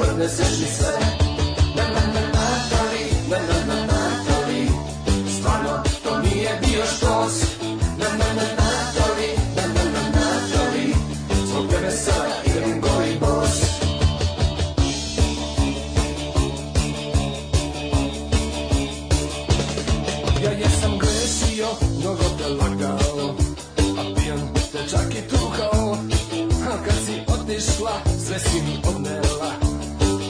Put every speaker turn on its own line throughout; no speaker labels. odneseš mi sve Na na na Natali, na na na Natali Stvarno to nije bio štos Na na na Natali, na na na Natali Zbog tebe sada idem goli bos Ja jesam grešio, mnogo te lagao A pijan te čak i tukao A kad si otišla, sve si mi odnela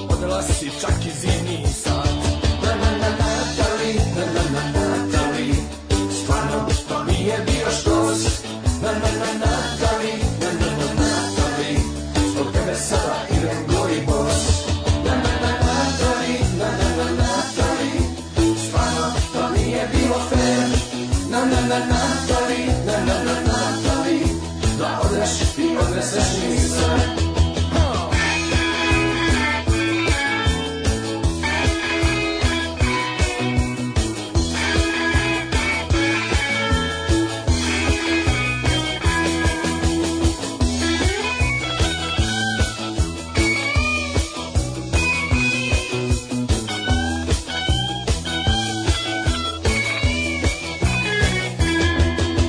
Odnela si čak i zimni sad Na na na Natali, na na na Natali Stvarno to nije bio štos Na na na Natali, na na na Natali Zbog tebe sada idem gori bos Na na na Natali, na na na Natali Stvarno to nije bilo fair Na na na Natali, na na na Natali Da odeš i odneseš mi sve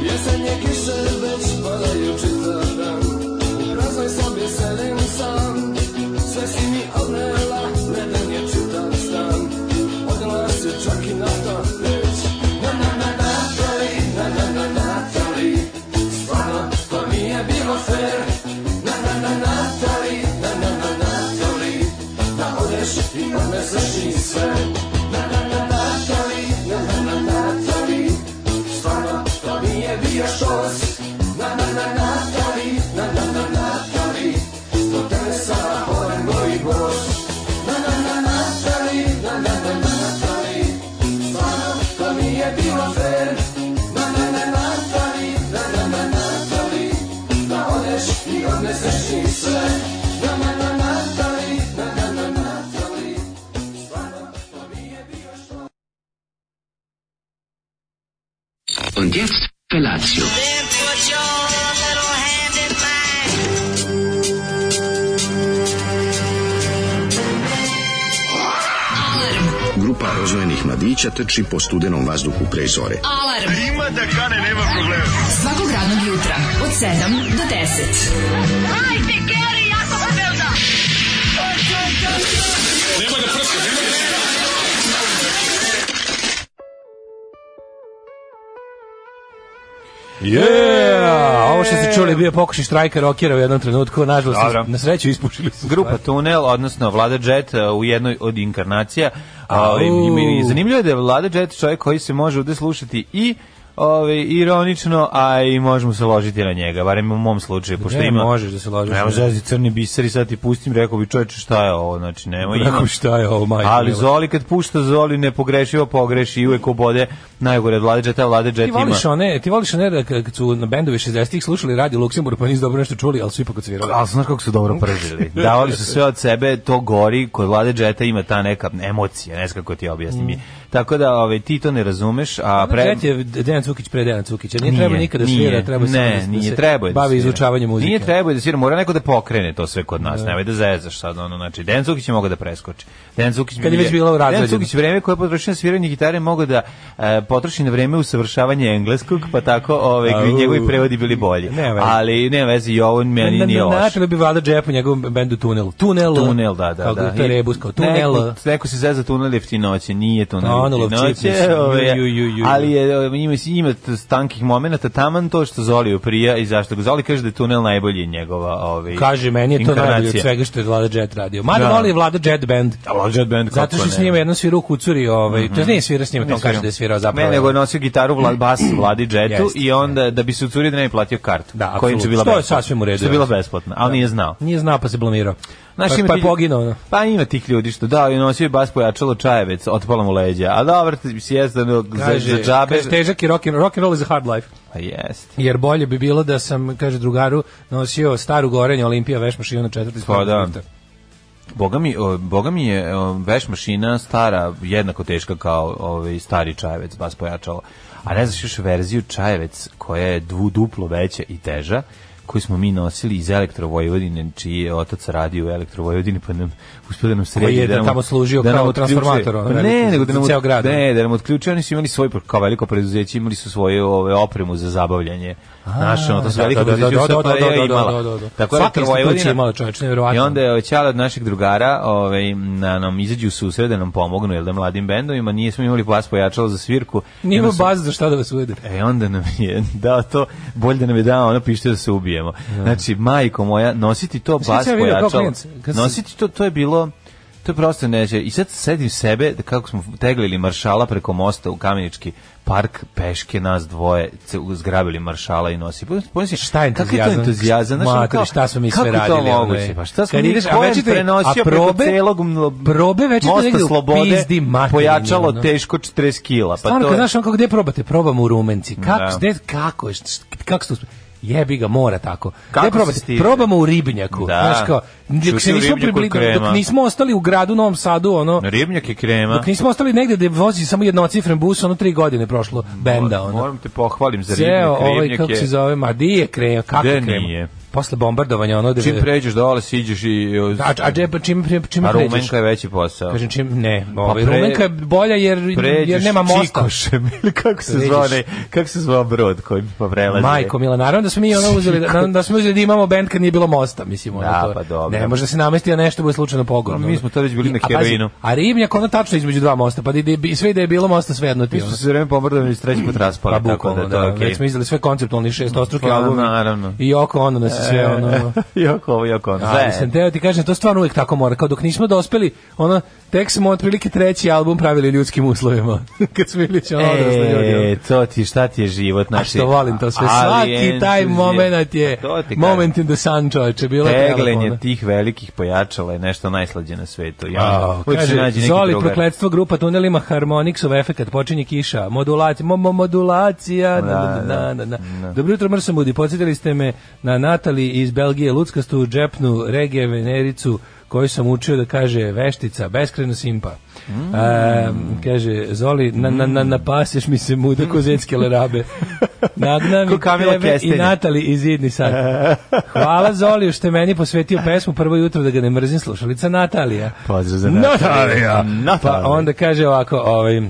Jesenje kiše već padaju čitav dan U praznoj sobi sedim sam Sve si mi odnela, leden je čitav stan Odnela se čak i na to već Na na na Natali, na na na Natali Stvarno to nije bilo fair Na na na Natali, na na na Natali Da odeš i odneseš i sve Na na na Natali, na na na Natali Stvarno to nije bio štos Na na na Natali, na na na Natali Do tebe sada volim moj bos Na na na Natali, na na na Natali Stvarno to nije bilo fair Na na na Natali, na na na Natali Da odeš i odneseš mi sve Na na na Natali, na na na Natali Stvarno to nije bio štos
Und jetzt Felatio.
Then put your little hand in mine.
Grupa rozvojenih mladića trči po studenom vazduhu pre zore.
Alarm. Ima da kane, nema problema. Svakog radnog jutra, od 7 do 10.
Hajde, Geri, jako se velda.
Yeah! Ovo što ste čuli je bio pokušaj štrajka rokera u jednom trenutku, nažalost,
Dobro.
na sreću ispušili su.
Grupa Tunel, odnosno Vlada Jet uh, u jednoj od inkarnacija. Ovaj, i mi- i zanimljivo je da je Vlada Jet čovjek koji se može ovde slušati i ovaj, ironično, a i možemo se ložiti na njega, barem u mom slučaju, pošto
Ne
ima...
možeš da se ložiš
Ne
na-
možeš da si crni biser i sad ti pustim, rekao bi čovječe šta je ovo, znači nema
Rekao bi, šta je ovo, majko
Ali
mila.
Zoli kad pušta Zoli nepogrešivo pogreši i uvek obode najgore od Vlade Jeta, Vlade Jet
Ti
ima.
voliš one, ti voliš one da kad su na bendovi 60-ih slušali Radio Luksemburg pa nisu dobro nešto čuli, ali su ipak odsvirali.
Ali znaš kako su dobro pržili. Davali su sve od sebe, to gori, kod Vlade Džeta ima ta neka emocija, ne znam kako ti objasnim. Mm. Tako da ovaj, ti to ne razumeš, a pre...
Pre... Ono je Dejan Cukić pre Dejan Cukića. Nije, trebao nikada
nije,
svira, treba samo
ne,
da, se- da
nije,
se
trebao je da
bavi
svira.
izučavanjem muzike.
Nije trebao je da svira, mora neko da pokrene to sve kod nas, nemoj da zezaš sad, ono, znači, Dejan Cukić je mogao da preskoči. Dejan Cukić
Kad je već bila
Dejan
urađena.
Cukić vreme koje je potrošio na sviranje gitare mogao da e, potroši na vreme usavršavanje engleskog, pa tako ovaj,
Au.
njegovi prevodi bili bolji.
Ne veze.
Ali ne veze, i ovo meni
Na- na-
nije
na-
loše.
Načelo bi Vlada Džep u njegovom bendu Tunel. Tunel.
Tunel, da, da,
Kako
da.
to je rebus, kao tunel.
Neko, neko se zezza tunel jeftinoće, nije tunel
Tunelov čip,
jeftinoće,
mislim.
ovaj,
Ju, ju, ju, ju.
ali je, ovaj, ima, ima t- tankih momenata, taman to što Zoliju prija i zašto ga Zoli kaže da je tunel najbolji njegova ovaj,
Kaže, meni je to
inkarnacija.
najbolje od svega što je Vlada Jet radio. Mada
Da.
voli Vlada Jet band.
A Lord Jet Band,
Zato što
kako
s
ne. Mhm.
njima jednom svirao u kucuri, ovaj, to nije svirao s njima, to on kaže da je svirao zapravo. ovaj,
Ne, nego je nosio gitaru vla, bas Vladi Jetu
Jeste,
i onda da bi se ucurio da ne bi platio kartu.
Da,
koja im
apsolutno.
će bila
Što je
besplatna.
sasvim u redu,
Što je bila
jasno.
besplatna, ali nije znao.
Nije znao pa se blamirao.
Znaš,
pa,
ima
pa je
ti-
poginuo. ono.
Pa ima tih ljudi što da, i nosio je bas pojačalo čajevec, otpalo mu leđa. A dobro, ti si jezdan za,
Kaže,
za džabe.
kaže, težak je rock and, rock and roll is a hard life.
Pa jest.
Jer bolje bi bilo da sam, kaže drugaru, nosio staru gorenju Olimpija veš mašinu na četvrti
Pa
sport.
da. Boga mi, o, boga mi je o, veš mašina stara, jednako teška kao ovaj stari čajevec, bas pojačalo. A ne znaš još verziju čajevec koja je dvu, duplo veća i teža koju smo mi nosili iz Elektrovojvodine, čiji je otac radio u Elektrovojvodini, pa nam uspio da nam sredi.
Koji je
da nam-
tamo služio
nam
kao
otključe-
transformator, ono,
Pa ne,
veliki,
nego da nam,
za ceo grad. ono.
ne, da nam otključio, oni su imali svoj, kao veliko preduzeće, imali su svoju ove, opremu za zabavljanje. Naše, ono, to su
da,
veliko
da, da,
preduzeće,
da,
u
da,
Srbiji
da, da,
je
da,
imala.
da, da, da.
Tako
Svaka
Elektrovojvodina-
institucija imala, čoveče, nevjerovatno.
I onda je oćala od našeg drugara, ovaj, na nam izađu u susred da nam pomognu, jel da mladim bendovima, nismo imali vas pojačalo za svirku.
Nije
Onda
imao
su-
bazu za šta da vas uvede.
E onda nam je dao to, bolje da nam je dao ono pište da se ubijemo. Znači, majko moja, nositi to
Znaš kad
bas
sam ja video kao
pojačalo.
klinac, kad sam-
Nositi to, to je bilo to je prosto neće. I sad sedim sebe da kako smo teglili maršala preko mosta u Kamenički park peške nas dvoje ce- zgrabili maršala i nosi. Pomisli,
Šta je entuzijazam?
Kako je to entuzijazam? Znaš, ono
Mater,
kao,
šta smo mi
kako
sve
je to
radili? ono,
moguće?
je.
Pa šta smo
Kad
mi,
ideš, a
ko je
već je to-
prenosio
a probe,
preko celog
probe već je to
mosta
negde u
slobode,
pizdi materinu,
pojačalo
ono.
teško 40 kila. Pa
Stvarno,
to
kad
je-
znaš on kako gde probate, probamo u Rumenci. Kako,
Da.
gde, kako, je, št- kako ste uspeli? Jebi ga, mora tako.
Kako
Gde
se
probate?
stiže?
Probamo u Ribnjaku.
Da.
Znaš kao, dok,
Čuti
se
u
nismo
Ribnjaku
približili,
krema.
dok nismo ostali u gradu u Novom Sadu, ono,
Ribnjak je krema.
dok nismo ostali negde gde vozi samo jednocifren bus, ono tri godine prošlo benda, ono.
Moram te pohvalim za ribnjak,
Ceo ovaj,
ribnjak
kako
je-
se zove, ma di je krema, kako
Gde
je krema?
nije?
Posle bombardovanja, ono, da
Čim pređeš dole, siđeš i... e,
A, a, džep- čim, čim, čim
a
pređeš?
Rumenka je veći posao.
Kažem čim, ne, ovaj,
pre-
Rumenka je bolja jer,
Pređeš
jer nema mosta.
Čikošem, ili kako se
Pređeš.
zvao onaj- kako se zvao brod kojim pa prelazi.
Majko Mila, naravno da smo mi ono uzeli, da, da smo uzeli da imamo bend kad nije bilo mosta, mislim, ono
Da,
to.
pa dobro.
Ne, može da se namesti da nešto bude slučajno pogodno.
Mi smo tad već bili
I-
na
a pazi,
heroinu.
A Ribnjak ono tačno između dva mosta, pa da ide- i sve i da je bilo mosta svejedno ti.
Mi
ono.
smo se vreme pomrdali i treći put
Pa
raspali, tako da
bukvalno,
to
da,
je okej.
Već smo izdali sve konceptualni šestostruke
Pa,
albume.
naravno.
I oko ono nas je sve ono...
Jako ovo, jako ono.
Ali
Sve.
sam teo ti kažem, to stvarno uvek tako mora. Kao dok nismo dospeli, ono, tek smo otprilike treći album pravili u ljudskim uslovima. Kad smo bili će ono odrasli ljudi. ono.
E, to ti, šta ti je
A
život? znači,
što volim to sve.
ali
Svaki taj
entuzijazam. Pa
moment je
To ti kažem.
moment in the sun, čoveče. Bilo je prelepo, ono.
Teglenje tih velikih pojačala je nešto najslađe na svetu. Ja,
Au,
uvijek se
kaže,
nađe neki
Zoli
drugar.
prokletstvo grupa tunelima Harmonixov efekat počinje kiša modulacija mo, mo- modulacija na, na, na, na, na. Dobro jutro Mrsa Mudi podsjetili ste me na Natali iz Belgije luckastu džepnu regije Venericu koju sam učio da kaže veštica beskreno simpa
Mm.
E, kaže Zoli na, na, na, napaseš mi se muda ko zetske lerabe
Ko
nagnami
Kamila
tebe i
Kestenje.
Natali iz Idni sad hvala Zoli što je meni posvetio pesmu prvo jutro da ga ne mrzim slušalica Natalija
Pozdrav za
Natalija.
Natalija.
Pa onda kaže ovako, ovaj,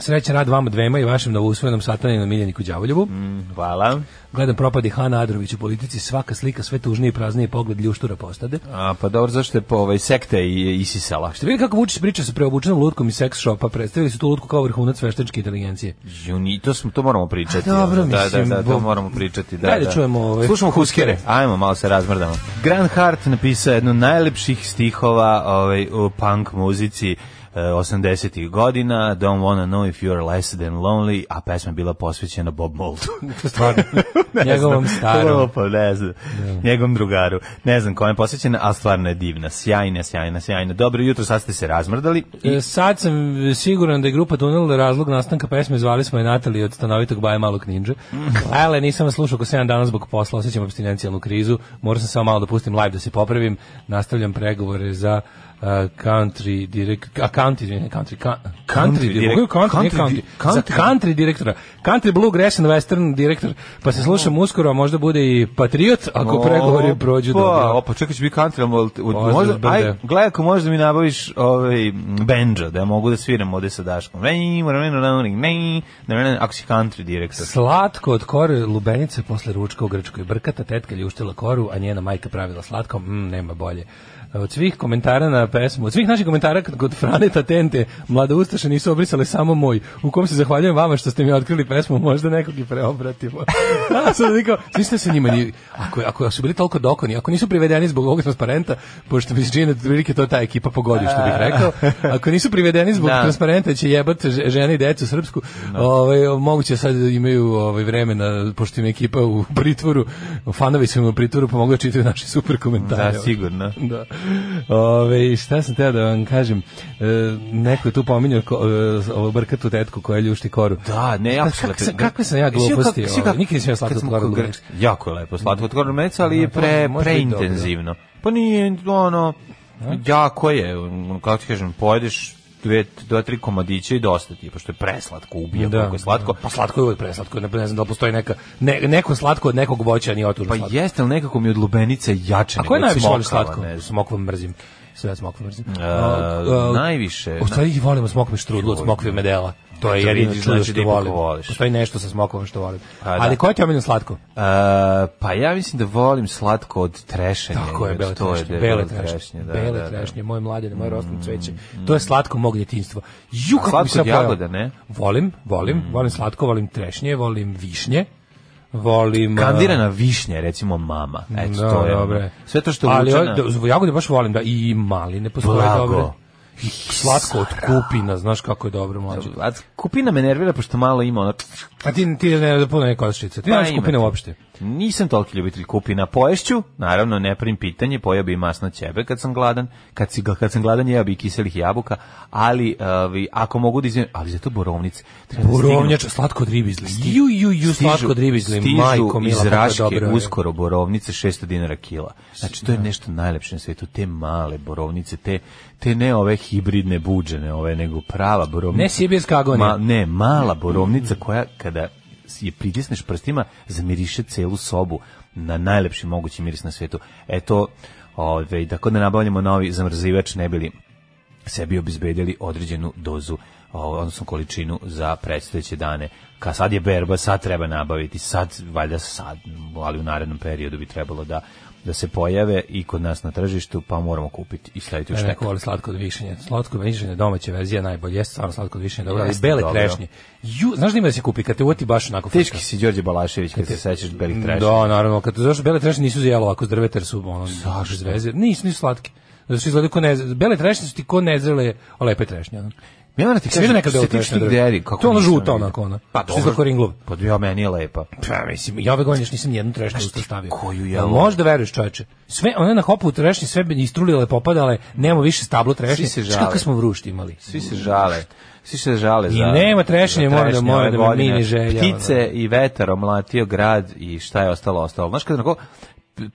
srećan rad vama dvema i vašem novousvojenom sataninu Miljeniku Đavoljevu.
Mm. Hvala.
Gledam propadi Hana Adrović u politici, svaka slika sve tužnije i praznije pogled ljuštura postade.
A, pa dobro, zašto je po ovaj sekte i, isisala?
Ste vidjeli kako Vučić priča sa preobučenom lutkom iz seks shopa, predstavili su tu lutku kao vrhunac veštačke inteligencije.
Juni, to, smo, to moramo pričati.
A, dobro,
ono, da, da,
mislim,
da, to
bo-
moramo pričati. Da,
Dajde
da.
čujemo ove-
Slušamo ovaj, Huskere. Ajmo, malo se razmrdamo. Grant Hart napisao jednu od najlepših stihova ovaj, u punk muzici eh, 80-ih godina, Don't wanna know if you're less than lonely, a pesma je bila posvećena Bob Mouldu.
Stvarno,
Pa, Ne
njegovom
znam.
starom.
Lupa, ne znam. Njegovom drugaru. Ne znam kome je posvećena, ali stvarno je divna. Sjajna, sjajna, sjajna. Dobro jutro, sad ste se razmrdali. I
E, Sad sam siguran da je grupa Tunel razlog nastanka pesme zvali smo je Natalija od stanovitog baja malog ninja.
Mhm.
Ale, nisam vas slušao ko 7 dana zbog posla, osjećam abstinencijalnu krizu, morao sam samo malo da pustim live da se popravim, nastavljam pregovore za uh, country direkt, a country, ne, country, ka- country,
Country
country,
direkt-
direkt, country, ne,
country
country,
di-
za
country-
country direktora, country blue, grass and western direktor, pa se slušam uskoro, a možda bude i patriot, ako pregovori prođu
Opa,
dobro.
Opa, čekaj, će biti country, ali od- od-
Pozdrav,
možda,
brde.
aj, gledaj ako možda mi nabaviš ovaj, m, benđo, da ja mogu da sviram ovde sa Daškom. Ej, moram, ne, ne, ne, ne, ne, ne, ako si country direktor.
Slatko od kore lubenice posle ručka u Grčkoj. Brkata tetka ljuštila koru, a njena majka pravila slatko. Mm, nema bolje. Od svih komentara na pesmu, od svih naših komentara kod- kod Frane Tatente, mlada ustaše nisu obrisale samo moj, u kom se zahvaljujem vama što ste mi otkrili pesmu, možda nekog i preobratimo. a sad niko, svi ste se njima, ni- ako, ako su bili toliko dokoni, ako nisu privedeni zbog ovog transparenta, pošto mi se čini da otprilike to ta ekipa pogodi, što bih rekao, ako nisu privedeni zbog
Da.
transparenta će jebat ž- žene i decu srpsku. Ovaj moguće sad imaju ovaj vremena pošto im je ekipa u pritvoru, fanovi su im u pritvoru, pa mogu da čitaju naše super komentare.
Da, sigurno.
Da. Ove, šta sam teo da vam kažem? E, neko je tu pominjao ko, e, ovu brkatu tetku koja ljušti koru.
Da, ne, jako se lepo.
sam- kakve sam ja
Jesi vidio
gluposti,
kako- jesi
ovaj,
kako-
nikad nisam ja
kad
slatko
sam
od Gorana
kod Grč-
Luleća.
Jako je lepo, slatko od Gorana Luleća, ali je
Aha, to
pre,
može biti dobro.
preintenzivno. Pa nije, ono, jako je, kako ti ono, kažem, pojedeš dve, dva, tri komadića i dosta ti, je, pošto je preslatko, ubija koliko je slatko.
Pa slatko je uvek preslatko, ne, ne znam da li postoji neka, ne, neko slatko od nekog voća nije otužno
Pa
slatko.
jeste, ali nekako mi od lubenice jače
A koje Pa
nego od
najviše voliš
smokava,
slatko?
ne znam.
Smokvu mrzim. Sve od smokve mrzim.
E,
A, a,
najviše-
U stvari ih volimo smokve štrudlu od smokve medela. To je
To
jedino
vidiš,
čudo
znači da
što
ipak
volim.
voliš.
Postoji nešto sa smokvom što volim.
Pa da.
Ali koje ti je omiljeno slatko?
E, pa ja mislim da volim slatko od trešenja.
Tako je,
jer
bele
to
trešnje,
debelo
bele trešnje,
da, da,
bele
da.
trešnje, moje mladine, moje rosno cveće. To je slatko mog djetinjstva. Ju, kako
slatko
mi se
od Mm.
pojeo.
jagoda, ne?
Volim, volim, volim slatko, volim trešnje, volim višnje, volim... a,
Kandirana višnja, recimo mama. Eto,
da,
to je. ono.
dobre.
Sve to što
Ali
vuče
ove-
na-
da, jagode baš volim, da, i maline postoje
Blago.
dobre. I slatko od kupina, znaš kako je dobro mlađe.
A kupina me nervira pošto malo ima ono...
A ti, ti ne da puno neka ostrica, ti
Pa
nemaš
ima
kupina
tu.
uopšte.
Nisam toliki ljubitelj kupina. Poješću, naravno, ne prvim pitanje, pojeo bi i masno ćebe kad sam gladan, kad, si, kad sam gladan jeo bi i kiselih jabuka, ali ovi, ako mogu da izvijem, ali za to borovnice. Treba da stignu.
Borovnjača, slatko od ribizli. Ju, ju, ju,
Stižu-
slatko od ribizli,
stižu
majko mila,
iz
kako je
Raške
dobro.
uskoro borovnice 600 dinara kila. Znači to je nešto najlepše na svetu, te male borovnice, te te ne ove hibridne buđene, ove nego prava borovnica.
Ne sibirska agonija.
Ma- ne, mala borovnica koja kada je pritisneš prstima zamiriše celu sobu na najlepši mogući miris na svetu. Eto, ovaj tako da nabavljamo novi zamrzivač ne bili sebi obizbedili određenu dozu o, odnosno količinu za predstojeće dane. Ka sad je berba, sad treba nabaviti, sad, valjda sad, ali u narednom periodu bi trebalo da da se pojave i kod nas na tržištu, pa moramo kupiti i staviti u
Ja
štek.
neko voli slatko od višenja. Slatko od višenja domaća verzija najbolje, jeste stvarno slatko od višenja, dobro, ali
Jeste
bele
dobro.
trešnje. Ju, znaš da ima da se kupi kad te uoti baš onako
Teški
frka?
si Đorđe Balašević kad se sećaš belih trešnja.
Da, naravno, kad zašto bele trešnje nisu za jelo ovako s drveta, jer su ono zašto zvezde. Nisu nisu slatke. Zato što izgledaju ko ne, bele trešnje su ti ko nezrele lepe trešnje. Ono.
Ja moram ti
Jesi vidio nekad
kažem, što
belu
se tiče
trešnju
tih
drvetu?
deri, kako
To je ono
nisam
žuto
vidio.
onako, ono.
Pa
Što
dobro.
izgleda kao ringlov.
Pa ja, meni je lepa.
Pa mislim, ja ove godine još nisam nijednu trešnju usta stavio.
koju
Jel
jelo?
Možda veruješ čoveče. Sve one na hopu u trešnji, sve bi istrulile, popadale, nemamo više stablo trešnje.
Svi se
Znaš
žale.
Kako smo vrušti imali?
Svi se žale. Svi se žale za...
I nema trešnje,
za
moram da-
trešnje
moram
ove
da me
godine.
mini želja, ono.
Ptice i vetar omlatio grad i šta je ostalo, ostalo. Znaš kada onako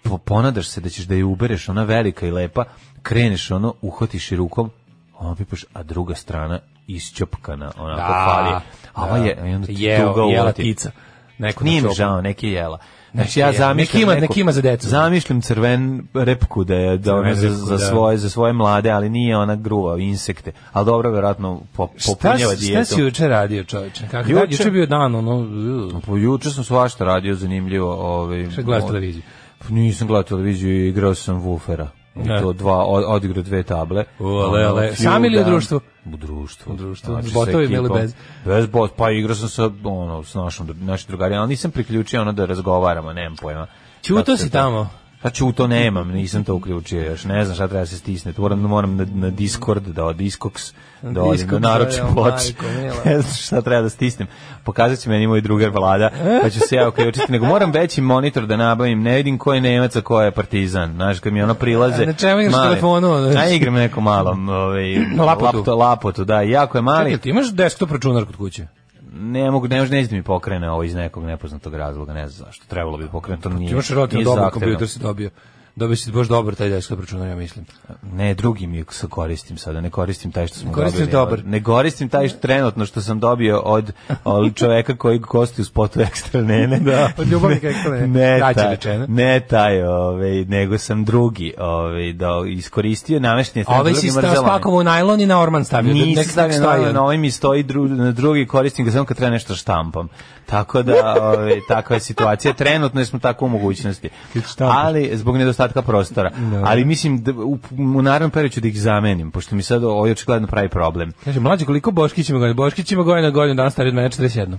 po- ponadaš se da ćeš da je ubereš, ona velika i lepa, kreneš ono, uhvatiš je rukom, ono pipaš, a druga strana isćopkana, onako
Da,
fali. A ova je, i onda ti
Jeo-
tuga
jela
uleti.
ptica. Neko na
Nije mi
čopu.
žao, neki je jela.
Neki
Znači ja
je jela.
zamišljam
Neki ima-
neku-
neki ima za decu.
Zamišljam crven repku da je da ona
Crvenu
za,
repku,
za
da.
svoje za svoje mlade, ali nije ona gruva, insekte. Ali dobro, verovatno po,
Šta,
popunjava
si- šta
dijetu.
si juče radio, čoveče? Kako juče?
Juče?
juče je bio dan, ono... uh,
Po Pa juče sam svašta radio zanimljivo, ovaj.
Šta gledaš
o-
televiziju?
Nisam gledao televiziju, igrao sam Woofera. I
Ne.
to dva o- odigrao dve table.
U, ale,
Ono,
ale.
few
Sam ili u
dan-
društvu?
U društvu.
U društvu, s
sa
botovima ili
ekipom.
bez?
Bez bot, pa igrao sam sa ono s našom dru- našim drugarima, ali nisam priključio ono da razgovaramo, nemam pojma.
Ćuto
Kako se
si
to-
tamo?
Pa to nemam, nisam to uključio još. Ne znam šta treba se stisneti. Moram, moram na, na Discord, da od Discogs, da odim na
Discogs,
naručim
evo,
ploč.
majko mila.
Ne znam šta treba da stisnem. Pokazat će meni moj drugar vlada, pa ću se ja uključiti. Nego moram veći monitor da nabavim. Ne vidim ko je Nemac, a ko je Partizan. Znaš, kad mi ono prilaze.
A na čemu igraš
mali.
telefonu, ono?
A igram neko malom. Ovaj,
Na lapotu.
lapto- lapotu, da. Jako
Čekaj,
je mali.
ti imaš desktop računar kod kuće?
Ne mogu, ne može, neće da mi pokrene ovo iz nekog nepoznatog razloga. Ne znam zašto. Trebalo bi pokrenuti. To nije,
Pa Ti imaš relativno
nije
dobar
zahtevno.
kompjuter si dobio. Dobio si baš dobar taj desktop računar, ja mislim.
Ne, drugi mi se koristim sada, ne koristim taj što sam
Koristim
dobio.
dobar.
Ne koristim taj što trenutno što sam dobio od, od čoveka koji gosti u spotu ekstra nene. Da,
od ljubavnika Ekstra Nene.
Ne,
Kraće
taj,
rečeno.
ne taj, ovaj, nego sam drugi ovaj, da iskoristio nameštenje.
A ovaj si
drugi
sta-
mrzelo me.
spakovao u najlon i na orman stavio. da
Nisam
nek- nek
stavio
stoji
na,
on.
na ovaj mi stoji dru, na drugi koristim ga samo kad treba nešto štampam. Tako da, ove, takva je situacija. Trenutno smo tako u mogućnosti.
Kad štampaš.
Ali, zbog nedostatka prostora. Ali mislim, da u, u naravnom periodu ću da ih zamenim, pošto mi sad ovo je očigledno pravi problem.
Kaže, mlađe, koliko Boškić ima godina? Boškić ima godina, godinu, danas stariji od mene 41.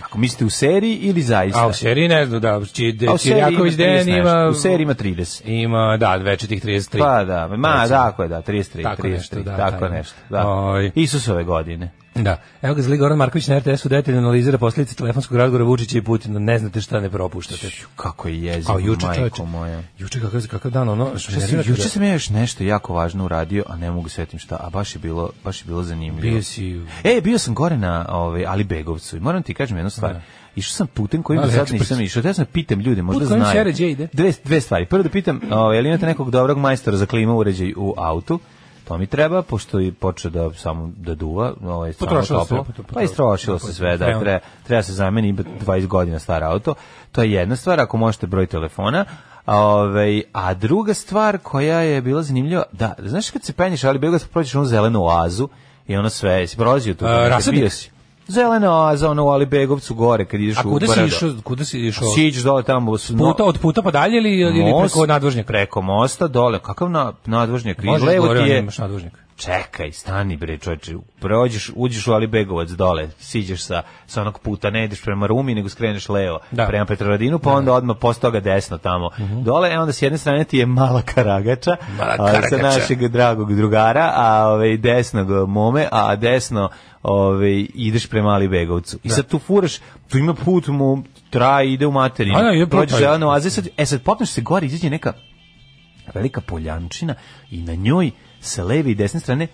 Ako mislite u seriji ili zaista?
A u seriji ne znam, da, či, de,
A u seriji ima
Čirjaković
30
Den
nešto.
ima...
U seriji ima 30.
Ima, da, veće tih 33.
Pa da, ma,
Recimo.
tako je, da, 33,
Tako
33,
nešto, da,
tako
taj.
nešto, da.
Oj.
Isusove godine.
Da. Evo ga zli Goran Marković na RTS-u detaljno analizira posljedice telefonskog razgovora Vučića i Putina. Ne znate šta ne propuštate.
Kako je jezivo,
A juče čoveče,
majko moja.
juče kakav, kakav dan, ono, što
Šta sam,
nervira te da-
juče sam ja još nešto jako važno uradio, a ne mogu setim šta, a baš je bilo, baš je bilo zanimljivo.
Bio si u-
E, bio sam gore na ovaj, Alibegovcu i moram ti kažem jednu stvar. Išao sam putem kojim
Ali
do sad
ekspres.
nisam išao. Ja sam da pitam ljude, možda
Put kojim
znaju.
Sere Đe ide.
Dve, dve stvari. Prvo da pitam, ovaj, je li imate nekog dobrog majstora za klima uređaj u autu? To mi treba, pošto je počeo da samo da duva, ovaj, stvarno
Potrošilo se,
toplo.
pot- pot-
pa istrošilo
pot-
se sve, da,
Evo.
treba, treba se zameni i 20 godina star auto. To je jedna stvar, ako možete broj telefona. A, ovaj, a druga stvar koja je bila zanimljiva, da, znaš kad se penješ, ali bilo da prođeš onu zelenu oazu i ono sve, jesi prolazio tu?
E,
Bio
rasadnik?
si. Zelena oaza, ono u Alibegovcu gore, kad ideš
A
u
kuda si
brdo.
išao? Kuda si išao?
Siđeš dole tamo. s- no-
Puta od puta pa dalje ili ili preko nadvožnjaka?
Preko mosta dole. Kakav na, nadvožnjak?
Možeš
Levo
gore,
ti
ali
je...
imaš nadvožnjak.
Čekaj, stani bre, čoveče. Prođeš, uđeš u Alibegovac dole, siđeš sa, sa onog puta, ne ideš prema Rumi, nego skreneš levo,
Da. Mhm.
prema Petrovaradinu, pa onda odmah posle toga desno tamo. Dole, e onda s jedne strane ti je mala karagača,
Mala
a, sa
Karagača.
našeg dragog drugara, a ovaj, desnog mome, a desno ovaj, ideš prema Alibegovcu. I sad tu furaš, tu ima put, mu traje, ide u materiju.
A da, ide
Prođeš
put,
zelenu oazu, e sad, e sad popneš se gore, izađe neka velika poljančina i na njoj sa leve i desne strane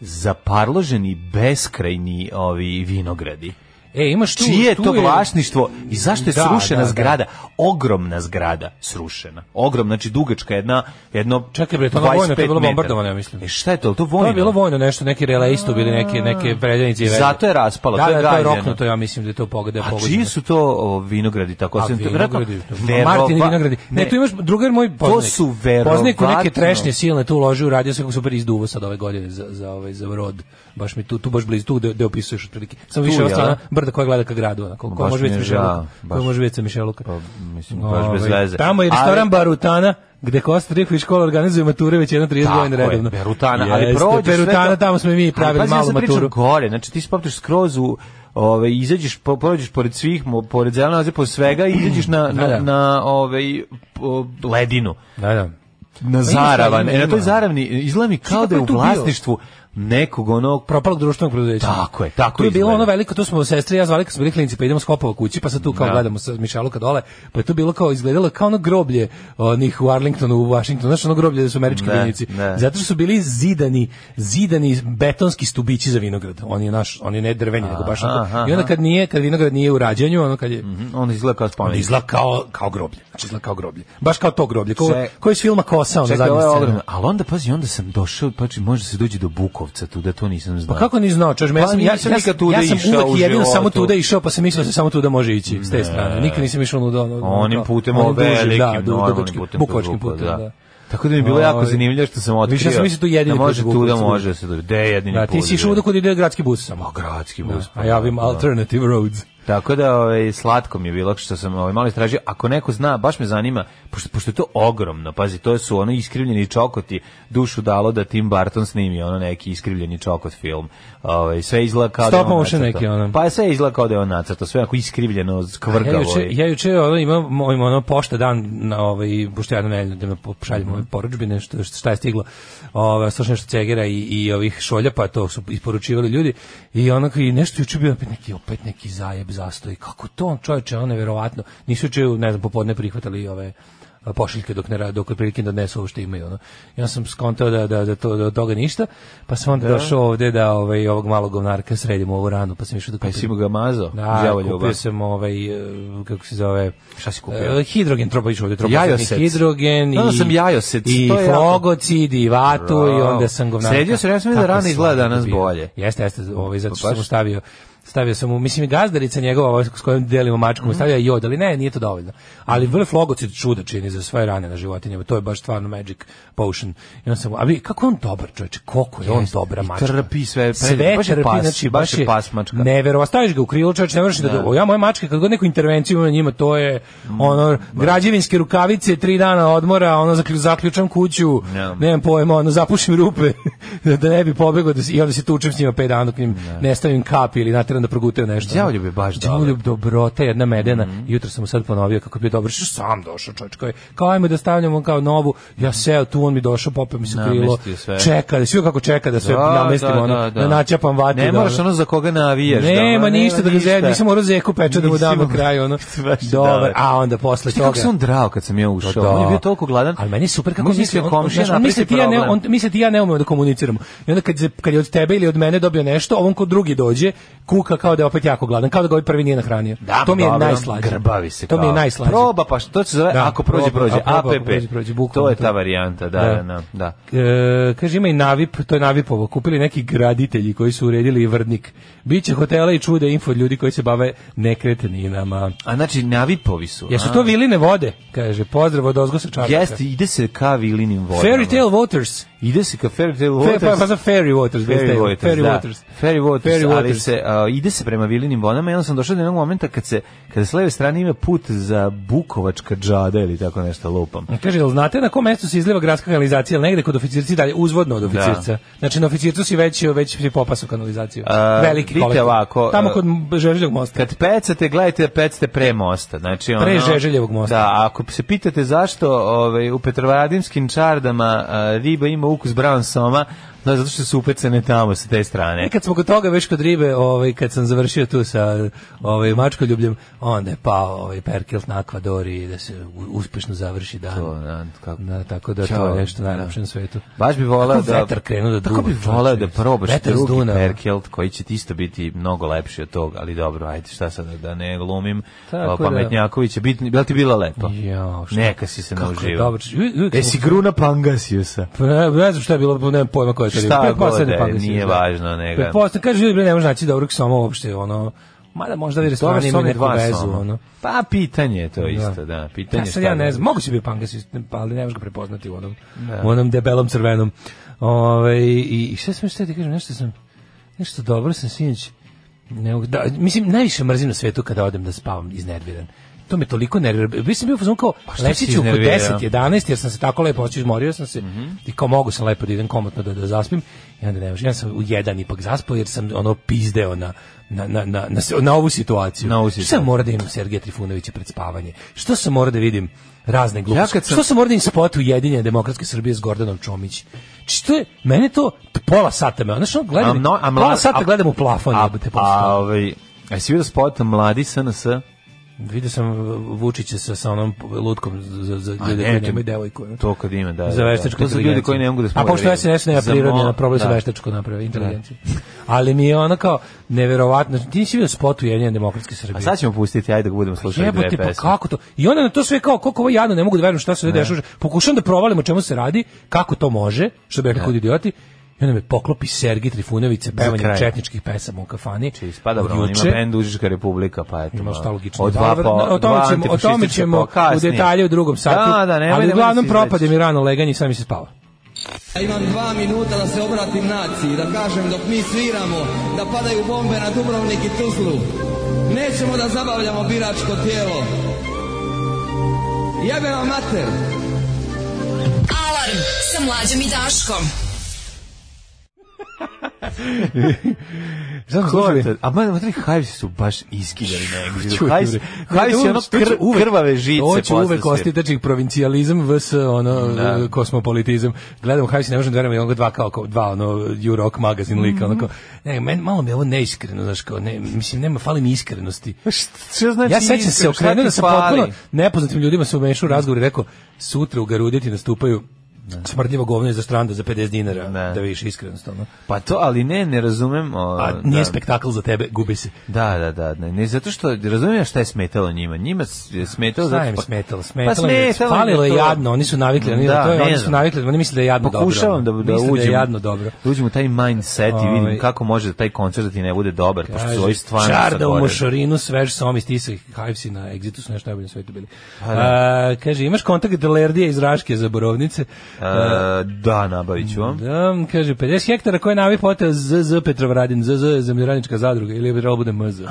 zaparloženi beskrajni ovi vinogradi.
E, imaš tu...
Čije je
tu
to vlasništvo i zašto je
Da,
srušena
da, da.
zgrada? Ogromna zgrada srušena. Ogromna, znači dugačka jedna, jedno
Čekaj bre, to je ono vojno, to je
25
bilo
metara.
bombardovano, ja mislim.
E šta je to? Jel To
To
vojno.
je bilo vojno nešto, neki relaistu bili neke, neke preljenice i veze.
Zato je raspalo,
da,
to je
da, to je
gađeno.
roknuto, ja mislim da je to pogode
A čiji su to o, vinogradi? Tako
A
sam to
vinogradi,
Verova-
Martin vinogradi. Ne,
Ne.
tu imaš drugar moj poznanik.
su
Poznanik u neke
verovatno-
trešnje silne tu uložio, radio se kako super izduvo sad ove godine za, za, ovaj, za rod. Baš mi tu, tu baš blizu, tu gde, gde opisuješ otprilike. Samo
Tu,
više ova
jel?
strana brda koja gleda ka gradu, onako, ko
Baš
može
mi
vidjeti
je
Mišeluka.
žao,
Ko
baš.
može vidjeti sa Mišeluka.
Pa, mislim, baš bez
Ovaj,
veze.
Tamo je
Ali-
restoran Barutana, gde Kosta Rikvi škola organizuje mature već jedno 30 godina
Tako je,
redovno.
Perutana, ali
Jeste,
prođeš sve
Perutana,
to-
tamo smo i mi
Ali
pravili
pazi, ja
malu
sad pričam
maturu.
gore, znači ti se popneš skroz u Ove izađeš po, prođeš pored svih mo- pored zelene oaze, pored svega i izađeš na na,
Da, da.
na ovaj po- ledinu Pa
Da, da.
na
Zaravan.
Zaravan e, na toj Zaravni izgleda mi kao da je u
Kako je tu bio?
vlasništvu nekog ono, onog
propalog društvenog preduzeća.
Tako je, tako
Tu je bilo
izgleda.
ono veliko, tu smo sestre i ja zvali kad smo bili klinici, pa idemo s Kopova kući, pa sad tu kao
Da.
gledamo sa Mišaluka dole, pa je tu bilo kao, izgledalo kao ono groblje onih u Arlingtonu, u Washingtonu, znaš ono groblje da su američki
Ne,
vojnici.
ne.
Zato što su bili zidani, zidani betonski stubići za vinograd. On je naš, on je ne drveni, nego baš
Aha,
onako. I
aha. Mhm.
onda kad nije, kad vinograd nije u rađanju, ono kad je
on izgleda kao
on
spomenik.
izgleda kao, kao groblje. Znači izgleda kao groblje. Baš kao to groblje. Ko,
Ček-
ko iz filma Kosa, ono
Čekaj,
zadnja
ovo je
scena.
ogromno. Ali onda, pazi, onda sam došao, pa či, može se dođe do Bukovca tu, da to nisam znao.
Pa kako ni znao, čaš, ja
Pa
sam, ja, ja,
nisam
sam-
nikad tuda
ja sam
išao
uvek
u
jedino samo
životu.
tuda išao, pa sam mislio da se samo tuda može ići s te strane. Nikad nisam išao ludo. Ono,
Pa onim
kao-
putem
onim
onim
dužim,
velikim,
da, du-
normalnim
dugačkim,
putem.
Bukovačkim
Tuzlupa,
putem, da.
Tako da mi je bilo jako
Ovaj,
zanimljivo što sam otkrio.
više ja sam mislio tu jedini
da može
put
tu da
Bukovac.
može se dođe. Da je jedini
Da,
put.
ti si išao
da.
ovdje kod ide gradski bus
Ma,
samo.
gradski
Da,
bus.
a ja ovim
Da.
alternative roads.
Tako da ovaj slatko mi je bilo što sam ovaj malo istražio. Ako neko zna, baš me zanima, pošto pošto je to ogromno. Pazi, to su ono iskrivljeni čokoti. Dušu dalo da Tim Burton snimi ono neki iskrivljeni čokot film. Ovaj sve izgleda kao da je
Stop
on
motion
nacrtao.
neki, ono.
Pa sve izgleda kao da je on nacrtao, sve ako iskrivljeno,
Ja
skvrgavo.
juče,
i-
ja juče ono, imam moj ono pošta dan na ovaj pošto ja na nedelju da pošaljem
Mhm.
ove porudžbine što šta je stiglo. Ovaj slušam nešto cegera i, i ovih šolja pa to su isporučivali ljudi i onako i nešto juče bio opet neki opet neki zajeb zastoj. Kako to on čoveče, ono neverovatno. Nisu juče ne znam popodne prihvatali ove a, pošiljke dok ne ra- dok otprilike ne odnesu ovo što imaju ono. Ja sam skontao da da da to da od toga ništa, pa sam onda došao ovde da ovaj ovog malog govnarka sredimo ovu ranu, pa sam išao da
Pa
kupim.
jesi mu ga mazao?
Da,
Đavo ljubav.
kupio sam ovaj, e, kako se zove...
Šta si kupio?
E, Hidrogen, tropa išao ovdje,
Jajosec.
hidrogen
Onda
i...
sam jajosec,
I
to je jako-
flogocid i vatu i
Bravo.
onda sam govnarka.
Sredio sam, ja sam vidio da
Kako
rana izglada
slatko
danas
bio.
bolje. Pa
Jeste, jeste, ovaj, zato što
baš.
sam mu stavio stavio sam mu, mislim i gazdarica njegova ovaj, s kojom delimo mačku,
Mhm.
mu stavio je jod, ali ne, nije to dovoljno. Ali vrlo flogocid čuda čini za svoje rane na životinjama, to je baš stvarno magic potion. I on sam, a vi, kako je on dobar čovječe, koliko je on
Jeste.
dobra
I
mačka.
trpi sve,
sve
baš je
trpi,
pas,
znači
baš
baš
je
je
pas mačka.
Neverovatno, staviš ga u krilo, čovječe, ne vrši da, da. Ja moje mačke kad god neku intervenciju imam na njima, to je ono građevinske rukavice, tri dana odmora, ono zaklju- zaključam kuću,
Ja.
nemam pojma, ono zapušim rupe da da ne bi pobegao da se- i onda se tučem s njima pet dana dok im ne stavim kap ili nateram da progutaju nešto.
Đavoljub je baš dobar.
Đavoljub dobrota jedna medena. Jutro sam mu sad ponovio kako je bio dobar, što sam došao čovjek koji kao ajmo da stavljamo kao novu. Ja seo tu, on mi došao, popeo mi se u krilo.
Namestio sve.
Čeka, da sve kako čeka da sve namestim ono, da, načapam vatu.
Ne
da
moraš
ono-
ono za koga navijaš. da,
nema
ono,
ništa da ga
ništa.
zezam, nisam morao zeku peče da mu
Nisi
dam na
morao.
kraju ono.
Baš je
Dobar,
dobar.
a onda posle
Znaš ti kako
toga.
sam on drao kad sam ja
Pa
ušao?
da.
On je bio toliko gladan.
Ali meni je super kako
Možda
misli,
mislio
on,
komšija
znaš, on
napravi
misli ti ja ne,
problem.
on misli ti ja ne umemo da komuniciramo. I onda kad, se- kad je od tebe ili od mene dobio nešto, ovom ko drugi dođe, kuga kuka kao da je opet jako gladan, kao da ga ovaj prvi nije nahranio.
Da,
to mi je
dobro,
najslađe.
Grbavi se.
To mi je
kao.
najslađe.
Proba, pa što to se zove,
Da,
ako prođe,
proba,
prođe,
a proba, ako
APP.
prođe, prođe,
to
bukvalno
je
to.
ta varijanta, da,
Da.
da, da. da.
E, kaže ima i Navip, to je Navipovo, kupili neki graditelji koji su uredili i vrdnik. Biće hotela i čude info od ljudi koji se bave nekretninama.
A znači, navipovi su.
Jesu
a?
to viline vode? Kaže, pozdrav od ozgo sa čaraka.
Jeste, ide se ka vilinim vodama.
Fairy Tale Waters.
Ide se ka Fairy Tale
Fe,
Waters.
pa, pa za Fairy Waters. bez
Fairy
tela.
Waters,
Fairy
da.
Waters.
Fairy Waters,
Fairy
ali
Waters.
se, a, ide se prema Vilinim vodama i onda sam došao do jednog momenta kad se, kada s leve strane ima put za Bukovačka džada ili tako nešto lupam.
Kaže, jel znate na kom mestu se izliva gradska kanalizacija, ali negde kod oficirci dalje, uzvodno od oficirca. Znači, na oficircu si već, već si popasao kanalizaciju.
A,
Veliki
vidite
kolektor.
ovako,
Tamo
a,
kod Žeželjog mosta.
Kad pecate, gledajte da pecate pre mosta. Znači, ono,
Pre Žeželjevog mosta.
Da, a ako se pitate zašto ovaj, u petrovaradinskim čardama a, riba ima ukus brown soma, no, zato što su upecane tamo sa te strane.
E kad smo kod toga već kod ribe, ovaj kad sam završio tu sa ovaj mačkoljubljem, onda je pao ovaj Perkilt na akvadori da se u- uspešno završi dan.
To, da, kako-
Da, tako da
Ćao,
to je nešto
da.
najlepše na svetu.
Baš bi voleo
Kako
da
vetar krenuo da
Tako bi
duva,
voleo da
čoveče.
probaš
Vetar s ono.
drugi
Dunava.
Perkelt koji će ti isto biti mnogo lepši od toga, ali dobro, ajde, šta sad da ne glumim. Pa
Tako
o,
da.
Pametnjaković je bitni, bila ti bila lepo.
Jao, šta-
Neka si se
Kako je
nauživao.
dobro, či- uvijek- uvijek
Jesi
smo-
gruna Pangasiusa.
Pa Ne, ne znam šta je bilo, nemam pojma koja Pa je to riba.
Šta god
Pretpostavljam
da je,
pangasius, da.
nije važno, nego.
Pretpostavljam, kaže ljudi, bre, ne može naći dobrog soma uopšte, ono, mada možda vi
Dobar
restorani imaju
Soma
neku
dva
vezu,
Soma.
ono.
Pa pitanje je to isto, da. Pitanje
Ja sad
šta
ja
da-
ne znam, moguće bi Pangas, pa ali ne možeš ga prepoznati u onom, u onom debelom crvenom. Ove, i, I šta sam šta ti kažem, nešto sam, nešto dobro sam sinoć. Ne, mogu- da, mislim, najviše mrzim na svetu kada odem da spavam iznerviran. To me toliko nervira. Bi sam bio fazon kao,
Pa šta
leći
si
ću oko
iznervirao?
10, 11, jer sam se tako lepo oči izmorio sam se.
Mhm.
I kao mogu sam lepo da idem komotno da, da zaspim. I onda ne možem. Ja sam u jedan ipak zaspao jer sam ono pizdeo na, na, na, na, na, se- na ovu situaciju.
Na ovu
Šta
situaciju.
mora da imam Sergeja Trifunovića pred spavanje? Što sam mora da vidim razne
Ja
gluposti?
kad sam-
Što sam mora da im spot Ujedinjene demokratske Srbije s Gordanom Čomić? Što je, mene to pola sata me, znaš, ono,
A
gledam,
mno-
pola
a mlad-
sata
a-
gledam u plafon,
A,
jebote, posle
a,
toga.
ovaj, a si vidio spot Mladi SNS?
Vidio sam Vučića sa, sa onom lutkom za, za
A
ljude
ne,
koji
to-
nemaju devojku. ono.
To kad ima, da. da,
za
da.
veštačku
To su ljudi
inteligenciju.
koji ne mogu da
A pošto SNS nema
Za
prirodni,
mo-
na problem sa
da.
veštačku naprave inteligenciju. Ali mi je ono kao neverovatno. Ti nisi vidio spot Ujedinjene demokratske Srbije.
A sad ćemo pustiti, ajde da budemo slušali dve
Jebote,
pesme.
pa kako to? I onda na to sve kao, koliko ovo je jadno, ne mogu da verujem šta se ovdje dešava. Pokušam da provalim o čemu se radi, kako to može, što bi rekli kod idioti. I onda me poklopi Sergi Trifunović sa pevanjem
kraj.
četničkih pesama u kafani.
Čisto, pa dobro,
Od
on
juče.
ima bend Užička republika, pa eto.
Ima šta
malo.
logično.
Od dva
Dobro,
po,
o tome
dva
ćemo, o tome
antifašistička
ćemo
po
u
kasnije.
detalje u drugom satu.
Da, da, nemoj,
ali
nemoj
uglavnom
da se izleći.
propade mi rano leganje i sam mi se spava.
Ja imam dva minuta da se obratim naciji, da kažem dok mi sviramo, da padaju bombe na Dubrovnik i Tuzlu. Nećemo da zabavljamo biračko tijelo. Jebe vam mater!
Alarm sa mlađom i Daškom.
Znam,
Korte, a mada matri Hajvisi su baš iskidali negdje. Hajvisi,
Hajs
Hajvisi ono kr, krvave žice
To će
posle
uvek
sve.
ostati znači provincijalizam vs ono
Da.
e, kosmopolitizam. Gledamo Hajs ne možemo da verujemo onog dva kao kao dva ono You Rock magazin lika onako.
Mhm.
Ne, men malo mi je ovo neiskreno, znači kao ne, mislim nema fali mi iskrenosti.
Šta znači
Ja sećam se
iskreno,
okrenuo
šta
da
ti
sam
fali?
potpuno nepoznatim ljudima se umešao u razgovor i rekao sutra u Garuditi nastupaju smrdljivo govno iz Ostranda za 50 dinara
Ne.
da više iskrenost ono.
Pa to, ali ne, ne razumem. O,
A nije
Pa da.
spektakl za tebe, gubi se.
Da, da, da, ne, ne zato što razumijem ja šta je smetalo njima. Njima s- je smetalo
Šta
zato
im
što-
smetalo?
Pa
Smetalo im,
smetalo im
falilo je
to.
jadno, oni su navikli, oni,
Da,
to je,
ne
oni su
znam.
navikli, oni misle da je jadno
Pokušavam da,
dobro. ono.
da
Misle
uđem,
da je jadno dobro.
da uđem u taj mindset i vidim
Ovaj.
kako može da taj koncert da ti ne bude dobar, pošto
Kaže,
su ovi stvarno
Čarda u
sagoreli.
mošarinu, svež som iz tisa Hajvsi na Exitu su nešto najbolje na svetu bili. A, kaže, imaš kontakt Delerdija iz Raške za Borovnice?
E, da, nabavit ću vam.
Da, kaže, 50 hektara koje navi poteo ZZ Petrovradin, ZZ je zemljoradnička zadruga, ili bi trebalo bude MZ.
A,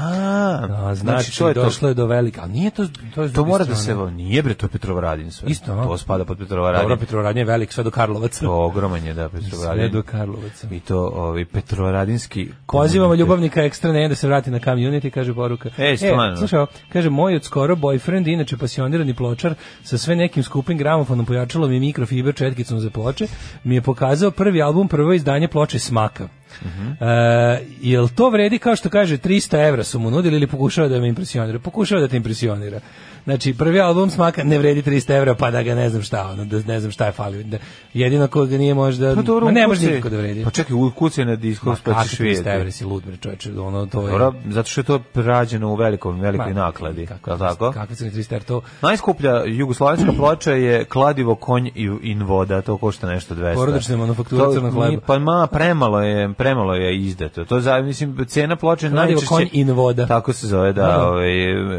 A, znači, to je
to.
došlo je do velika, ali nije to, to je s
To
druge
mora da se,
strane.
nije bre, to je Petrovaradin sve.
Isto, a?
To spada pod
Dobro,
Petrovaradin.
Petrovaradin je velik, sve do Karlovaca.
To ogroman je, da,
Sve do
Petrovaradin.
Karlovaca.
I to ovi Petrovaradinski...
Pozivamo
komunitet.
ljubavnika ekstra ne da se vrati na community, kaže poruka.
E, stvarno.
slušaj, ovo, kaže, moj od skoro boyfriend, inače pasionirani pločar, sa sve nekim skupim gramofonom pojačalo mi mikrofiber četkicom za ploče, mi je pokazao prvi album, prvo izdanje ploče Smaka.
Mhm.
E, jel to vredi kao što kaže 300 evra su mu nudili ili pokušava da me impresionira? Pokušava da te impresionira. Znači, prvi album smaka ne vredi 300 evra, pa da ga ne znam šta, ono, da ne znam šta je falio. Da, jedino ko ga nije možda...
Pa dobro,
Mm, ma ne
ukucaj-
može nikako da vredi.
Pa čekaj, ukucaj na disku, pa
Kako
ćeš
300 evra
vidjeti.
si lud, bre, čoveče, ono, to je...
Dobro, zato što je to rađeno u velikom, velikoj
Ma,
nakladi,
kako
je li
300,
tako?
Kako se ne 300 evra, to...
Najskuplja jugoslavenska ploča je kladivo konj i in voda, to košta nešto 200.
Porodična manufaktura
To
crnog hleba.
nije- Pa ma, premalo je, premalo je izdato. To za, mislim, cena ploče
Kladivo
najčešće...
konj in voda.
Tako se zove, da,
Da.
ovaj,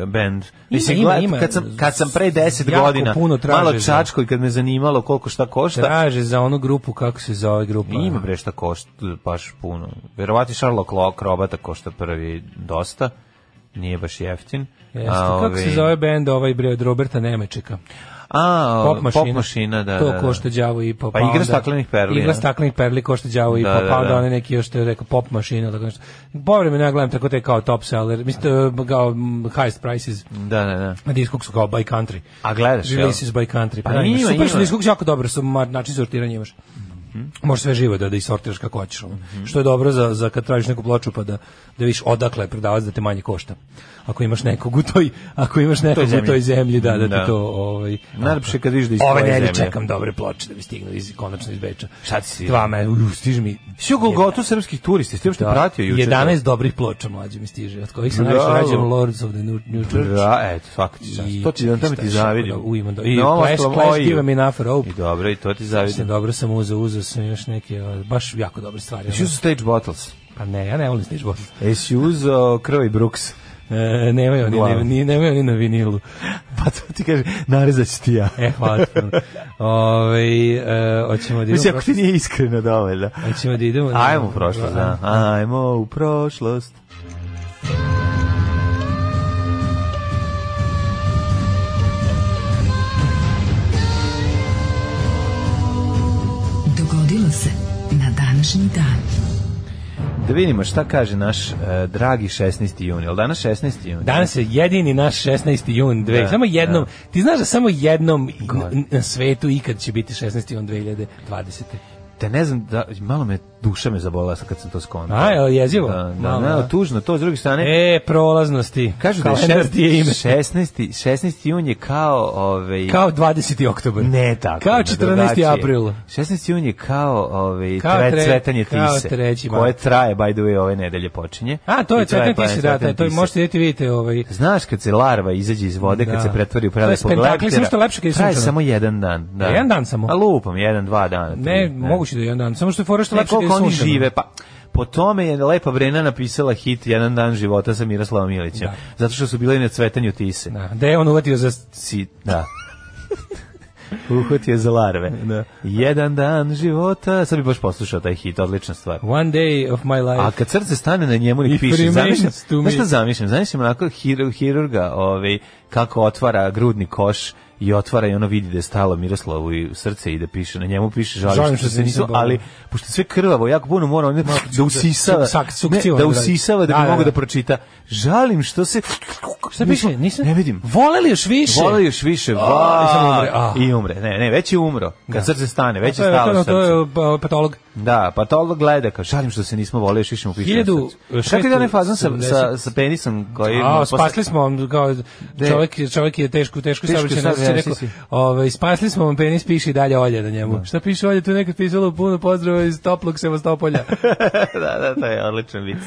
band.
Ima,
Mislim,
ima,
gled-
ima.
Kad sam, kad sam pre 10
Jako
godina,
puno traže
malo
za-
čačko i kad me zanimalo koliko šta košta,
Traže za onu grupu, kako se zove grupa.
Ima bre šta košta baš puno. Verovatno Sherlock Lo- Robata košta prvi dosta. Nije baš jeftin.
Jeste, kako se
ovaj,
zove bend ovaj bre od Roberta Nemečeka?
A,
Pop mašina.
Pop mašina, da,
To
da, da.
košta đavo i
Pa igra staklenih perli,
Igra
ne?
staklenih perli košta đavo i
Da,
pa
da,
pa onda
da.
one neki još što je rekao pop mašina ili tako nešto. Povremeno ja gledam tako te kao top seller, mislim e, kao mm, highest prices.
Da, da, da.
Na diskog su kao by country.
A gledaš, jel?
Releases by country.
Pa
Pa, da, ima,
ima,
super su
ima. Mhm.
diskog, jako dobro su, ma, način sortiranja imaš. Možeš sve živo da, da isortiraš kako hoćeš. ono. Što je dobro za, za kad tražiš neku ploču pa da, da vidiš odakle je prodavac da te manje košta. Ako imaš nekog u toj, ako imaš nekog
zemlji.
u toj zemlji, da, da,
Da.
ti to... Ovaj,
Najlepše je kad vidiš da iz
Ove
tvoje
nedelje
zemlje.
čekam dobre ploče da mi stignu iz, konačno iz Beča.
Šta ti si-
Dva me, uju, stiži mi...
Svi u Golgotu srpskih turista, ste uopšte
Da,
pratio juče.
11 dobrih ploča mlađe mi stiže, od kojih se
Bravo.
najviše rađam Lords of the New, New Church.
Da, eto, svaka ti zavidim.
I-
To ti da tamo ti
šta,
zavidim.
da, u, imam do- i
Na ovom
Clash-
slovoju.
Clash give 'em enough rope.
I dobro, i to ti
Mislim,
zavidim.
dobro sam uzeo, uzeo sam još neke, o, baš jako dobre stvari.
Jesi
ono.
uzao Stage Bottles?
Pa ne, ja ne volim Stage Bottles.
Jesi uzao Krv i Brooks?
E, nemaju oni,
Wow.
ne, ni, nemaju oni na vinilu.
Pa to ti kaže, narezat ću ti ja.
E, hvala ti. Ove, e, hoćemo da idemo...
Mislim, ako ti
prošlo-
nije iskreno dovoljno.
Hoćemo da idemo...
Ajmo u prošlost, da. Ajmo u prošlost.
Dogodilo se na današnji dan.
Da vidimo šta kaže naš eh, dragi 16. jun. Jel danas 16. jun?
Danas je jedini naš 16. jun 2000.
Da,
samo jednom,
da.
ti znaš da samo jednom i- na, na svetu ikad će biti 16. jun 2020.
Te ne znam, da, malo me, duša me zabola sad kad sam to skontao.
A, jel jezivo?
Da, da,
Malo,
da,
da.
tužno. To s druge strane,
E, prolaznosti.
kažu da je
Kalendar ti je ime.
16. 16. jun je kao... Ovaj,
Kao 20. oktobar.
Ne tako.
Kao
na
14.
drugačije.
april.
16. jun je kao, ovaj,
Kao
tre,
tre-
cvetanje
kao
tise.
treći maj.
koje traje, by the way, ove nedelje počinje.
A, to je
I traje
cvetanje
pa
tisi, da, taj, to je,
tise.
možete vidjeti, vidite, ovaj,
Znaš kad se larva izađe iz vode, kad
Da.
se pretvori u
To je
prelepog
spektakl,
leptira,
samo što je lepše kad je
Traje
sunčano.
samo jedan dan. Da.
Jedan dan samo?
A lupam, jedan, dva dana. tri,
ne, moguće da je jedan dan, samo što je fora što
Ne,
lepše kad je
koliko oni
sunčano.
žive, pa Po tome je Lepa Brena napisala hit Jedan dan života sa Miroslavom Milićem.
Da.
Zato što su bili na cvetanju tise.
Da, da je on uvatio za...
Si, da. Uhvat je za larve. Jedan dan života, sad bi baš poslušao taj hit, odlična stvar.
One day of my life.
A kad srce stane na njemu
If
nek piše,
remains
zamišljam,
to
znaš šta
me.
zamišljam? Zamišljam onako hiru- hirurga ovaj, kako otvara grudni koš i otvara i ono vidi da je stalo Miroslavu i u srce i da piše, na njemu piše žalim, što, se nisam,
borila.
ali pošto je sve krvavo, jako puno mora on da usisava,
su- sak-
ne,
sukciju
da
on radi.
usisava da bi
Da, da, da.
mogu da pročita. Žalim što se...
Šta piše? Nisam...
Ne vidim.
Voleli još više?
Vole još više,
A, i samo umre,
va,
a.
i umre. Ne, ne, već je umro. Kad srce stane, već je
To je, to,
stalo
je- to
srce.
je pa, patolog.
Da, pa to ovo gleda, kao šalim što se nismo vole, još više mu piše.
Hiljadu-
Kako je onaj fazon sa, sa,
670?
sa penisom koji...
A,
mu posle-
spasli smo vam, kao,
E, De-
čovjek, je- čovjek je teško, teško
Teško
saobraćaj
saobraćaj,
nesreće, rekao,
si, si.
ovaj, spasli smo vam penis, piše i dalje olje na njemu. Šta piše olje, tu je nekad pisalo puno pozdrava iz toplog Sevastopolja.
da, da, to je odličan vic.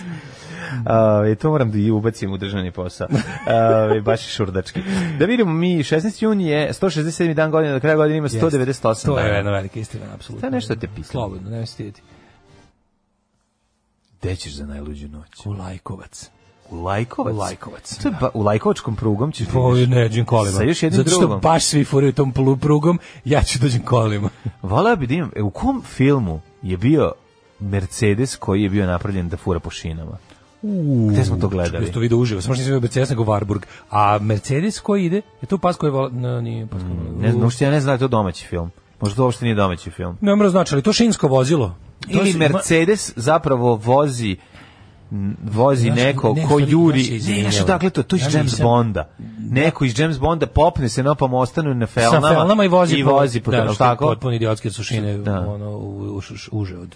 Uh, to moram da i ubacim u državni posao. Uh, baš je šurdački. Da vidimo, mi 16. jun je 167. dan godine, do kraja godine ima 198
to
dana.
je jedna velika istina, apsolutno.
Da, nešto te pitam.
Slobodno, ne stiditi.
Gde ćeš za najluđu noć?
U lajkovac.
U Lajkovac?
U Lajkovac,
To je ba, u Lajkovačkom prugom ćeš...
Po
ideš.
neđim kolima.
Sa još jednim
Zato što
drugom.
baš svi furaju tom plu- prugom, ja ću dođem kolima.
Voleo bi da imam, e, u kom filmu je bio Mercedes koji je bio napravljen da fura po šinama? Gde smo to gledali?
Jesi to video uživo, samo što nisam vidio Mercedes, nego Warburg. A Mercedes koji ide, je to pas koji vola... No, nije pas koji vola.
Mm, Ne znam, uopšte ja ne znam da je to domaći film. Možda to uopšte nije domaći film.
Ne mora znači, ali to šinsko vozilo. To
Ili
su-
Mercedes zapravo vozi m, vozi
Znaš,
neko
ne,
ko
ja se
juri ne,
izvinjavam.
znaš odakle to, to je iz
Ja
James
nisam.
Bonda neko iz James Bonda popne se napam ostanu na
sa
felnama,
felnama i vozi
i vozi po,
da,
jel'
što je
tako?
potpuno idiotske sušine
Da.
ono u, u, š- š- uže od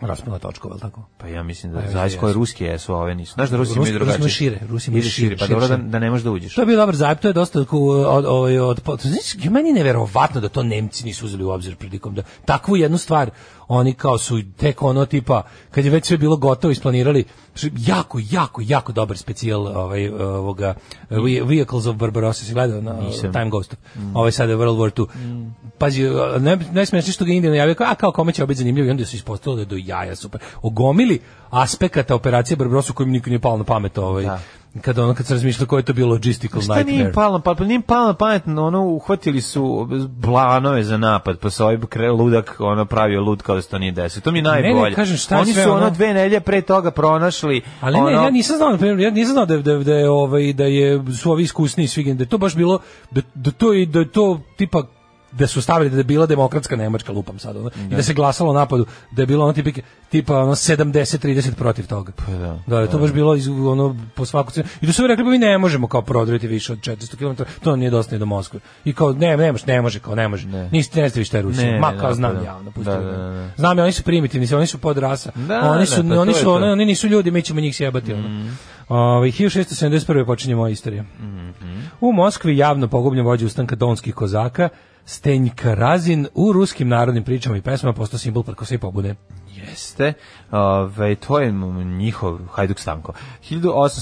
Raspona točkova, je li tako?
Pa ja mislim
Pa
da
ja
zavisi
mislim
koje
da
ruske jesu, a ove nisu. Znaš da Rusi
Ruski-
imaju
Rusi imaju
drugačije.
šire, Rusi imaju
Ili
šire,
Pa dobro da,
šire.
da ne možeš da uđeš.
To je bio dobar zajeb, to je dosta ko- od, od, od, od znaš, meni je neverovatno da to Nemci nisu uzeli u obzir prilikom da takvu jednu stvar oni kao su tek ono tipa kad je već sve bilo gotovo isplanirali š- jako jako jako dobar specijal ovaj ovoga Ve- Vehicles of Barbarossa se gledao na
Nisam. Mm.
Time Ghost. Ovaj sad je World War 2. Pazi, ne najsmešnije što ga Indija najavio kao a kao kome će biti zanimljivo i onda se ispostavilo da je do jaja super. Ogomili aspekata operacije Barbarossa kojim nikom nije palo na pamet ovaj
Da.
kad ono kad se razmišljalo koji je to bio logistical
Šta nije im
nightmare.
palo, pa, pa nije im palo na pamet, no, ono, uhvatili su planove za napad, pa se ovaj kre, ludak ono, pravio lud kao da se to nije desilo. To mi je najbolje.
Ne, ne, kažem, šta je
Oni
sve
su ono,
ono-
dve nelje pre toga pronašli.
Ali
ono,
ne, ja nisam znao, na primjer, ja nisam znao da, da, da je ovaj da je su ovi iskusni svi gen- da je to baš bilo da, da to i da je to tipa da su stavili da je bila demokratska Nemačka lupam sad ono, i da se glasalo o napadu da je bilo ono tipike, tipa ono 70 30 protiv toga. Pa
da.
da je to baš bilo iz, ono po svaku cenu. I da su ovi rekli pa mi ne možemo kao prodreti više od 400 km, to nam nije dosta ni do Moskve. I kao ne, ne može, ne može, kao ne može.
Ne.
Niste ne pa znate vi šta je Rusija.
Ne, ne,
Ma
ne,
kao
da,
znam ono,
da.
javno, pustite.
Da, da, da, da.
Znam ja, oni su primitivni, oni su podrasa.
Da,
oni
da,
su,
pa to
oni
je
su,
to. Mhm.
ono, oni nisu ljudi, mi ćemo njih sjebati. Mm. Ove, 1671. počinje moja istorija.
Mhm.
U Moskvi javno pogubljen vođa ustanka donskih kozaka, Stenjka Razin u ruskim narodnim pričama i pesmama postao simbol preko sve pobune.
Jeste. Ove, to je m- njihov Hajduk Stanko.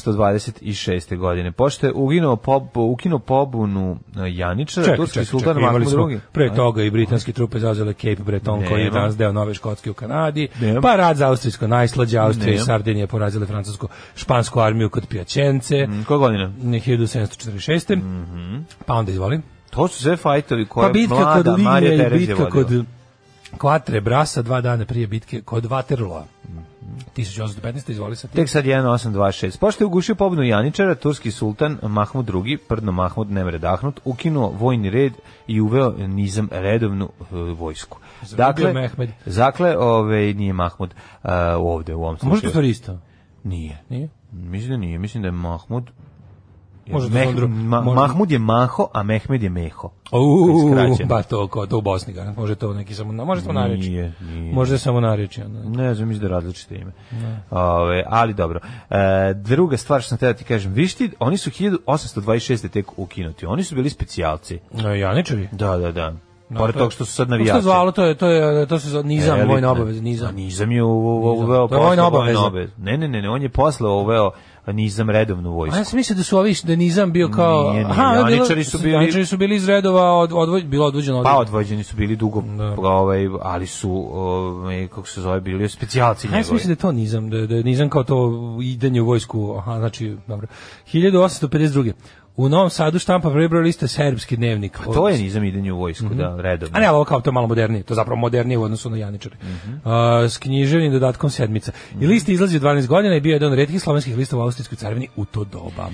1826. godine. Pošto je uginuo pob, ukinuo pobunu e, Janičara, turski sultan
imali
Mahmud
smo
II.
pre toga i britanske trupe zauzele Cape Breton koji je
Nema.
danas deo Nove Škotske u Kanadi,
Nema.
pa rad za Austrijsko najslađe, Austrija i
Nema.
Sardinija porazile francusku špansku armiju kod Pijačence,
Mm, Koja godina?
1746. Pa onda izvolim.
To su sve fajtovi koje
Pa
je
bitka
mlada
kod
Marija
Linija i
Terezija
bitka
vodila.
kod Kvatre Brasa dva dana prije bitke kod Waterloo. 1815. izvoli sa tim.
Tek sad 1826. Pošto je ugušio pobunu Janičara, turski sultan Mahmud II, prdno Mahmud Nemre Dahnut, ukinuo vojni red i uveo nizam redovnu e, vojsku. Dakle,
Mehmed.
dakle ove, nije Mahmud e, ovde u ovom
A Možda
slučaju.
to stvari isto.
Nije.
Nije?
Mislim da nije, mislim da je Mahmud
Možda to
Meh-
sam dru-
Ma-
možda-
Mahmud je Maho, a Mehmed je Meho.
Uuu,
Skraćeno.
ba pa to, ko, to u Bosni, garant. može to neki samo, na- može samo nareći.
Nije, nije.
Možda je samo nareći. ono.
Ne znam, mislim da je različite ime. Ove, ali dobro. E, druga stvar što sam te da ti kažem, viš ti, oni su 1826. tek ukinuti. Oni su bili specijalci.
E, Janičari?
Da, da, da.
Da,
Pored
to je-
toga što su
Kako
sad
se
navijači.
to zvalo, to je, to je, to se zove nizam,
Elitne.
vojna obaveza,
A
nizam.
Nizam je u- u-
Nizam.
uveo
To je vojna
posle
obaveza.
obaveze. Ne, ne, ne, ne, on je posle uveo nizam redovnu
A ja
vojsku.
sam mislio da su ovi, da nizam bio kao...
Nije, nije.
Aha, bilo-
Janičari su bili-
Janičari su bili iz redova, od, odvoj, bilo odvođeno
Pa
odvojeno.
odvođeni su bili dugo, ovaj, ali su, ovaj, kako se zove, bili specijalci
Ja sam
njegovi.
mislim da je to nizam, da, je- da je nizam kao to idenje u vojsku, aha, znači, dobro. 1852. U Novom Sadu štampa prvi broj lista serbski dnevnik.
Pa To je nizam idenje u vojsku, da, redovno.
Mhm. A ne, ali ovo kao to je malo modernije, to je zapravo modernije u odnosu na Janičare.
Mhm.
A, s književnim dodatkom sedmica. I list izlazi u 12 godina i bio je jedan od redkih slovenskih lista u Austrijskoj carvini u to doba.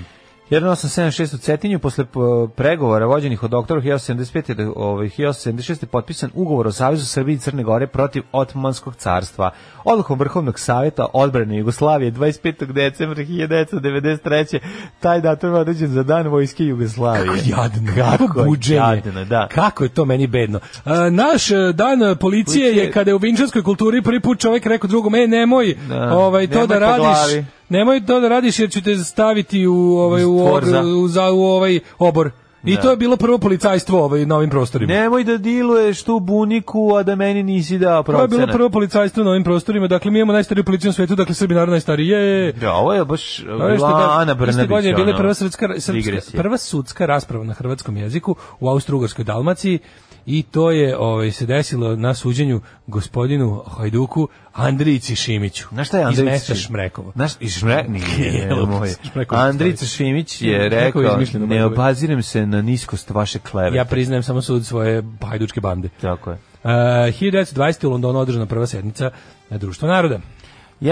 1876 u Cetinju posle po- pregovora vođenih od doktora 1875 do ovaj 1876 je potpisan ugovor o Savezu Srbije i Crne Gore protiv Ottomanskog carstva. Odlukom Vrhovnog saveta odbrane Jugoslavije 25. decembra 1993. taj datum je određen za dan vojske Jugoslavije.
Jadno,
Kako
kako buđenje.
jadno, da.
Kako je to meni bedno. A, naš e, dan e, policije
Policije-
je kada je u vinčanskoj kulturi prvi put čovjek rekao drugom, e, nemoj,
Da,
ovaj, to
nemoj
da
po
radiš,
glavi."
nemoj to da radiš jer ću te staviti u, ovaj, u,
Stvor za-
obr- u, za, u ovaj obor. I
Da.
to je bilo prvo policajstvo ovaj, na ovim prostorima.
Nemoj da diluješ tu buniku, a da meni nisi dao
To je
procenat.
bilo prvo policajstvo na ovim prostorima, dakle mi imamo najstariju policiju na svetu, dakle Srbi narod najstariji. Je.
Da, ovo je baš
Ove što
la-
da-
Ana Brnabić.
Iste godine je bila
ono,
prva srpska, srpska,
digresija.
prva sudska rasprava na hrvatskom jeziku u Austro-Ugarskoj Dalmaciji i to je ovaj, se desilo na suđenju gospodinu Hajduku Andrijici Šimiću.
Znaš šta je Andrić
Iz mesta Šmrekovo.
Znaš, iz Šmre... Nije,
Jel,
moj.
Šmrekovo
Andrić
stoji.
Šimić je
Kako je
rekao,
izmišljeno, by
ne
the way."
obazirem se na niskost vaše kleve.
Ja priznajem samo sud svoje hajdučke bande.
Tako je.
Uh, 1920. u Londonu održana prva sednica na Društvo naroda.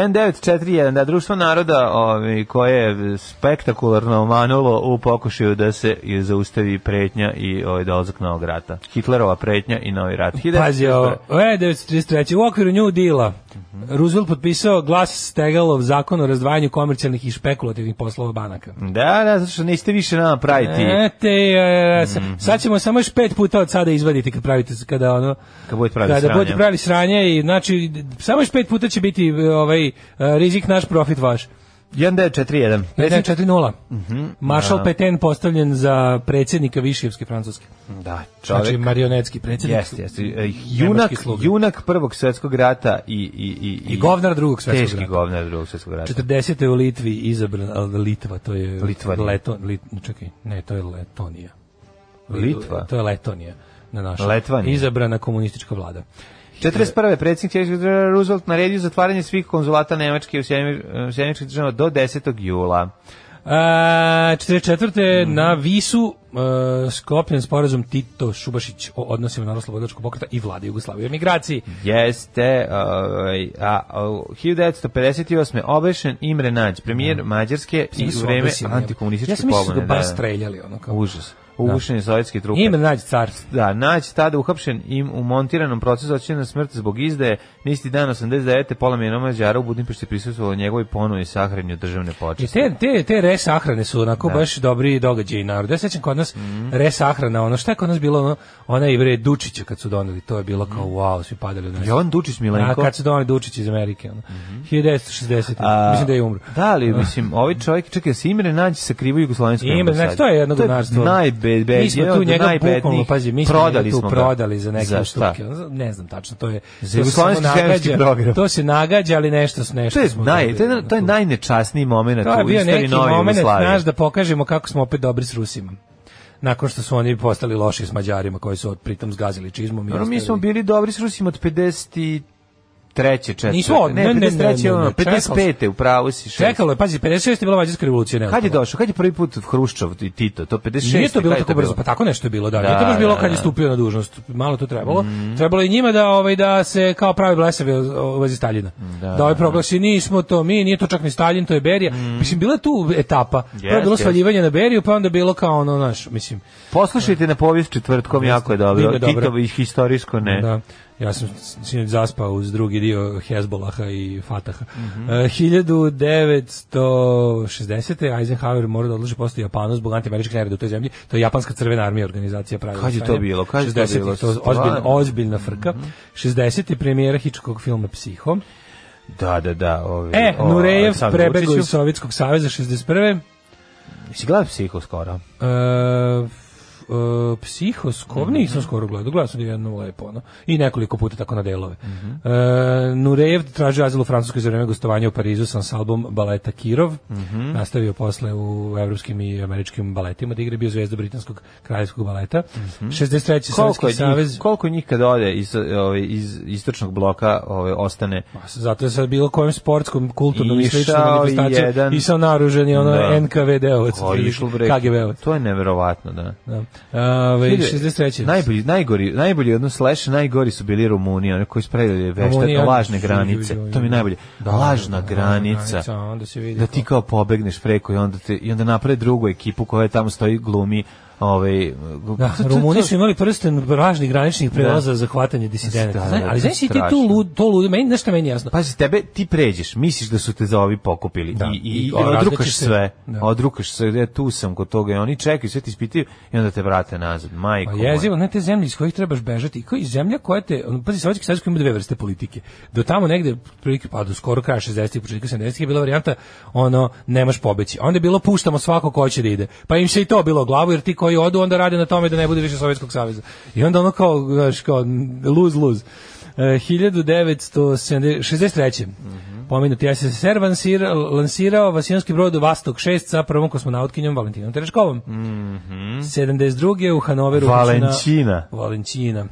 1941, da, društvo naroda ovaj, koje je spektakularno manulo u pokušaju da se i zaustavi pretnja i ovaj dolazak novog rata. Hitlerova pretnja i novi rat.
Pazi, ovo, e, 1933. U okviru New Deala Roosevelt potpisao glas Stegalov zakon o razdvajanju komercijalnih i špekulativnih poslova banaka.
Da, da, zato što nećete više nama praviti,
E, te, e, sa-
Mhm.
sad ćemo samo još pet puta od sada izvaditi kad pravite, kada ono,
kad budete pravili
da, da
sranja.
budete pravili sranje i znači d- samo još pet puta će biti e, ovaj e, rizik naš profit vaš.
1941.
54
Mhm.
Maršal Petain postavljen za predsjednika Višijevske Francuske.
Da, čovjek.
Znači marionetski predsjednik.
Jeste, jeste. E, Junak,
sluga.
junak prvog svjetskog rata i... I, i,
I govnar drugog svetskog
teški
rata.
govnar drugog svjetskog rata.
40. je u Litvi izabran, ali Litva, to je...
Litvanija.
Leto, lit, čekaj, ne, to je Letonija.
Litva?
To je Letonija. Na našoj.
Letvanija.
Izabrana komunistička vlada.
41. predsjednik Češkog država Roosevelt naredio zatvaranje svih konzulata Nemačke u Sjedinim- u Sjedinim državama do 10. jula.
A, 44.
Mhm.
na Visu e, sklopljen sporazum Tito Šubašić o odnosima Narodno-Slobodačkog pokreta i vlade Jugoslavije o migraciji.
Jeste, ovaj, a, o, 1958. obešen Imre Nađ, premijer Mađarske i u vreme
Obesio, nema.
antikomunističke
Ja sam mislio da su
pobune,
ga baš
da.
streljali, ono kao.
Užas. Ugušen je sovjetski trupe.
Ime nađe car.
Da, Nađ tada uhapšen im u montiranom procesu očinjena smrt zbog izdaje. Nisti dan 89. pola milijona Mađara u Budimpešti prisutstvovalo njegovoj ponu i sahranju državne
I
počeste.
te, te, te resahrane su onako baš dobri događaji narod. Ja sećam kod nas
Mhm.
resahrana, ono šta je kod nas bilo ono, ona i bre Dučića kad su doneli, to je bilo kao wow, svi padali od nas.
Mhm. Jovan Dučić
A
Milenko. Mhm.
kad su doneli Dučić iz Amerike, ono. 1960.
A,
mislim da je umro.
Da, ali mislim, ovaj čovjek, čekaj, se Imre Nađ sa krivo jugoslovenskom
Ime, znači to je jedno gunarstvo.
najbedbednije,
Mi smo tu
od
njega
najbednijih.
bukvalno, pazi, mi smo
prodali
njega tu
smo ga.
prodali za neke
Za šta?
ustupke. Ono, Ne znam tačno, to je... to
Za
se
jugoslovenski
samo
semenski
nagađa,
program.
To se nagađa, ali nešto s
To
nešto.
je,
smo
naj,
dobili,
to je,
ono,
to je
tu.
najnečasniji moment
To je
u
bio
istoriji
neki
Nove
moment,
Jugoslavije.
znaš, da pokažemo kako smo opet dobri s Rusima. Nakon što su oni postali loši s Mađarima, koji su pritom zgazili čizmom. i
Dobro, mi smo
ostavili-
bili dobri s Rusima od 53. četvrte.
Nismo od- ne, ne,
ne,
ne,
53.
ne,
ono,
ne, čekalo se.
55. u pravu si šest.
Čekalo je, pazi, 56. je bila Mađarska revolucija. ne,
Kad je
ostalo.
došao? Kad je prvi put Hruščov i Tito? To 56.
Nije to bilo
Kad je
tako brzo, pa tako nešto je bilo, da. Mhm.
Da,
Nije to baš bilo
da,
kad je
da.
stupio na dužnost. Malo to trebalo. Trebalo je njima da ovaj da se kao pravi blesavi o- o- u vezi Staljina. Da, Mhm. ovaj proglasi nismo to mi, nije to čak ni Staljin, to je Berija. Mislim bila je tu etapa. Prvo je
Jest,
bilo
jest.
svaljivanje na Beriju, pa onda je bilo kao ono, naš, mislim.
Poslušajte na povijest četvrtkom, jako je dobro.
Bilo je dobro.
Titovo i historijsko ne.
Da. Ja sam sinoć zaspao uz drugi dio Hezbolaha i Fataha.
Mhm.
E, 1960. Eisenhower mora da odloži postoji Japanu zbog antiameričkih nereda u toj zemlji. To je Japanska crvena armija organizacija pravila.
Kad je to
stanje.
bilo? Kad je to
60-ih,
bilo?
je ozbiljna,
Stvarno? Mhm.
ozbiljna frka. 60. premijera Hitchcockog filma Psiho.
Da, da, da. Ovi,
E,
o,
Nurejev
Aleksandru
prebegao
Vučiću.
iz Sovjetskog saveza 61.
Si gledao psiho skoro?
E, f- e,
Mhm.
psihoskop, nisam skoro gledao, gledao sam jedno lepo, ono, i nekoliko puta tako na delove.
Mhm.
E, Nurejev tražio azil u Francuskoj za vreme gostovanja u Parizu sam s album baleta Kirov,
Mhm.
nastavio posle u evropskim i američkim baletima, da igre bio zvezda britanskog kraljevskog baleta. 63.
Mhm. Koliko
Sovjetski
je,
savez,
njih, koliko je njih kad ode iz, ovaj, iz istočnog bloka ovaj, ostane?
Pa, zato je sad bilo kojem sportskom, kulturnom i
Išao
sličnom manifestaciju,
jedan-
išao naoružen i ono
Da.
NKVD-ovac,
Ko je išlo bre?
KGB-ovac.
To je neverovatno, da.
Da. Ove,
Vidi,
63.
Najbolji, najgori, najbolji odnos slash, najgori su bili Rumuni, oni koji su pravili vešta,
Rumunija,
lažne
su-
granice.
ju- ju- ju-
To mi je najbolje.
Da,
lažna
da, da,
granica.
granica, onda se vidi
da ti
ko-
kao pobegneš preko i onda, te, i onda naprave drugu ekipu koja tamo stoji glumi ovaj,
Da,
to- to-
Rumuni
to-
su imali prsten važnih graničnih prelaza za hvatanje disidenata.
Da, da,
Znaš,
da,
ali znaš ti ti
strašno.
tu lud, to lud, meni, znaš što je meni jasno?
Pazi, tebe, ti pređeš, misliš da su te za ovi pokupili
Da.
i, i,
I
i
različiš
odrukaš
se.
sve,
Da.
odrukaš sve, ja tu sam kod toga i oni čekaju, sve ti ispitaju i onda te vrate nazad, majko.
Pa
moja.
jezivo, ne te zemlje iz kojih trebaš bežati, koji zemlja koja te, ono, pazi, Sovjetski savez koji ima dve vrste politike. Do tamo negde, prilike, pa do skoro kraja 60-ih, početka 70-ih je bila varijanta, ono, nemaš pobeći. Onda je bilo puštamo svako ko će da ide. Pa im se i to bilo u glavu, jer ti koji odu, onda rade na tome da ne bude više Sovjetskog saveza. I onda ono kao, znaš, kao, lose, lose. E, 1963.
Mhm.
Pomenuti SSR lansirao, lansirao vasijanski brod Vastok 6 sa prvom kosmonautkinjom Valentinom Tereškovom. 72. u Hanoveru
Valentina.
Valentina.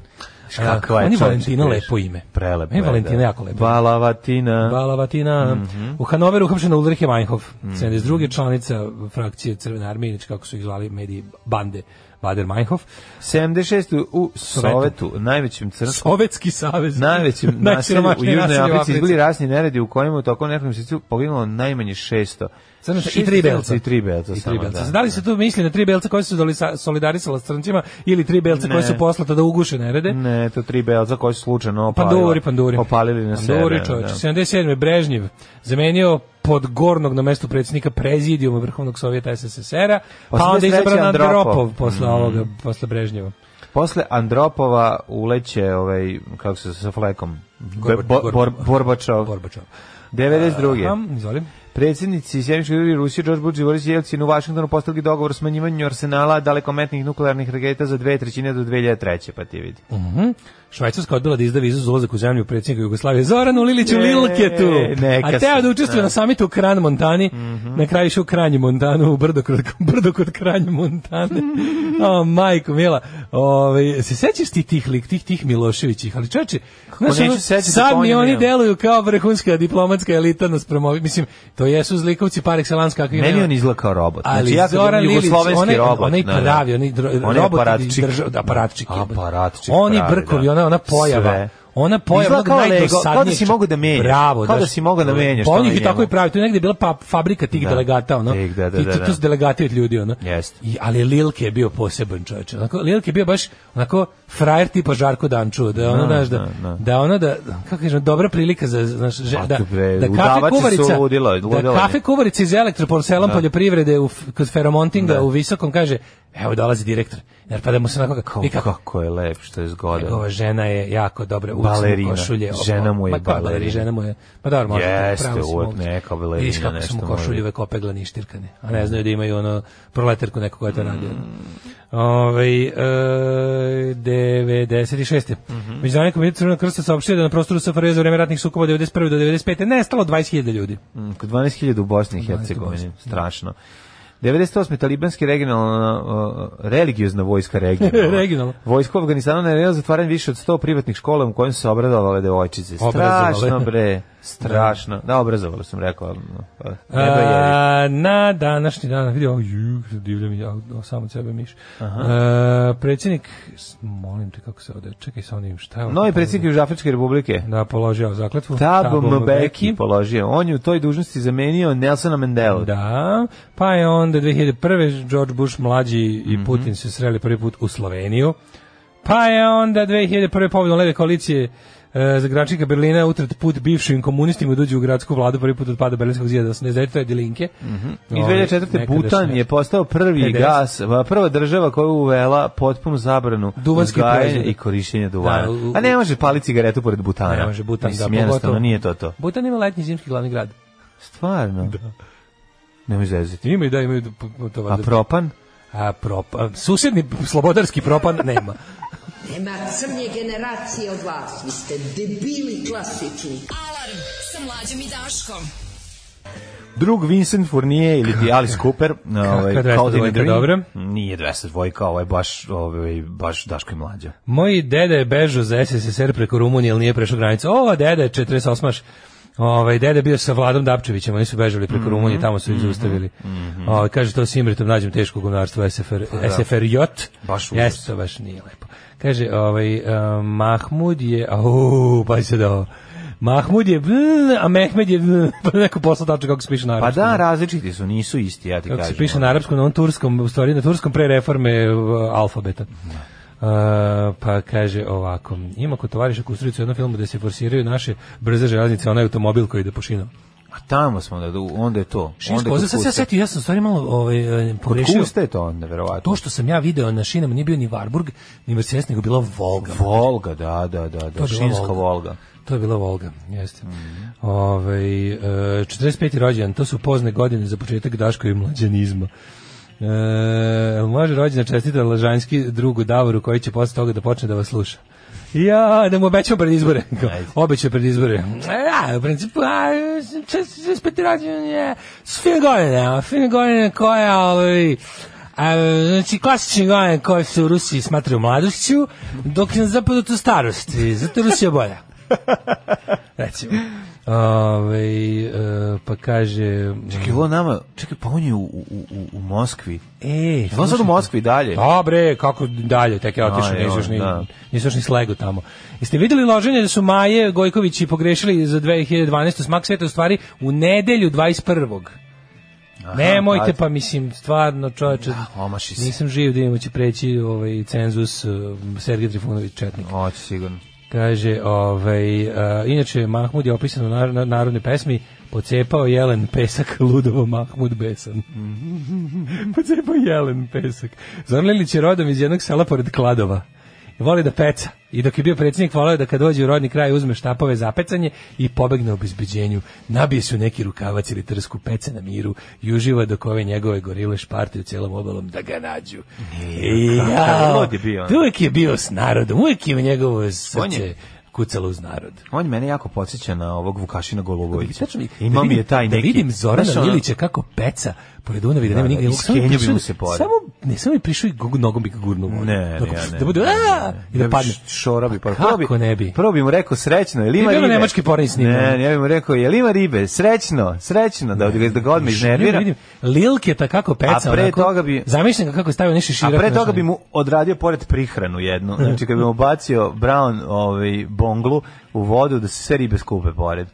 Kakva je
Oni
čovječe,
Valentina
priješ.
lepo ime.
Prelepo.
Meni
je,
Valentina
da. Mhm.
jako lepo. ime.
Balavatina.
Balavatina. U Hanoveru uhapšena Ulrike Weinhof,
Mhm.
72. članica frakcije Crvene armije, znači kako su ih zvali mediji bande Bader Meinhof.
76. u Sovetu, najvećem crnskom
Sovjetski savez.
najvećem naselju u
Najsiromašnije
Južnoj
naselje u
Africi
Africi.
izbili rasni neredi u kojima je u toku nekog mjesecu poginulo najmanje 600.
Crnaca i
Šest
tri belca.
I tri belca.
I tri
samo,
belca.
da.
Da, li se tu misli na tri belca koji su doli- solidarisala s crncima ili tri belca koji
Ne.
su poslata da uguše nerede?
Ne, to tri belca koji su slučajno
Pa
opalila
panduri, panduri.
Opalili na sebe.
Panduri, čoveče. 77. Brežnjev zamenio Podgornog na mestu predsjednika prezidijuma Vrhovnog Sovjeta SSSR-a, pa onda
83.
izabran
Andropov. Mm-hmm.
Andropov posle ovoga, posle Brežnjeva.
Posle Andropova uleće ovaj kako se sa flekom Be-
Gorbač-
Bo- Bor- Borbačov
Gorbačov.
92.
Aha, izvoli.
Predsjednici Sjeničke države Rusije George Bush i Boris Jelcin u Vašingtonu postavili dogovor o smanjivanju arsenala dalekometnih nuklearnih raketa za dve trećine do 2003. pa ti vidi.
Mhm. Švajcarska odbila da izda vizu za ulazak u zemlju predsjednika Jugoslavije Zoranu Liliću Lilketu.
E, neka
A teo
se,
da učestvuje
da. Mhm.
na samitu u Kran Montani. Na kraju išao u Kranj Montanu, u brdo kod, brdo kod Kranj Montane. o, majko, mila. Ove, se sećaš ti tih lik, tih, tih Miloševićih? Ali čoveče, znaš,
neću
ono,
sećati,
sad mi
pominjem,
oni
ja.
deluju kao vrhunska diplomatska elita nas promovi. Mislim, to jesu zlikovci par excellence kakvih
Meni
nema.
on izlakao robot.
Ali
znači, ja kad
Zoran
vidim
Lilić,
jugoslovenski
onaj,
robot.
onaj
da, da.
pravi, onaj dr-
Onaj
robot
aparatčik.
drža- aparatčik, jebote.
Aparatčik
Oni
pravi,
brkovi,
da.
ona, ona pojava.
Sve.
Ona pojava
Izgleda
onog
kao Lego,
najdosadnijeg.
kao da si
čak-
mogao da menjaš.
Bravo,
Kao da si mogao da menjaš
Pa
to
oni
na
ih i tako
njemu.
i pravi. Tu je negde bila pa, fabrika tih
Da.
delegata, ono.
Tih, da, da,
I
da,
tu,
da.
tu su delegati od ljudi, ono.
Jeste.
I, ali Lilke je bio poseban čovjek. Onako, Lilke je bio baš onako frajer tipa Žarko Danču, da ono,
Da,
znaš, da,
da, da.
da ono, da, kako kažem, dobra prilika za, znaš, že-
A
da,
tu, bre,
da kafe
udavači su
kuvarica,
ludilo,
da
ludilo je.
kafe kuvarica iz elektroporcelom poljoprivrede u, f- kod Feromontinga u Visokom kaže, evo dolazi direktor. Jer pa da mu se onako kako,
Kako,
nikako.
kako je lep što je zgodan.
Njegova žena je jako dobra u
Balerina.
košulje. ovo-
Žena mu je
Ma, kao
balerina.
Žena mu je. Pa dobro, možda.
Jeste,
pravo si
uvek
moguće.
neka balerina,
Vidiš kako
nešto
su mu
mora
košulje
biti.
uvek opeglane i štirkane. A ne znaju da imaju ono proletarku neko koja je to radio.
Mm.
Ovaj e, 96.
Mhm.
Međunarodni komitet Crvenog krsta saopštio da na prostoru SFRJ za vreme ratnih sukoba 91. do 95. nestalo 20.000 ljudi.
Mm, kod 12.000 u Bosni i
12.000 u Bosni,
Hercegovini, strašno. 98. talibanski regionalna uh, religiozna vojska regionalna.
Regionalna.
Vojska u Afganistanu naredila zatvaranje više od 100 privatnih škola u kojim su se obradovale devojčice.
Obrazovale.
Strašno bre, strašno. Da, obrazovale sam rekao. ali, no, pa, Nebo je jevi.
A, na današnji dan, vidi ovo, ju, divlja mi, ja, o, sam od sebe miš. A, predsjednik, s- molim te kako se ode, čekaj sa onim, šta je ovo?
Novi predsjednik Južafričke republike.
Da, položio zakletvu.
Thabo
Thabo
Mbeki položio. On je u toj dužnosti zamenio Nelsona Mandelu.
Da, pa je onda 2001. George Bush mlađi
Mhm.
i Putin se sreli prvi put u Sloveniju. Pa je onda 2001. povodom leve koalicije e, za gračnika Berlina utret put bivšim komunistima dođu u gradsku vladu prvi put od pada Berlinskog zida 89. to je Dilinke.
Mhm.
Ovaj,
I 2004. Butan
Nekadašnje.
je postao prvi
50.
gas, va- prva država koja je uvela potpunu zabranu
Duvanski
uzgajanja
proizvod.
i korišćenja duvana.
Da, u-
A ne može pali cigaretu pored Butana.
Ne može Butan,
Mislim,
da,
jednostavno,
pogotovo.
nije to to.
Butan ima letnji zimski glavni grad.
Stvarno? Da. Nemoj zezati.
Ima i da imaju p- p- to
A
valjda.
propan?
A prop, a, susedni slobodarski propan nema.
Nema crnje generacije od vas. Vi ste debili klasični. Alarm sa mlađom i Daškom.
Drug Vincent Fournier ili ti Alice Cooper. Ovaj,
202
Caught in a Dream.
dobra?
Nije 202, ovo je baš, ovaj, baš Daško i mlađa.
Moji dede je bežao za SSSR preko Rumunije, ali nije prešao granicu. O, dede, je 48-maš. Ovaj dede je bio sa Vladom Dapčevićem, oni su bežali
Mhm.
preko Rumunije, tamo su ih zaustavili. Ovaj, kaže to s Imritom nađem teško gumnarstvo SFR SFRJ.
Pa Baš užas.
Jeste, to baš nije lepo. Kaže, ovaj eh, Mahmud je, au, pa se da. ovo. Mahmud je, bl, a Mehmed je, bl, pa neko poslao tačno kako se piše na
Pa
arapskom.
da, različiti su, nisu isti, ja ti
Kako se
kažem. ono.
piše na arapskom, na onom turskom, u stvari na turskom pre reforme uh, alfabeta. Uh, pa kaže ovako, ima kod tovariša Kusturica u jednom filmu gde se forsiraju naše brze železnice, onaj automobil koji ide po šinama.
A tamo smo, da, onda je to. Onda
Šinsko,
je
ovdje sad
kod
se ja
Kuste.
setio, ja sam u stvari malo ovaj, eh,
Kod
pogrešio.
Kuste je to onda, verovatno.
To što sam ja video na šinama nije bio ni Varburg, ni Mercedes, nego bila Volga.
Volga, da, da,
To
da, da.
je bila
Šinska Volga.
To je bila Volga, jeste. Ovaj, e, 45. rođendan, to su pozne godine za početak Daško i mlađanizma. E, može rođendan čestita Lažanski drugu Davoru koji će posle toga da počne da vas sluša. Ja, da mu obećam pred izbore. Kao,
Ajde.
Obećao pred izbore. A, Ja, u principu, a, čest- 45. rođendan je s fine godine, a fine godine koja, ovaj, a, znači, klasične godine koje se u Rusiji smatraju mladošću, dok je na zapadu to starost. I Zato je Rusija bolja recimo. Ove, e, pa kaže...
Čekaj, ovo nama, čekaj, pa on je u, u, u, u Moskvi.
E,
Je li on sad u Moskvi dalje?
Dobre, kako dalje, tek je otišao,
A, je
nisu
on,
još ni,
da.
nisu još ni slego tamo. Jeste videli loženje da su Maje Gojkovići pogrešili za 2012. smak sveta u stvari u nedelju 21. Nemojte,
pazi.
pa mislim, stvarno čoveče,
omaši se.
nisam živ da imamo će preći ovaj cenzus uh, Sergej e, Trifunović Četnik.
Oći sigurno.
Kaže, ovaj, a, inače, Mahmud je opisan u nar- na- narodnoj pesmi Pocepao jelen pesak, ludovo Mahmud besan. Pocepao jelen pesak. Zorlilić je rodom iz jednog sela pored Kladova. Voli da peca. I dok je bio predsjednik, volao je da kad dođe u rodni kraj uzme štapove za pecanje i pobegne u obezbeđenju. Nabije se u neki rukavac ili trsku pece na miru i uživa dok ove njegove gorile špartaju cijelom obalom da ga nađu. I
kakav
jao,
lud je bio, ono.
to uvijek je bio s narodom, uvijek je u njegovo srce
je-
kucalo uz narod.
On mene jako podsjeća na ovog Vukašina Golubovića.
Tačno mi-
Imao
da
mi je
vidim-
taj neki...
Da vidim Zorana
Znaš, ono-
Lilića kako peca pored Dunavi, da nema
Da, da,
nigde.
i
Samo mi
skenio bi
prišao-
mu se pored.
Samo, ne, samo mi prišao i gu- nogom bi ga gurnuo. u vodu.
Ne, ne,
Onako,
ja ne.
Da bude,
Ne,
"A!" i da
bi
padne.
š- Šora bi, pa
Kako
prvo bi,
ne bi?
Prvo bi mu rekao srećno, jel
Bi
ima
bilo
ribe?
nemački porni snimak.
Ne, ne, ja bi mu rekao, jel ima ribe? Srećno, srećno, da, da ga odmah iznervira.
Vidim, Lilke ta kako peca.
A pre
onako.
toga bi-
Zamišljam ga kako je stavio nešto
A
širak.
pre toga bi mu odradio pored prihranu jednu. Znači, kad bi mu bacio Brown ovaj, bonglu u vodu, da se sve ribe skupe pored.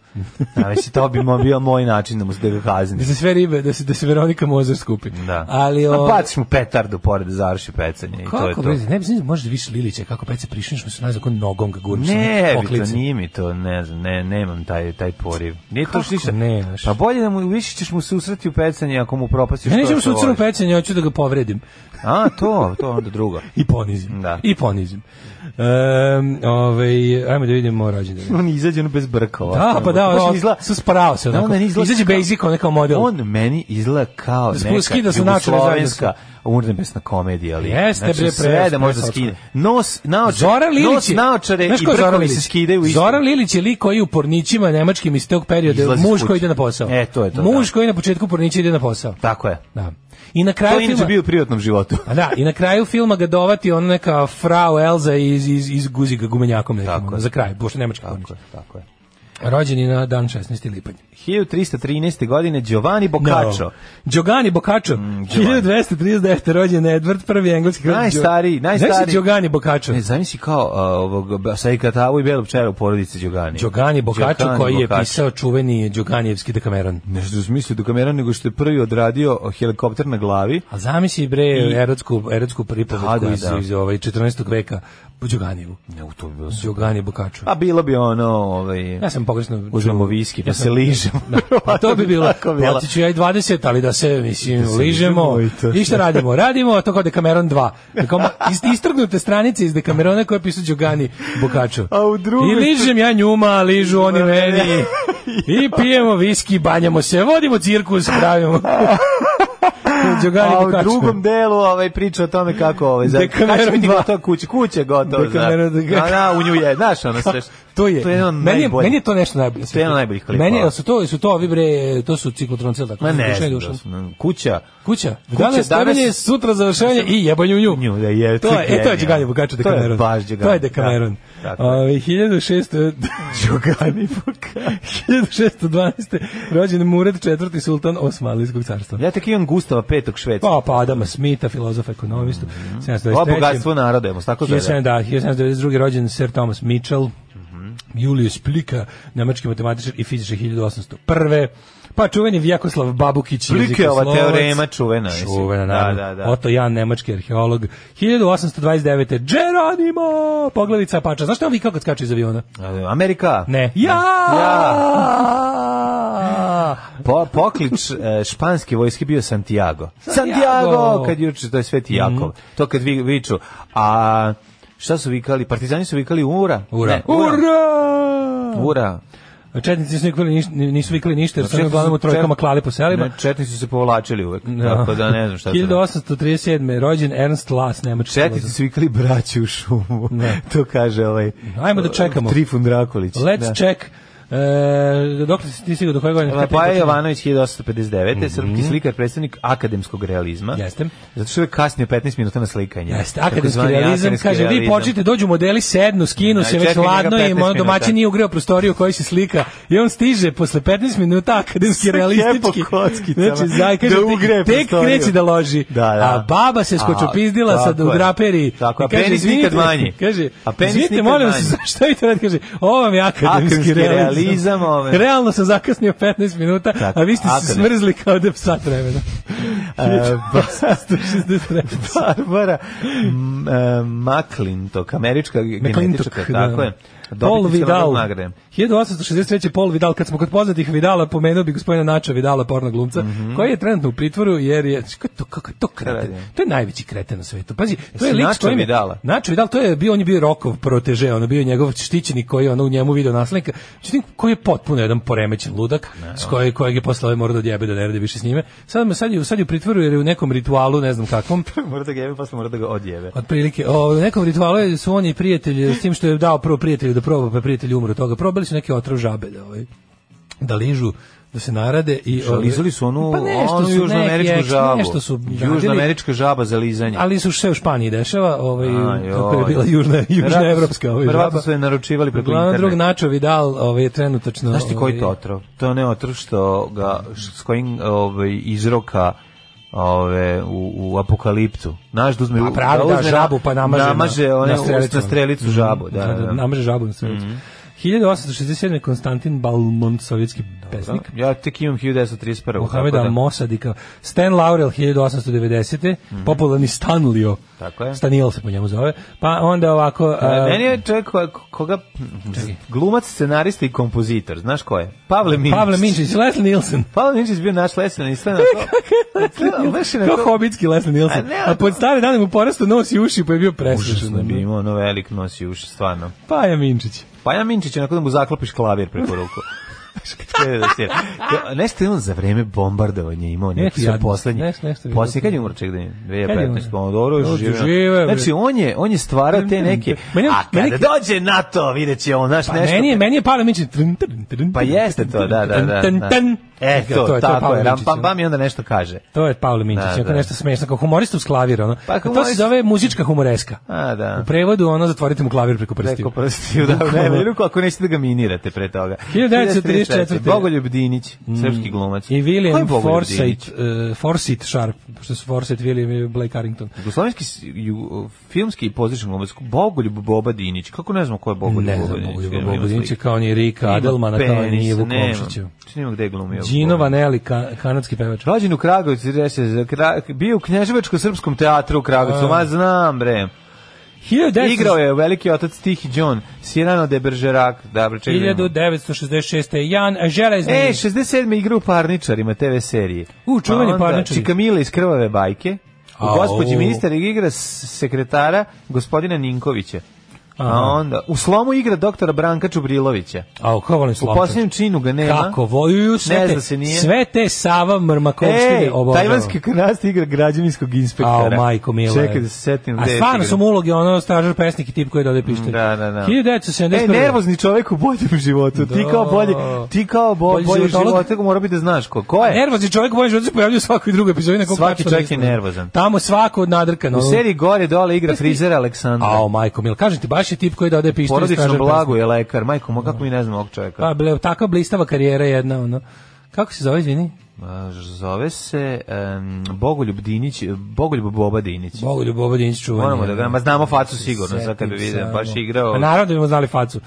Znači, to bi mu bio moj način da mu se da ga kazni.
Da se sve ribe, da se, da se Veronika Mozer skupi.
Da.
Ali,
A
o,
baciš mu petardu pored da završi pecanje i to je
kako
to.
bi, ne bi znači, možda više Lilića, kako peca prišliš mu se nazad, kako nogom ga gurnuš.
Ne,
ono,
bi to
oklice.
nije mi to, ne znam, ne, nemam taj, taj poriv. Nije to
Kako
što ništa.
nemaš?
Pa bolje da mu, više ćeš mu se usreti u pecanje ako mu propastiš
Ja
to
neću mu
što
se ucrnu
voliš.
pecanje, hoću da ga povredim.
A, to, to onda drugo.
I ponizim.
Da.
I ponizim. Um, ovaj, ajmo da vidimo rođendan.
On izađe ono bez brkova.
Da, pa da,
Baš mi
on,
izgleda-
su sparao se.
Da,
Onako.
on meni izgleda
Izađe
kao-
basic, on kao model.
On meni izgleda kao
Da spu-
neka
skida se naočare
jugoslovenska urnebesna komedija. Ali, znači,
Jeste, bre, pre-
sve da može da
pre-
skine. Nos, naočare,
Zoran Lilić
nos,
je,
naočare
znaš
i
ko je Zoran
brkovi se
Lilić?
skidaju. isto.
Zoran Lilić je lik koji u pornićima nemačkim iz tog perioda
Izlazi iz
muž
kuće.
koji ide na posao.
E, to je to,
Muž
da.
koji na početku pornića ide na posao.
Tako je.
Da. I na kraju
To je inače
filma-
bio u privatnom životu.
A da, i na kraju filma ga dovati ona neka frau Elza iz, iz, iz Guziga gumenjakom nekim,
Tako
ono,
je.
za kraj, pošto nemački pornić.
Tako je, tako je.
Rođen je na dan 16. lipanj.
1313. godine Giovanni Boccaccio. Mm,
Giovanni Boccaccio. 1239. rođen Edward, prvi engleski kralj.
Najstariji,
Znaš li
najstariji.
Giovanni Boccaccio?
Ne, zamisli kao uh, ovog ba- Saikatavu i Belog čera u porodici Đogani.
Giovanni Boccaccio koji je
Boccaccio.
pisao čuveni Đoganijevski dekameron.
Nešto u smislu dokamera nego što je prvi odradio helikopter na glavi.
A zamisli bre erotsku erotsku pripovetku
Da, da,
iz,
da.
iz ovaj 14. veka po Đoganijevu.
Ne, u to bi bilo
Đogani Boccaccio.
A bilo bi ono, ovaj...
Ja sam pogrešno
Uzmemo
čuo.
viski, pa
Ja
se
sam-
ližemo.
Da, a Pa to bi bilo.
Tako bilo.
Platit ću ja i 20, ali da se, mislim, ližemo.
se ližemo i to.
I šta radimo? Radimo to kao Dekameron 2. Kao ma- ist- istrgnute stranice iz Dekamerona koje pisu Đogani Bokačo.
A u drugoj-
I ližem ja njuma, a ližu oni meni. I pijemo viski, banjamo se, vodimo cirkus, pravimo. Đogani
A u
Bokačo.
drugom delu ovaj priča o tome kako ovaj za
Dekameron
kad će biti
dva.
gotova kuća, kuća je gotova.
Dekameron
znaš.
dva.
A da, u nju je, znaš, ono sve. što-
To je,
to je ono jedan
meni, je
najbolji.
meni je to nešto najbolje.
To je ono jedan od najboljih klipova.
Meni, jel su to, su to ovi bre, to su ciklotronci, jel tako?
Ma ne,
Dušan i
znam da
Dušan.
su, ne, kuća.
Kuća.
Kuća,
Danas,
danas-
temelje, sutra završenje i jebanje u nju.
Nju, da, je,
to je, e, to je
genijalno.
Đegani Bukaču
To je
Dekameron.
baš Đegani,
To je Ovaj, Dekameron.
da, tako je.
Ove, 1600... Đegani Bukaču. 1612. Rođen Murat IV. sultan Osmanlijskog carstva.
Ja tek imam Gustava petog švedska.
Pa, pa Adama Smita, filozofa, ekonomistu.
Mhm. Ovo
723.
bogatstvo naroda, jemo se tako zove.
1700, da, 1792. rođen Sir Thomas Mitchell,
Mhm.
Julius Plika, nemački matematičar i fizičar 1801. Pa čuveni Vjakoslav Babukić,
Plikeova
jezikoslovac.
teorema čuvena, mislim.
Čuvena,
Da,
naravno.
da, da.
Otto Jan, nemački arheolog. 1829. Geronimo! Poglavica Pača. Znaš što vi kako kad skače iz aviona?
Amerika.
Ne. Ja!
Po, poklič e, španske vojske bio Santiago.
Santiago! Mhm.
Santiago, kad juče to je Sveti Jakov. To kad vi viču, a šta su vikali? Partizani su vikali ura.
Ura!
Ne, ura.
Ura!
Ura.
Četnici nisu vikali ništa, nisu vikali ništa jer su oni
Pa Četnici
uglavnom u
su-
trojkama
čet-
klali po selima.
Ne, četnici su se povlačili uvek. Tako da ne znam šta su.
1837. rođen Ernst Lass, nemački
Četnici
filozof.
su vikali braći u šumu. to kaže ovaj
Ajmo da čekamo.
Trifun Drakulić.
Let's
Da.
check. E, dok si ti stigao do koje godine?
Pa je Jovanović 1859. Srpski slikar, predstavnik akademskog realizma.
Mhm. Jeste.
Zato što je kasnije 15 minuta na slikanje.
Jeste,
Takozvani
akademski realizam,
akademski
kaže, vi
realizam.
počnite, dođu modeli, sednu, skinu
Da,
se, već
čekaj njega
ladno
15
im, ono
minuta.
domaćin nije ugreo prostoriju u kojoj se slika i on stiže posle 15 minuta akademski
Sa
realistički.
kepo kockicama,
Znači, zaj, kaže,
da
ti-
ugreje
tek
prostoriju.
kreće da loži.
Da, da.
A baba se
A,
skočopizdila sa
tako je.
draperi.
Tako je, a
I kaže,
penis
"Izvinite,"
nikad manji.
Kaže,
A penis
"Izvinite,
nikad
molim vas,
manji."
šta vi to radite? Kaže, ovo vam je akademski
Akademski
realizam.
realizam, ove.
Realno sam zakasnio 15 minuta,
Tako,
a vi ste se
akademski. E,
smrzli kao da sat vremena.
Barbara M- e, McClintock, američka genetička,
McClintock,
tako
da.
je.
Paul
Dobitnica
Vidal.
Nobelove nagrade.
1863. Paul Vidal, kad smo kod poznatih Vidala, pomenuo bi gospodina Nača Vidala, porno glumca,
Mhm.
koji je trenutno u pritvoru, jer je, kako je to, kako je to kreten?
radi?
To je najveći kreten na svetu. Pazi, to je
Jesi
lik s
Nacho
kojim je-
Vidala?
Nacho Vidal, to je bio, on je bio Rokov proteže, on je bio njegov štićenik koji je ono u njemu video naslednika, međutim, koji je potpuno jedan poremećen ludak, s kojeg, kojeg je posle ovaj morao da odjebe da ne radi više s njime. Sad, mu- sad, je, sad je u pritvoru jer je u nekom ritualu, ne znam kakvom,
Mora da ga jebe, posle mora da ga
Pa
odjebe.
Otprilike, o, u nekom ritualu je- su on i prijatelj, s tim što je dao prvo prijatelju da proba, pa prijatelj umro od toga. Probali su neki otrov žabe da, ovaj, da ližu, da se narade. I, ovaj,
Lizali su onu,
pa nešto
onu
su
južnoameričku
neki, eks-
žabu.
Nešto su radili,
Južnoamerička žaba za lizanje.
ali su sve u Španiji dešava, ovaj,
A,
kako je
joj.
bila južna, južna
Verovatno-
evropska ovaj,
verovatno
žaba.
su je naručivali preko
Uglavnom, drug
interneta.
Načo Vidal ovaj, je trenutačno...
Znaš ti koji
ovaj,
to otrov? To je onaj otrov što ga, š- s kojim ovaj, izroka ove u, u apokaliptu. Naš da uzme
Pa pravi, da,
uzme
žabu pa namaže na-
namaže one,
na
na
strelicu.
strelicu, na strelicu žabu, da, da, da.
Namaže žabu na strelicu. 1867. Konstantin Balmont, sovjetski pesnik.
Ja tek imam 1931.
Mohameda
tako da.
Mosadika. Stan Laurel 1890. Popularni Stanlio.
Mhm. Tako je.
Staniel se po njemu zove. Pa onda ovako... eh,
E,
a,
Meni je čovjek koja- koga, glumac, scenarista i kompozitor, znaš ko je? Pavle Minčić.
Pavle Minčić, Leslie Nielsen.
Pavle Minčić bio naš lesen i sve na to. Baš je na
Kao
to-
hobitski Leslie Nielsen.
A ne,
A pod stare dane mu porastu nos i uši, pa je bio presušen.
Užasno bi imao ono velik nosi uši, stvarno.
Pa je Minčić.
Pa ja Minčić, onako da mu zaklopiš klavir preko ruku. Kad krene da svira. To- Nešto je on za vreme bombardovanja imao
Neki
neki su
jadnik,
poslednji.
nešto- nešto je bilo.
Poslije, kad je umro ček da je?
Kad je umro?
2015. Pa dobro, još
Dobro,
žive.
žive, bre.
Znači, on je, on je stvara te neke.
Meni je-
A kada
meni-
dođe na to, vidjet će on, znaš,
Pa
nešto.
meni je, meni je Pavle Minčić. Trn, trn, trn,
Pa
trn,
jeste to, da, da, da.
trn,
da.
trn.
E, to,
to je
tako
Pavle
je.
Minčić,
Rampam,
ono.
pam i onda nešto kaže.
To je Pavle Minčić,
Da,
ako
da.
nešto smešno, kao humorista uz klavir, ono.
Pa,
to se
humorist-
zove muzička humoreska.
A, da.
U prevodu, ono, zatvorite mu klavir preko prstiju.
Preko prstiju, da, u najbolju ruku, ako nećete da ga minirate pre toga.
1934.
Bogoljub Dinić, srpski glumac.
Mm. I
Ko je
William
Bogoljub Dinić?
Forsyth, uh, Forsyth Sharp, što su Forsyth, William i Blake Carrington.
Jugoslovenski s- ju, filmski i pozdrašan glumac Bogoljub Boba Dinić. Kako ne znam ko je Bogoljub
Ne
Boba
znam,
Dinić?
mogu
Imam
Bobo Dinić,
sliku.
kao on je Rika
Ima
Adelmana, kao on
penis,
je Vuk
nema.
Komšiću.
Što nema gde je glumio.
Gino Vanelli, ka, kanadski pevač.
Rođen u Kragovicu, reče, za Kra- bio u Knježevačko-srpskom teatru u Kragovicu, ma znam bre.
1900
Igrao je veliki otac Tihi John, Sirano de Bergerac, da bre, čekaj. da vidimo.
1966. Jan Železni.
E, 67. igra u Parničarima TV seriji.
U, čuveni
Pa onda
Parničari.
Čikamila iz Krvave bajke. U
Au.
gospođi ministar igra s- sekretara gospodina Ninkovića. A onda, u slomu igra doktora Branka Čubrilovića.
A, kako volim
U
Slavča.
posljednjem činu ga nema.
Kako vojuju sve
Ne
te,
zna se nije.
sve te Sava Mrmakovštine
Ej,
obožavam.
E, tajvanski kanast igra građevinskog
A,
inspektora.
majko mila.
Čekaj da se setim.
A
gde je
stvarno
igra.
su mu uloge, ono, stražar, pesnik i tip koji dode pištolj.
Da, da, da. E,
1971.
nervozni čovjek u boljem životu. Ti kao bolje, ti kao bo,
Bolji
bolji, bolji
životolog.
život, mora biti da znaš ko. Ko je?
Nervozni čovjek može da se pojavljuje u svakoj drugoj epizodi na kog
E. Svaki
tačno
čovjek
ne
je
znam.
nervozan.
Tamo svako od nadrkano.
U seriji gore dole igra frizer Aleksandra.
Ao, majko, mil, kažem ti, baš je tip koji dodaje pištolj.
Porodično
stražar,
blago je lekar. Majko, mo, kako mi ne znamo ovog čovjeka?
Pa, ble, takva blistava karijera jedna, ono. Kako se zove, izvini?
A, Zove se em, Bogoljub Dinić, Bogoljub Boba Dinić.
Bogoljub Obadinić čuvanje.
Moramo da ga, ma znamo facu sigurno, sad kad bi
Setim
vidim,
ono. se,
baš
ono.
igrao. Mhm.
Pa naravno da bimo znali facu.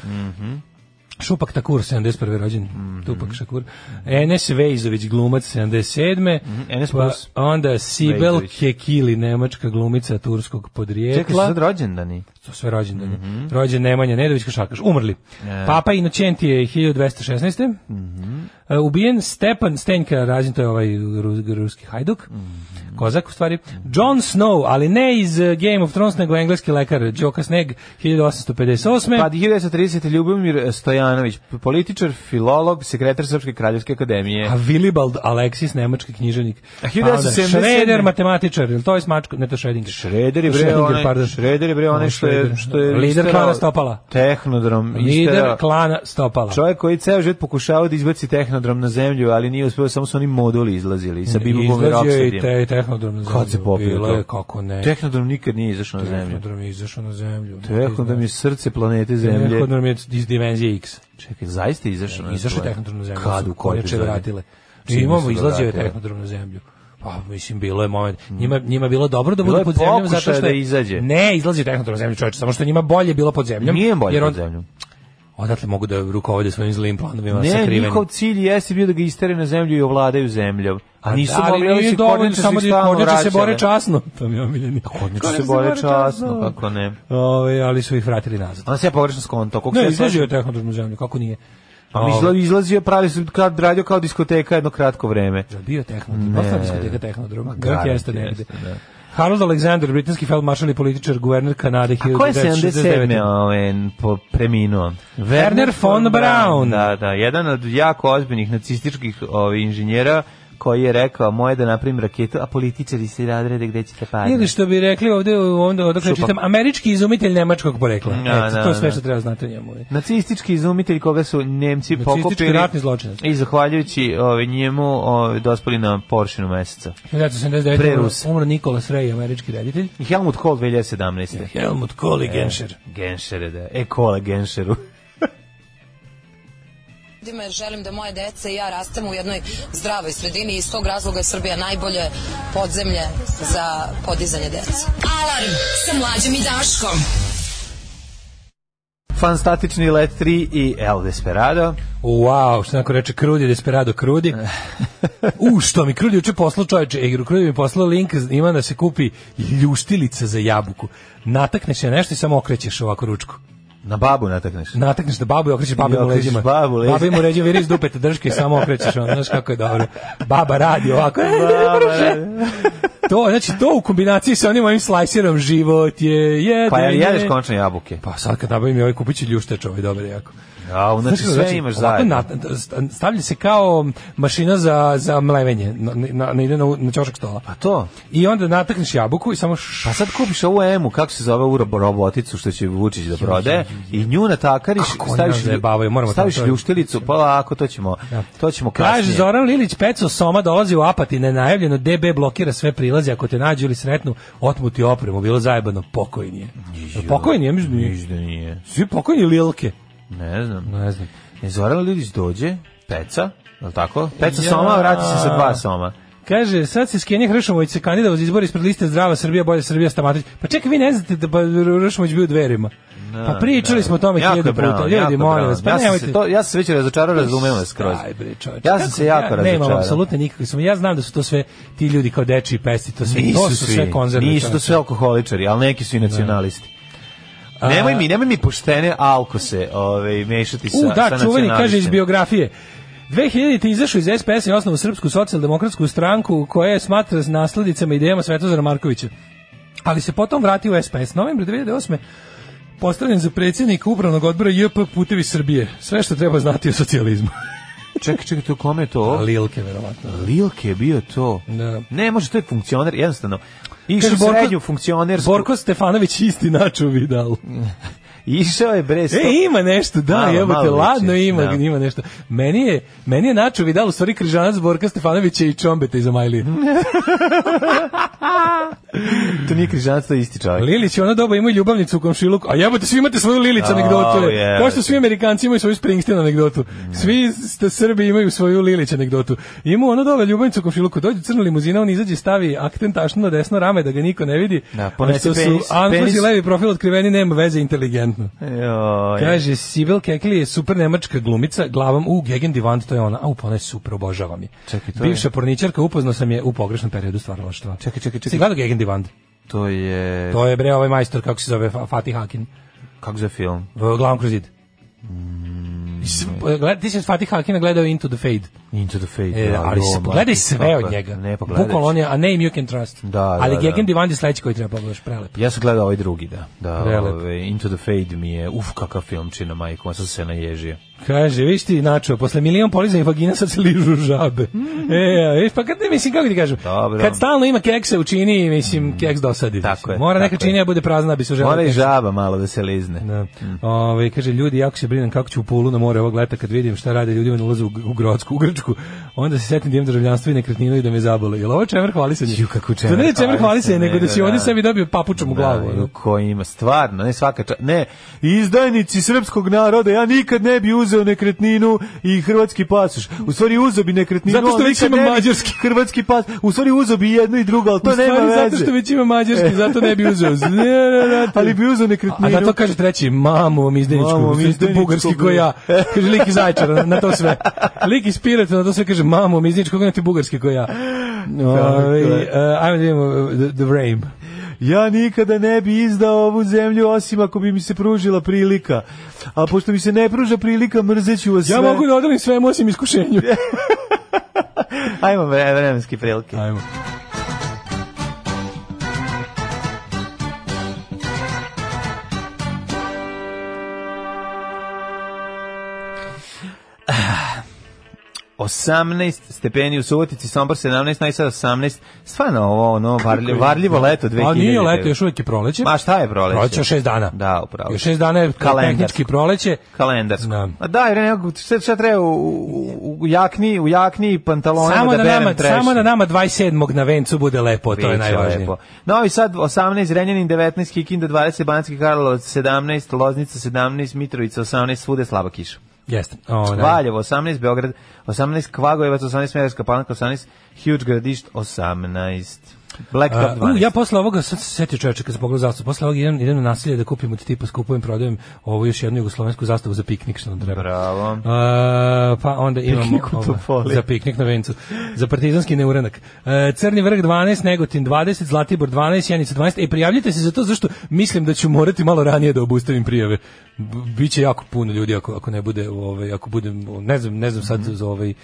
Šupak Takur, 71. rođen. Tupak Šakur. Enes Vejzović, glumac, 77.
Mhm, Enes
Pa
Plus.
onda Sibel
Vejzović.
Kekili, nemačka glumica turskog podrijekla.
Čekaj, su sad rođendani.
to sve rođendani.
Mhm.
Rođen Nemanja Nedović Košakaš, umrli.
E.
Papa Inocentije je 1216.
Mhm.
E, ubijen Stepan Stenjka, rađen to je ovaj ru- ruski hajduk,
Mhm.
kozak u stvari. John Snow, ali ne iz e, Game of Thrones, nego engleski lekar, Đoka Sneg, 1858.
Pa 1930. Ljubomir Stojanović, političar, filolog, sekretar Srpske kraljevske akademije.
A Willibald Alexis, nemački književnik.
A
Pa onda
1977.
Schroeder, matematičar, ili to je smačko, ne to je Schrödinger.
Šreder je bre
Schrödinger,
onaj,
pardon.
Šreder je bre
Ovo
onaj što je
Schrödinger.
što je
Lider
isterao
klana Stopala.
Tehnodrom
Lider
isterao.
klana Stopala.
Čovjek koji ceo život pokušavao da izbaci tehnodrom na zemlju, ali nije uspeo, samo su oni moduli izlazili sa bibom i
Izlazio je i
rokstadijem.
te, tehnodrom na zemlju.
Kad se popio
Bilo
to?
je, kako ne.
Tehnodrom nikad nije izašao na zemlju.
Tehnodrom je izašao na zemlju.
Tehnodrom je srce planete zemlje.
Tehnodrom je iz dimenzije X.
Čekaj, zaista je izašao na
Izašao je
zemlju?
tehnodrom na zemlju.
Kad,
su
u kojoj
konjače
epizodi?
vratile.
Čime su
Imamo,
ga
izlazio je
vratile?
tehnodrom na zemlju. Pa, mislim, bilo je moment. Njima, njima je bilo dobro da
Mm. Bilo
budu
je
pod zemljom
pokušaja
zato što je...
da izađe.
Ne, izlazio je tehnodrom na zemlju čovječe, samo što je njima bolje bilo pod zemljom.
Nije bolje
jer
pod
on-
zemljom.
Odatle mogu da rukovode svojim zlim planovima
Ne,
sakrivenim.
njihov cilj jeste bio pa da ga istere na zemlju i ovladaju zemljom. A nisu
ali
mogli ovi
nije
se
dovoljno
kornjače
samo
su ih
da
stalno
kornjače se bore
vraćale.
časno. To mi je omiljeni.
Kornjače se bore časno, kako ne.
Ove, Ovaj, ali su ih vratili nazad.
Onda se ja pogrešno skonto. Koliko
Ne, ovaj.
se
izlazio je tehnološkom zemlju, kako nije?
Pa mi
Ove,
izla- izlazio, pravi se kad radio kao diskoteka jedno kratko vreme.
Jel bio tehnodrom? Ostala diskoteka tehnodroma. Grad
garant
jeste negde.
jeste, da.
Harold Alexander, britanski feldmaršal i političar, guverner Kanade
A ko je 77.
1969.
Oven, po, preminuo?
Werner von Braun.
Da, da, jedan od jako ozbiljnih nacističkih ovi, inženjera koji je rekao, moje da napravim raketu, a političari se radrede gde ćete padne.
Ili što bi rekli ovde, onda odakle
ovaj? Šupak.
čitam, američki izumitelj nemačkog porekla.
Da,
Eto,
da,
to je sve
da.
što treba znati o njemu. ovaj.
Nacistički izumitelj koga su Nemci
Nacistički
pokupili.
ratni zločinac.
I zahvaljujući ovi, njemu ovi, dospeli na poršinu meseca.
1979.
Pre
umro-
Rusa.
Umro Nikola Srej, američki reditelj.
I Helmut Kohl 2017.
Helmut Kohl
E.
i Genscher.
Genšere, da. E, kola Genšeru.
ljudima jer želim da moje dece i ja rastemo u jednoj zdravoj sredini i iz tog razloga je Srbija najbolje podzemlje za podizanje dece.
Alarm sa mlađom i Daškom.
Fanstatični let 3 i El Desperado.
Wow, što neko reče, krudi, desperado, krudi. U, što mi krudi uče poslao čoveče, e, krudi mi poslao link, ima da se kupi ljuštilica za jabuku. Natakneš je nešto i samo okrećeš ovako ručku.
Na babu natakneš.
Natakneš na babu i okrećeš
I
babi mu
okrećeš
leđima.
babu leđima.
Babi mu leđima, viriš dupe te drške i samo okrećeš, ono, znaš kako je dobro. Baba radi ovako. e, to, znači, to u kombinaciji sa onim mojim slajserom život je jedan.
Pa jel jedeš končne jabuke?
Pa sad kad nabavim i ovaj kupić ljušteč, ovaj dobar je jako.
A, znači
Znaš,
sve imaš
ovako
zajedno.
nat- stavlja se kao mašina za, za mlevenje, na, na, na, ide na, na ćošak stola.
Pa to.
I onda natakneš jabuku i samo š...
Pa sad kupiš ovu emu, kako se zove ovu rob- roboticu što će Vučić da prode i nju natakariš,
Kako oni
staviš,
nas zajebavaju, moramo
staviš
to- to-
ljuštilicu, pa lako, to ćemo, to ćemo kasnije.
Kaže Zoran Lilić, Peco Soma dolazi u Apati, nenajavljeno, DB blokira sve prilaze, ako te nađu ili sretnu, otmuti opremu, bilo zajebano, pokojni je. Pokojni je, mislim, nije.
Ništa nije.
svi pokojni Lilke.
Ne znam.
Ne znam.
E, Zoran Lidić dođe, peca, je li tako? Peca
Ja.
soma, vrati se sa dva soma.
Kaže, sad se Skenja Hršomović se kandidao za izbor ispred liste Zdrava Srbija, Bolja Srbija, Stamatović. Pa čekaj, vi ne znate da pa Hršomović bio u dverima. pa pričali smo o tome
Jako je
hiljadu
bravo,
puta.
jako
Ljudi,
je
molim
bravo.
vas, pa
ja sam
nemojte.
se, to, ja sam se već razočarao, razumeo vas skroz.
Aj bre, čoveče.
Ja sam
Kako-
se jako
ja, Nemam
razočarao.
apsolutno nikakve sumnje. Ja znam da su to sve ti ljudi kao dečiji pesci, to sve, to
Nisu
su sve
svi,
konzerve.
nisu to
čoveče.
sve alkoholičari, ali neki su i nacionalisti. Nemoj mi, nemoj mi poštene alkose ovaj, mešati sa,
U, da,
sa
čuveni, kaže iz
nacionalistima.
biografije. 2000. izašao iz SPS i osnovu Srpsku socijaldemokratsku stranku koja je smatra s nasledicama i idejama Svetozara Markovića. Ali se potom vratio u SPS. Novembra 2008. postavljen za predsjednik upravnog odbora JP Putevi Srbije. Sve što treba znati o socijalizmu.
Čekaj, čekaj, to kome je to?
Lilke, verovatno.
Lilke je bio to.
Da.
Ne, može, to je funkcioner, jednostavno. Išao
Kaže,
u
Borko-
srednju funkcionersku.
Borko Stefanović isti načo vidal.
Išao je bre sto-
E, ima nešto, da,
Malo,
jebote,
malo
ladno
liči,
ima,
da.
ima nešto. Meni je, meni je Načo Vidal u stvari križanac Borka Stefanovića i Čombeta iz Omajlije.
Mm. To nije križanac, to je isti čovjek.
Lilić je ono doba imao i ljubavnicu u komšiluku, a jebote, svi imate svoju Lilić
O,
anegdotu.
jebote.
Kao što svi Amerikanci imaju svoju Springsteen anegdotu. Svi ste Srbi imaju svoju Lilić anegdotu. Imao ono doba ljubavnicu u komšiluku, dođe crna limuzina, on izađe, stavi akten tašno na desno rame da ga niko ne vidi.
Da, ponese
Pošto su
penis,
Anglozi
penis.
levi profil otkriveni, nema veze inteligentno.
Joj.
Kaže, Sibel Kekli je super nemačka glumica, glavom u Gegen Divant, to je ona. A, pa ona je super, obožavam je.
Čekaj, to je-
Bivša porničarka, upoznao sam je u pogrešnom periodu stvaralaštva.
Čekaj, čekaj, čekaj.
Si gledao Gegen Divant?
To je...
To je bre ovaj majstor, kako se zove, Fa- Fatih Hakin.
Kako za film?
V- Glavom kroz zid.
Mm.
S- gled- Ti si od Fatih Hakina gledao Into the Fade,
Into the Fate.
e,
da,
ali se
Roma,
pogledaj
ti
sve
kako-
od njega.
Ne, pa pogledaj.
Bukvalno on je, a name you can trust.
Da, da,
ali
da.
Gegen Divand je sledeći koji treba pogledaš, prelep.
Ja sam gledao ovaj drugi, da. da
Prelep.
ovaj, Into the Fade mi je, uf, kakav film čina majkom, ja sam se naježio.
Kaže, viš ti, načo, posle milion polizanih vagina sad se ližu žabe. e, a viš, pa kad, mislim, kako ti kažem,
Mhm. Dobro.
kad stalno ima keksa u čini, mislim, keks dosadi.
Tako
mislim.
je,
Mora neka
tako je.
činija bude prazna, da bi se želeo
Mora i Mhm.
keksa.
žaba malo da se lizne.
Da. Ovaj, kaže, ljudi, jako se brinem kako ću u pulu na more ovog leta kad vidim šta rade ljudima na ulazu u, Gr- u Grodsku, u Grčku, onda se setim da imam državljanstvo i nekretninu i da me zabole. Jel ovo čemer hvalisanje?
Ju, kako
Da ne
čemer
čemer hvalisanje,
hvalisanje,
nego da si
nego
ovdje
da.
sebi dobio papučom u glavu.
Da,
ono.
ju, ko ima, stvarno, ne svaka ča... Ne, izdajnici srpskog naroda, ja nikad ne bi uzeo nekretninu i hrvatski pasoš. U stvari uzeo bi nekretninu,
Zato što
ali
već
nikad
imam
ne bi
mađarski.
Hrvatski pas, u stvari uzeo bi i jedno i drugo, ali to
U stvari,
nema veze.
zato što već ima mađarski, zato ne bi uzeo. Ne, ne, ne, te-
Ali bi uzeo
Pa, A
nekretninu.
da to kaže treći, mamu vam izdeničku,
Mamu vam
mamu
izdajničku,
bugarski
bre.
ko ja. Kaže lik iz Ajčara, na to sve. Lik iz Pirata na to sve kaže, mamo, mi iznič, koga ti bugarski ko ja. Ovaj,
je.
e, ajmo da vidimo e, The, the Frame.
Ja nikada ne bi izdao ovu zemlju osim ako bi mi se pružila prilika. A pošto mi se ne pruža prilika, mrzeću vas
Ja
sve.
mogu da odalim svemu osim iskušenju.
Ajmo vre- vremenske prilike.
Ajmo.
Osamnaest stepeni u Subotici, Sombor 17, najsad 18. Stvarno ovo, ono, varljivo, varljivo leto 2000.
A nije leto, još uvijek je proleće.
Ma šta je proleće?
Proleće je šest dana.
Da, upravo.
Još šest dana je
Kalendarsko.
tehnički proleće.
kalendarsko.
Da.
A da, jer nekako, šta, šta treba u, u, u jakni, u jakni i pantalone
Samo
da,
da,
berem
nama,
trešnje.
samo da nama 27. na vencu bude lepo, to je najvažnije.
Lepo. Novi Sad 18, Renjanin 19, Kikinda 20, Banacki Karlovac 17, Loznica 17, Mitrovica 18, svude slaba kiša.
Jeste. O, Pa da.
Valjevo 18, Beograd 18, Kvagojevac 18, Medarska Palanka 18, Huge Gradišt 18. Blacktop
A,
12.
u, ja posle ovoga, sad se setio čoveče kad sam pogledao zastavu, posle ovoga idem, idem na nasilje da kupim od tipa, skupujem, prodajem ovu još jednu jugoslovensku zastavu za piknik što nam treba.
Bravo.
A, pa onda imamo
Piknik u
ovo,
Topoli.
za piknik na vencu, za partizanski neuranak. E, Crni vrh 12, Negotin 20, Zlatibor 12, Janica 12. E, prijavljite se za to zašto mislim da ću morati malo ranije da obustavim prijave. B- Biće jako puno ljudi ako, ako ne bude, ovaj, ako budem, ne znam, ne znam sad
Mhm.
za ovaj, e,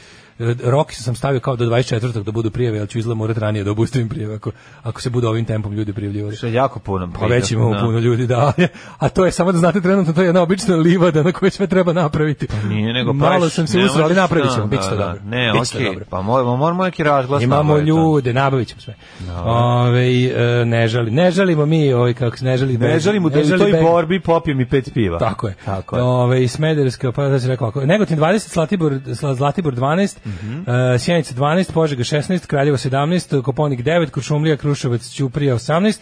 rok sam stavio kao do 24. da budu prijave, ali ću izgleda morati ranije da obustavim prijave ako, ako se bude ovim tempom ljudi prijavljivali.
Što je jako puno.
Pa već imamo puno ljudi, da. A to je, samo da znate, trenutno to je jedna obična livada na kojoj sve treba napraviti.
Pa Nije nego
Malo
praviš-
sam se
ne
usrao, ali
možeš-
napravit ćemo,
da,
bit će to
da,
dobro.
da. Ne,
Bit će to
okej,
dobro.
pa moramo, moramo neki razglas.
Imamo
napraviti, ono.
ljude, nabavit ćemo sve. Ove, e, ne, žali, ne žalimo mi, ovaj, kako se ne žali.
Ne
Beg-
želimo da u
žali
toj
Beg-
borbi popijem i pet piva.
Tako je.
Tako je.
Ove, iz Smederevske, pa da se rekao ovako. Negotin 20, Zlatibor, Zla- Zlatibor 12,
Mhm.
e, Sjenica 12, Požega 16, Kraljevo 17, Koponik 9, Kuršumlija, Kruševac, Ćuprija 18,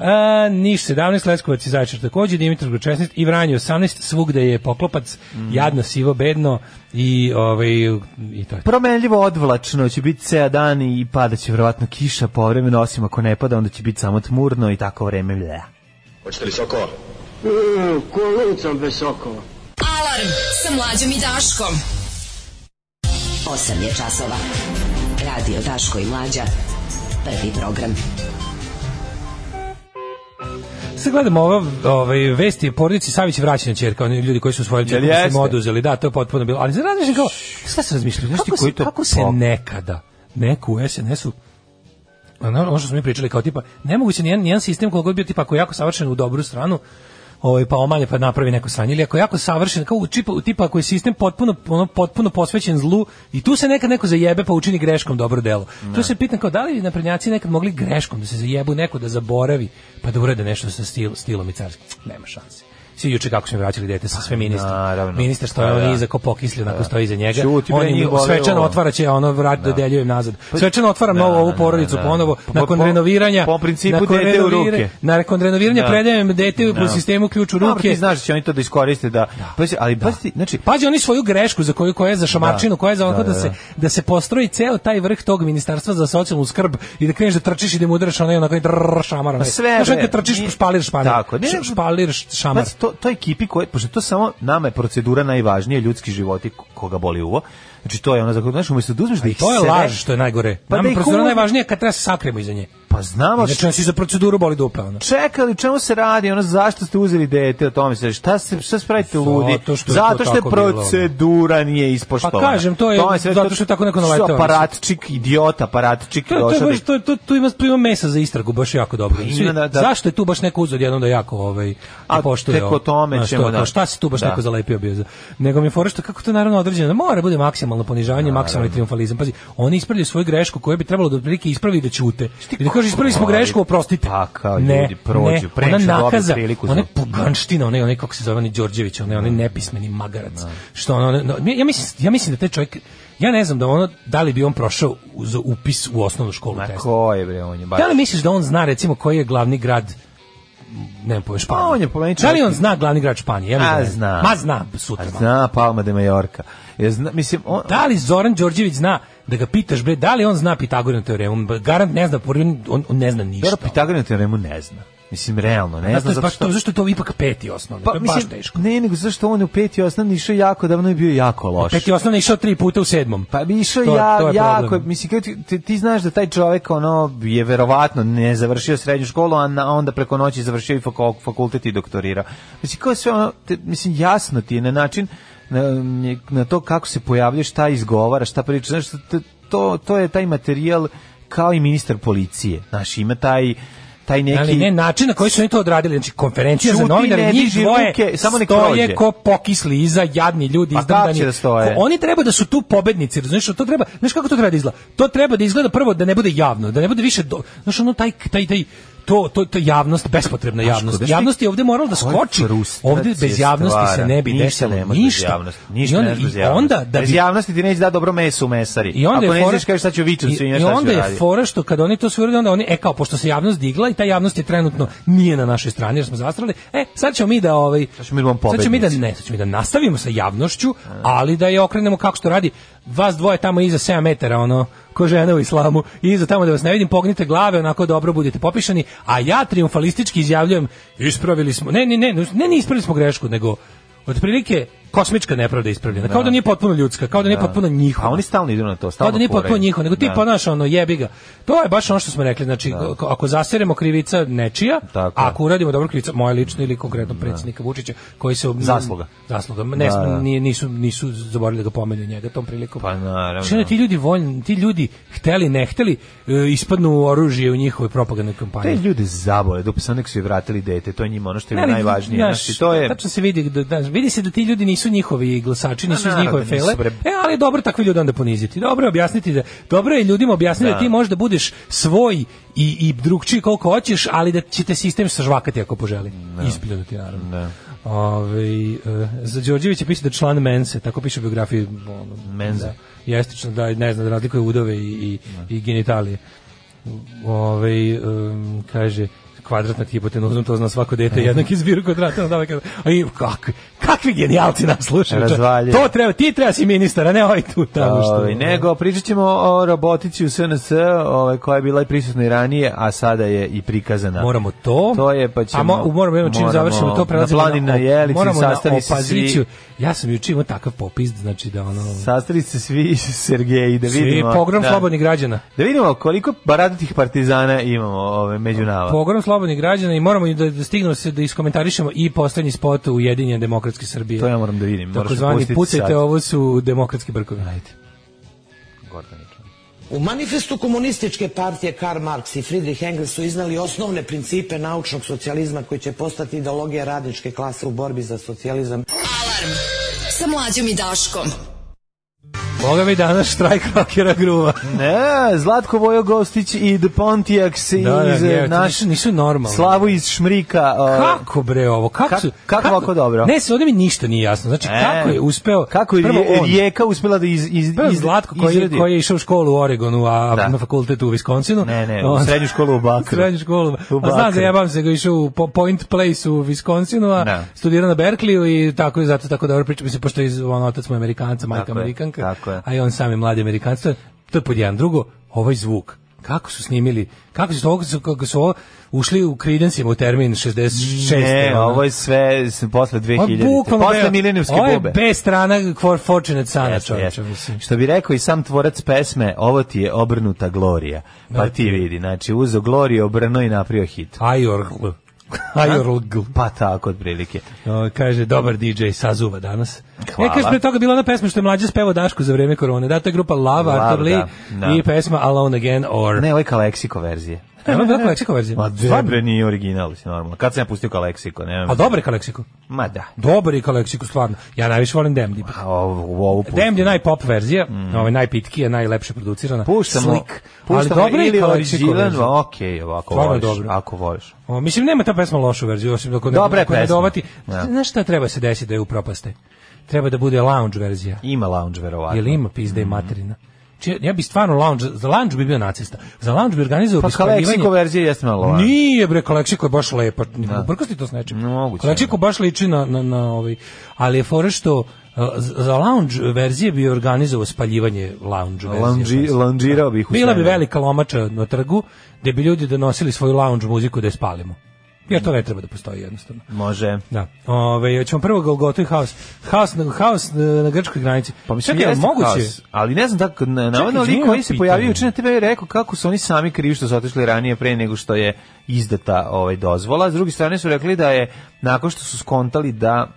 e, Niš 17, Leskovac i Zaječar takođe, Dimitrovgrad 16 i Vranje 18, svugde je poklopac,
Mhm.
jadno, sivo, bedno i, ovaj, i to je to.
Promenljivo odvlačno, će biti ceo dan i pada će vjerovatno kiša povremeno, osim ako ne pada, onda će biti samo tmurno i tako vreme bleh.
Alarm sa mlađom i Daškom.
8 je časova. Radio Daško i Mlađa. Prvi program.
Sad gledamo ova ovaj, vesti porodici Savić vraćena ćerka, oni ljudi koji su svoje
Jel
ćerke koji su im
jeste?
oduzeli, da, to je potpuno bilo. Ali sad razmišljam kao, šta se razmišljaju, znaš ti
Kako
koji
se-
to
kako
kako
se
se nekada neko u SNS-u ono ono što smo mi pričali kao tipa nemoguće nijedan, nijedan sistem koliko bio tipa ako je jako savršen u dobru stranu ovaj pa omanje pa napravi neko sranje ili ako je jako savršen kao u tipa, tipa ako je sistem potpuno ono potpuno posvećen zlu i tu se nekad neko zajebe pa učini greškom dobro delo. Tu se pitam kao da li naprednjaci nekad mogli greškom da se zajebu neko da zaboravi pa da urade nešto sa stil, stilom i carskim. Nema šanse. Svi juče kako su mi vraćali dete sa sve ministra.
Pa, naravno.
Ministar stoje
Pa da.
on iza ko pokislio, onako stoji iza njega.
Ćuti, bre,
on im
njih boli
svečano
ovo. Pa
otvara će ono vrat da. dodeljujem nazad. Svečano otvaram
Da,
novu ovu
da,
porodicu
da.
ponovo
Po-
nakon
po-
renoviranja.
po principu
nakon
dete u
renovira-
ruke.
Nakon renoviranja
Da.
predajem dete po sistemu ključ u
Dobro,
ruke.
ti znaš da će oni to da iskoriste, da. Pazi, ali pazi, znači,
Pazi oni svoju grešku za koju koja je za šamarčinu, koja je za onako da, se da se postroji ceo taj vrh tog ministarstva za socijalnu skrb i da kreneš da trčiš i da mu udaraš onaj onako i drrrr, šamar. onaj.
Pa sve,
Znaš,
bre,
kad trčiš
nije-
špalir špalir.
Tako, ne, pa-
Š- špalir š- šamar.
Pazi, pa to, to ekipi koje, pošto to samo nama je procedura najvažnija, ljudski životi ko- koga boli uvo. Znači to je ono za koje, znaš, umjesto da uzmeš da ih
To je
sere-
laž što je najgore.
Pa
Pa
da
Nama
ih
procedura
uvo-
najvažnija kad treba se sakrimo iza nje.
Pa znamo
Inače, nas i za proceduru boli dupe. Ono.
čekali, čemu se radi, ono zašto ste uzeli dete, o tome se, šta se šta se pravite ludi?
Zato što je
zato
to
što je
tako bilo, ono.
procedura nije ispoštovana.
Pa kažem, to je
sve
zato što je tako neko naleteo,
Što
mislim.
aparatčik, idiot, aparatčik,
To, je- to, je
došao
baš,
da-
to, je- to, tu ima, tu ima mesa za istragu, baš jako dobro.
ima,
Svi-
da, da.
Zašto je tu baš neko uzod jednom da jako ovaj,
A,
A, poštuje?
tek o
ovo?
tome
Znaš,
ćemo,
to je kao,
da.
Šta se tu baš
Da.
neko zalepio bio? za- Nego mi je fora što kako to je naravno određeno. da Mora bude maksimalno ponižavanje, maksimalni trijumfalizam. Pazi, oni ispravljaju svoju grešku koju bi trebalo da otprilike ispravi i da ćute. I da kažu ispravili smo
govori?
grešku, oprostite.
Pa, kao
ne,
ljudi prođu,
ne,
pre nego
ona
što dobiju
nakaza,
priliku za-
ona poganština, ono, onaj, onaj kako se zove, onaj Đorđević, onaj, onaj nepismeni magarac. Što ono, ono, no, ja, mislim, ja mislim da taj čovjek, ja ne znam da ono, da li bi on prošao za upis u osnovnu školu
Ma
test.
ko je bre, on je baš.
Da li misliš da on zna recimo koji je glavni grad ne znam pojem Španije?
Pa on je po meni
Da li
čovjek-
on zna glavni grad Španije? Ja mislim
A
da ne.
zna.
Ma zna sutra.
A zna Palma de Mallorca. Ja zna, mislim, on,
Da li Zoran Đorđević zna da ga pitaš bre da li on zna Pitagorinu teoremu? Garant ne zna, on, on, on ne zna ništa.
Dobro, Pitagorinu teoremu ne zna. Mislim, realno, ne
Ne
znam
znam
zato
baš
što... Pa,
to, zašto je to ipak peti osnovni, to je baš teško.
Ne, nego zašto on je u peti osnovni išao jako davno i bio jako loš.
Peti osnovni je išao tri puta u sedmom.
Pa bi išao
To-
ja,
to je
jako,
problem.
mislim, kad ti, ti, ti znaš da taj čovek ono, je verovatno ne završio srednju školu, a na- onda preko noći završio i fako- fakultet i doktorirao. Mislim, kao sve ono, te- mislim, jasno ti je na način, na, na to kako se pojavlja, šta izgovara, šta priča, znaš, to, to, to je taj materijal kao i ministar policije, znaš, ima taj, taj neki...
Ali ne, način na koji su oni to odradili, znači konferencija za
Ćuti, ne
novinare, njih
diži
dvoje
ruke, samo nek prođe.
stoje ko pokisli iza, jadni ljudi
Pa
izdrndani.
kako će da stoje?
Ko- Oni treba da su tu pobednici, razumiješ, to treba, znaš kako to treba da izgleda? To treba da izgleda prvo da ne bude javno, da ne bude više, do, znaš ono taj, taj, taj, to, to, to je javnost, bespotrebna javnost.
znaš ti-
javnost je ovde morala da
Koje
skoči.
frustracije
Ovde bez javnosti se
stvara.
ne bi
Ništa
desilo
ne može bez
ništa.
javnosti.
I
Ništa
onda,
ne može bez
i
javnosti.
onda da
bez
bi
javnosti ti neće da dobro meso u mesari.
I onda
Ako
je
ne
fora
znaš kažeš šta ću vičem
I,
svinja,
i
šta ću
onda je
raditi.
fora što kad oni to sve urade onda oni e kao pošto se javnost digla i ta javnost je trenutno nije na našoj strani jer smo zastrali. E sad ćemo mi da ovaj
Sad ćemo mi da budemo
sad ćemo mi da
pobednici.
ne, sad ćemo mi da nastavimo sa javnošću, ali da je okrenemo kako što radi vas dvoje tamo iza 7 metara ono ko žena u islamu i iza tamo da vas ne vidim pognite glave onako dobro budete popišani a ja triumfalistički izjavljujem ispravili smo ne ne ne ne ne ispravili smo grešku nego otprilike kosmička nepravda je ispravljena kao da nije potpuno ljudska kao da nije potpuno njihova
A oni stalno idu na to,
kao
stalno
da nije potpuno
furaju.
njihovo, nego ti
Da.
pa naš ono jebi ga. To je baš ono što smo rekli, znači ako- ako zaseremo krivica nečija, a
Tako je.
ako uradimo dobro krivica moja lično ili konkretno predsjednika Vučića koji se
Zasluga.
Zasluga. Ne,
Da, da.
nije- nisu nisu zaboravili da ga pomenu njega tom prilikom.
Pa naravno.
Znači, ono, ti ljudi voljni, ti ljudi hteli ne hteli e, ispadnu oružje u njihovoj propagandnoj
Te
kampanji.
ljude zabole, dok sad nek su i vratili dete, to je njima ono što je
Ali,
najvažnije.
znaš,
Znači, to je...
tačno se vidi da, da, vidi se da ti ljudi nisu njihovi glasači, nisu iz
Pa naravno
njihove
da nisu,
fele.
bre.
E, ali je dobro takve ljude onda poniziti. Dobro je objasniti da dobro je ljudima objasniti da, ti možeš da budeš svoj i i drugčiji koliko hoćeš, ali da će te sistem sažvakati ako poželi. Ispljunuti naravno.
Da.
Ovaj, e, za Đorđevića piše da je član Mense, tako piše u biografiji ono,
Menze.
Da, jestično, da ne znam, da razlikuje udove i, i, i genitalije. Ove, um, kaže, kvadratna hipotenuza, to zna svako dete, jednak je zbir kvadrata. onda ovaj kaže, A i kakvi, kakvi genijalci nas slušaju. čo-
Razvaljuje.
To treba, ti treba si ministar, a ne ovaj tu tamo što.
Ovaj, nego, pričat ćemo o robotici u SNS, ovaj, koja je bila i prisutna i ranije, a sada je i prikazana.
Moramo to.
To je, pa ćemo-
A mo- moramo, evo, čim
moramo
završimo to, prelazimo
na Planin na Jelici,
moramo na
sastali se svi.
opaziciju. Ja sam juče imao takav popis, znači da ono...
Sastali se svi Sergeji da
Svi
vidimo.
pogrom
da,
slobodnih građana.
Da vidimo koliko baradatih partizana imamo ove, među nama.
Pogrom slobodnih građana i moramo i da, da stignemo se da iskomentarišemo i poslednji spot Ujedinjene demokratske Srbije.
To ja moram da vidim. moraš me
Takozvani
pustiti
pucajte,
sad.
ovo su demokratski brkovi. Ajde.
Gordane, čuj.
U manifestu komunističke partije Karl Marx i Friedrich Engels su iznali osnovne principe naučnog socijalizma koji će postati ideologija radničke klase u borbi za socijalizam
Alarm sa mlađom i Daškom.
Boga mi danas štrajk rockera gruva.
Ne, Zlatko Vojo Gostić i The Pontiacs iz
Da, da,
eh,
je, to
naš
nisu, nisu normalni.
Slavu iz Šmrika. eh,
Kako bre ovo? Kako,
Kak-
su-
kako ovako dobro?
Ne, se ovde mi ništa nije jasno. Znači,
e,
kako je uspeo...
Kako je
prvo
Rije-
on,
Rijeka uspela da iz, iz,
prvo
iz-
Zlatko koji, je-
izradi?
koji je išao u školu u Oregonu, a
Da.
na fakultetu u Viskoncinu.
Ne, ne, u
On-
srednju školu u Bakru.
srednju školu.
U
A
Bakru.
znam da jebam se, ga išao u Po- Point Place u Viskonsinu, a
Da.
studirao na Berkliju i tako je zato tako dobro priča. Mislim, pošto je iz, on, otac mu je Amerikanca, majka
Tako je,
Amerikanka,
tako je.
a i on sam je mladi Amerikanac. To je, to je pod jedan. Drugo, ovaj zvuk. Kako su snimili, kako su, ovo, kako su ovo ušli u Credenceima u termin 66.
Ne,
ono.
ovo je sve s- posle
Ovo
2000.
bukvalno
posle
bio-
milenijumske
Ovo je
bube.
bez strana for fortunate sana,
Jeste,
čovječe,
jeste.
mislim.
Što bi rekao i sam tvorac pesme, ovo ti je obrnuta Glorija. Pa ti vidi, znači uzo Gloriju, obrnuo i napravio hit.
Ajorgl. Ajorgl.
Pa tako, otprilike.
O, kaže, dobar DJ sazuva danas.
Hvala.
E, kaže, pre toga bila ona pesma što je mlađa spevao Dašku za vreme korone. Da, to je grupa Lava,
Lava,
Arthur Lee
da, da.
i pesma Alone Again or...
Ne, ovo je Kaleksiko verzije.
E, Ona je bila Kaleksiko verzija.
Ma de,
Stvarno.
bre, nije original, mislim, normalno. Kad sam ja pustio Kaleksiko, nemam.
A dobar je Kaleksiko.
Ma da.
Dobar je Kaleksiko, stvarno. Ja najviše volim Demdi.
A ovu, ovu pustim.
Demdi je najpop verzija, ovaj najpitkija, najlepše producirana.
Mhm. Puštamo,
Slick. Ali
puštamo
dobro je
ili
i Kaleksiko
original,
verzija.
okej, ovako
Stvarno
voliš,
dobro.
ako voliš.
O, mislim, nema ta pesma lošu verziju, osim ako ne,
Dobra je
ako ne
pesma.
dovati.
Da.
Znaš šta treba se desiti da je upropaste? Treba da bude lounge verzija.
Ima lounge, verovatno.
Jel ima pizda i
Mhm.
materina? Či, ja bi stvarno lounge, za lounge bi bio nacista. Za lounge bi organizovao
Pa Kaleksiko
bespaljivanje.
verzija jeste malo lounge.
Nije bre, Kaleksiko je baš lepa. Uprkos ti to s nečim.
Ne, moguće,
Kaleksiko baš liči na, na, na ovaj. Ali je fora što uh, za lounge verzije bi organizovao spaljivanje lounge verzije.
Lounge, loungeirao bih u
Bila bi
svemu.
velika lomača na trgu gde bi ljudi donosili svoju lounge muziku da je spalimo. Jer to ne treba da postoji jednostavno.
Može.
Da. Ove, ćemo prvo Golgotu i haos. Haos na, haos na, na grčkoj granici. Pa mislim, Čekaj, je
jeste
moguće?
kaos, ali ne znam tako, na- navodno
izvini,
lik
imam
koji se
pitanje.
pojavio učin na TV je rekao kako su oni sami krivi što su otišli ranije pre nego što je izdata ovaj dozvola. S druge strane su rekli da je nakon što su skontali da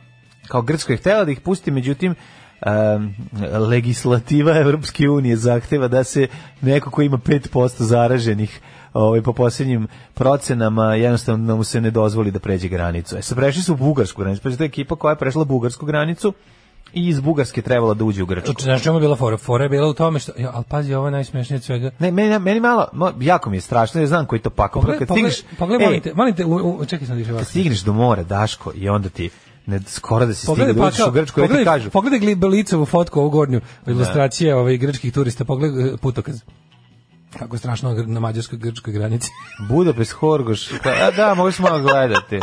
kao Grčko je htela da ih pusti, međutim em, legislativa Evropske unije zahteva da se neko ko ima 5% zaraženih ovaj, po posljednjim procenama jednostavno mu se ne dozvoli da pređe granicu. E, sad prešli su u bugarsku granicu, pa je to ekipa koja je prešla bugarsku granicu i iz Bugarske trebala da uđe u Grčku.
Znači, čemu je bila fora? Fora je bila u tome što... Ja, ali pazi, ovo je najsmješnije od svega.
Ne, meni, meni malo, mo- jako mi je strašno, ja znam koji to pakao.
Pogledaj,
Kad
pogledaj,
stigneš,
pogledaj,
ej,
molim te, molim te, u, u, čekaj sam da više
kad
vas.
stigneš e, do mora, Daško, i onda ti ne, skoro da si stigne
Pogledaj
da uđeš
pakao,
u Grčku, ja ti
pogledaj,
kažu.
pogledaj gli- licevu fotku ovu gornju, ilustracije ovaj, grčkih turista, pogledaj eh, putokaz. Kako je strašno na gr- na mađarsko-grčkoj granici.
Budapest, Horgoš, pa, a da, možeš malo gledati.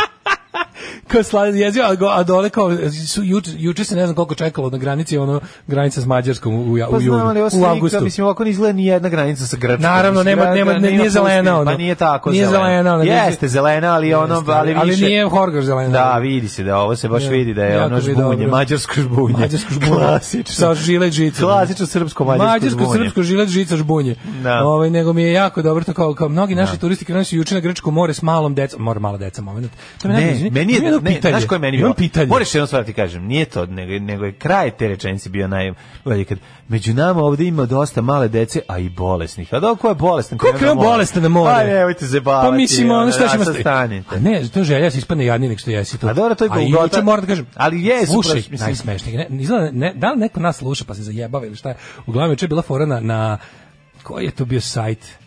kao slavni jezivo, a, go- a dole kao, su, juč, juče se ne znam koliko čekalo na granici, ono, granica s Mađarskom u, u, ja-
Pa
u, junu,
znam, ali ovo
u
slika,
avgustu.
mislim, ovako ne izgleda ni jedna granica sa Grčkom.
Naravno,
Mislim,
nema- nema-
gra-
ne-
gra-
nije zelena,
pustinja, Pa
ono.
nije tako
Nije zelena, ono, nije-
Jeste zelena, ali ono,
Jeste,
ali više.
ali nije Horgoš zelena.
Da, vidi se da ovo se baš
Ja,
vidi da je
jako
ono
mi je
žbunje,
dobro.
mađarsko žbunje.
Mađarsko žbunje.
Klasično.
Sa žilet žicom.
Klasično srpsko-mađarsko
Mađarsko,
žbunje.
srpsko, žilet žica žbunje.
Da.
Ovaj, nego mi je jako dobro to kao, kao mnogi naši turisti krenuli su juče na grčko more s malom decom. Mora mala deca, moment. To mi je
Ne,
najbolje.
meni
Imam jedno
je, ne,
pitanje.
znaš koje je meni
Imam
bilo?
pitanje.
Moraš jednu stvar da ti kažem, nije to, nego, nego je kraj te rečenice bio najbolji. Kad, među nama ovde ima dosta male dece, a i bolesnih. A dok ko je bolestan?
Ko je krenuo bolestan na more?
Pa nemojte se bavati.
Pa mislim, ono, šta ćemo
staviti?
A ne, to želja se ispadne jadnije nek što jesi to.
A dobro, to je
A i
golgota.
juče moram da kažem.
Ali je,
slušaj,
supraš, mislim-
najsmešnije. Ne, izgleda, ne, da li neko nas sluša pa se zajebava ili šta je. Uglavnom, juče je bila fora na, na koji je to bio sajt?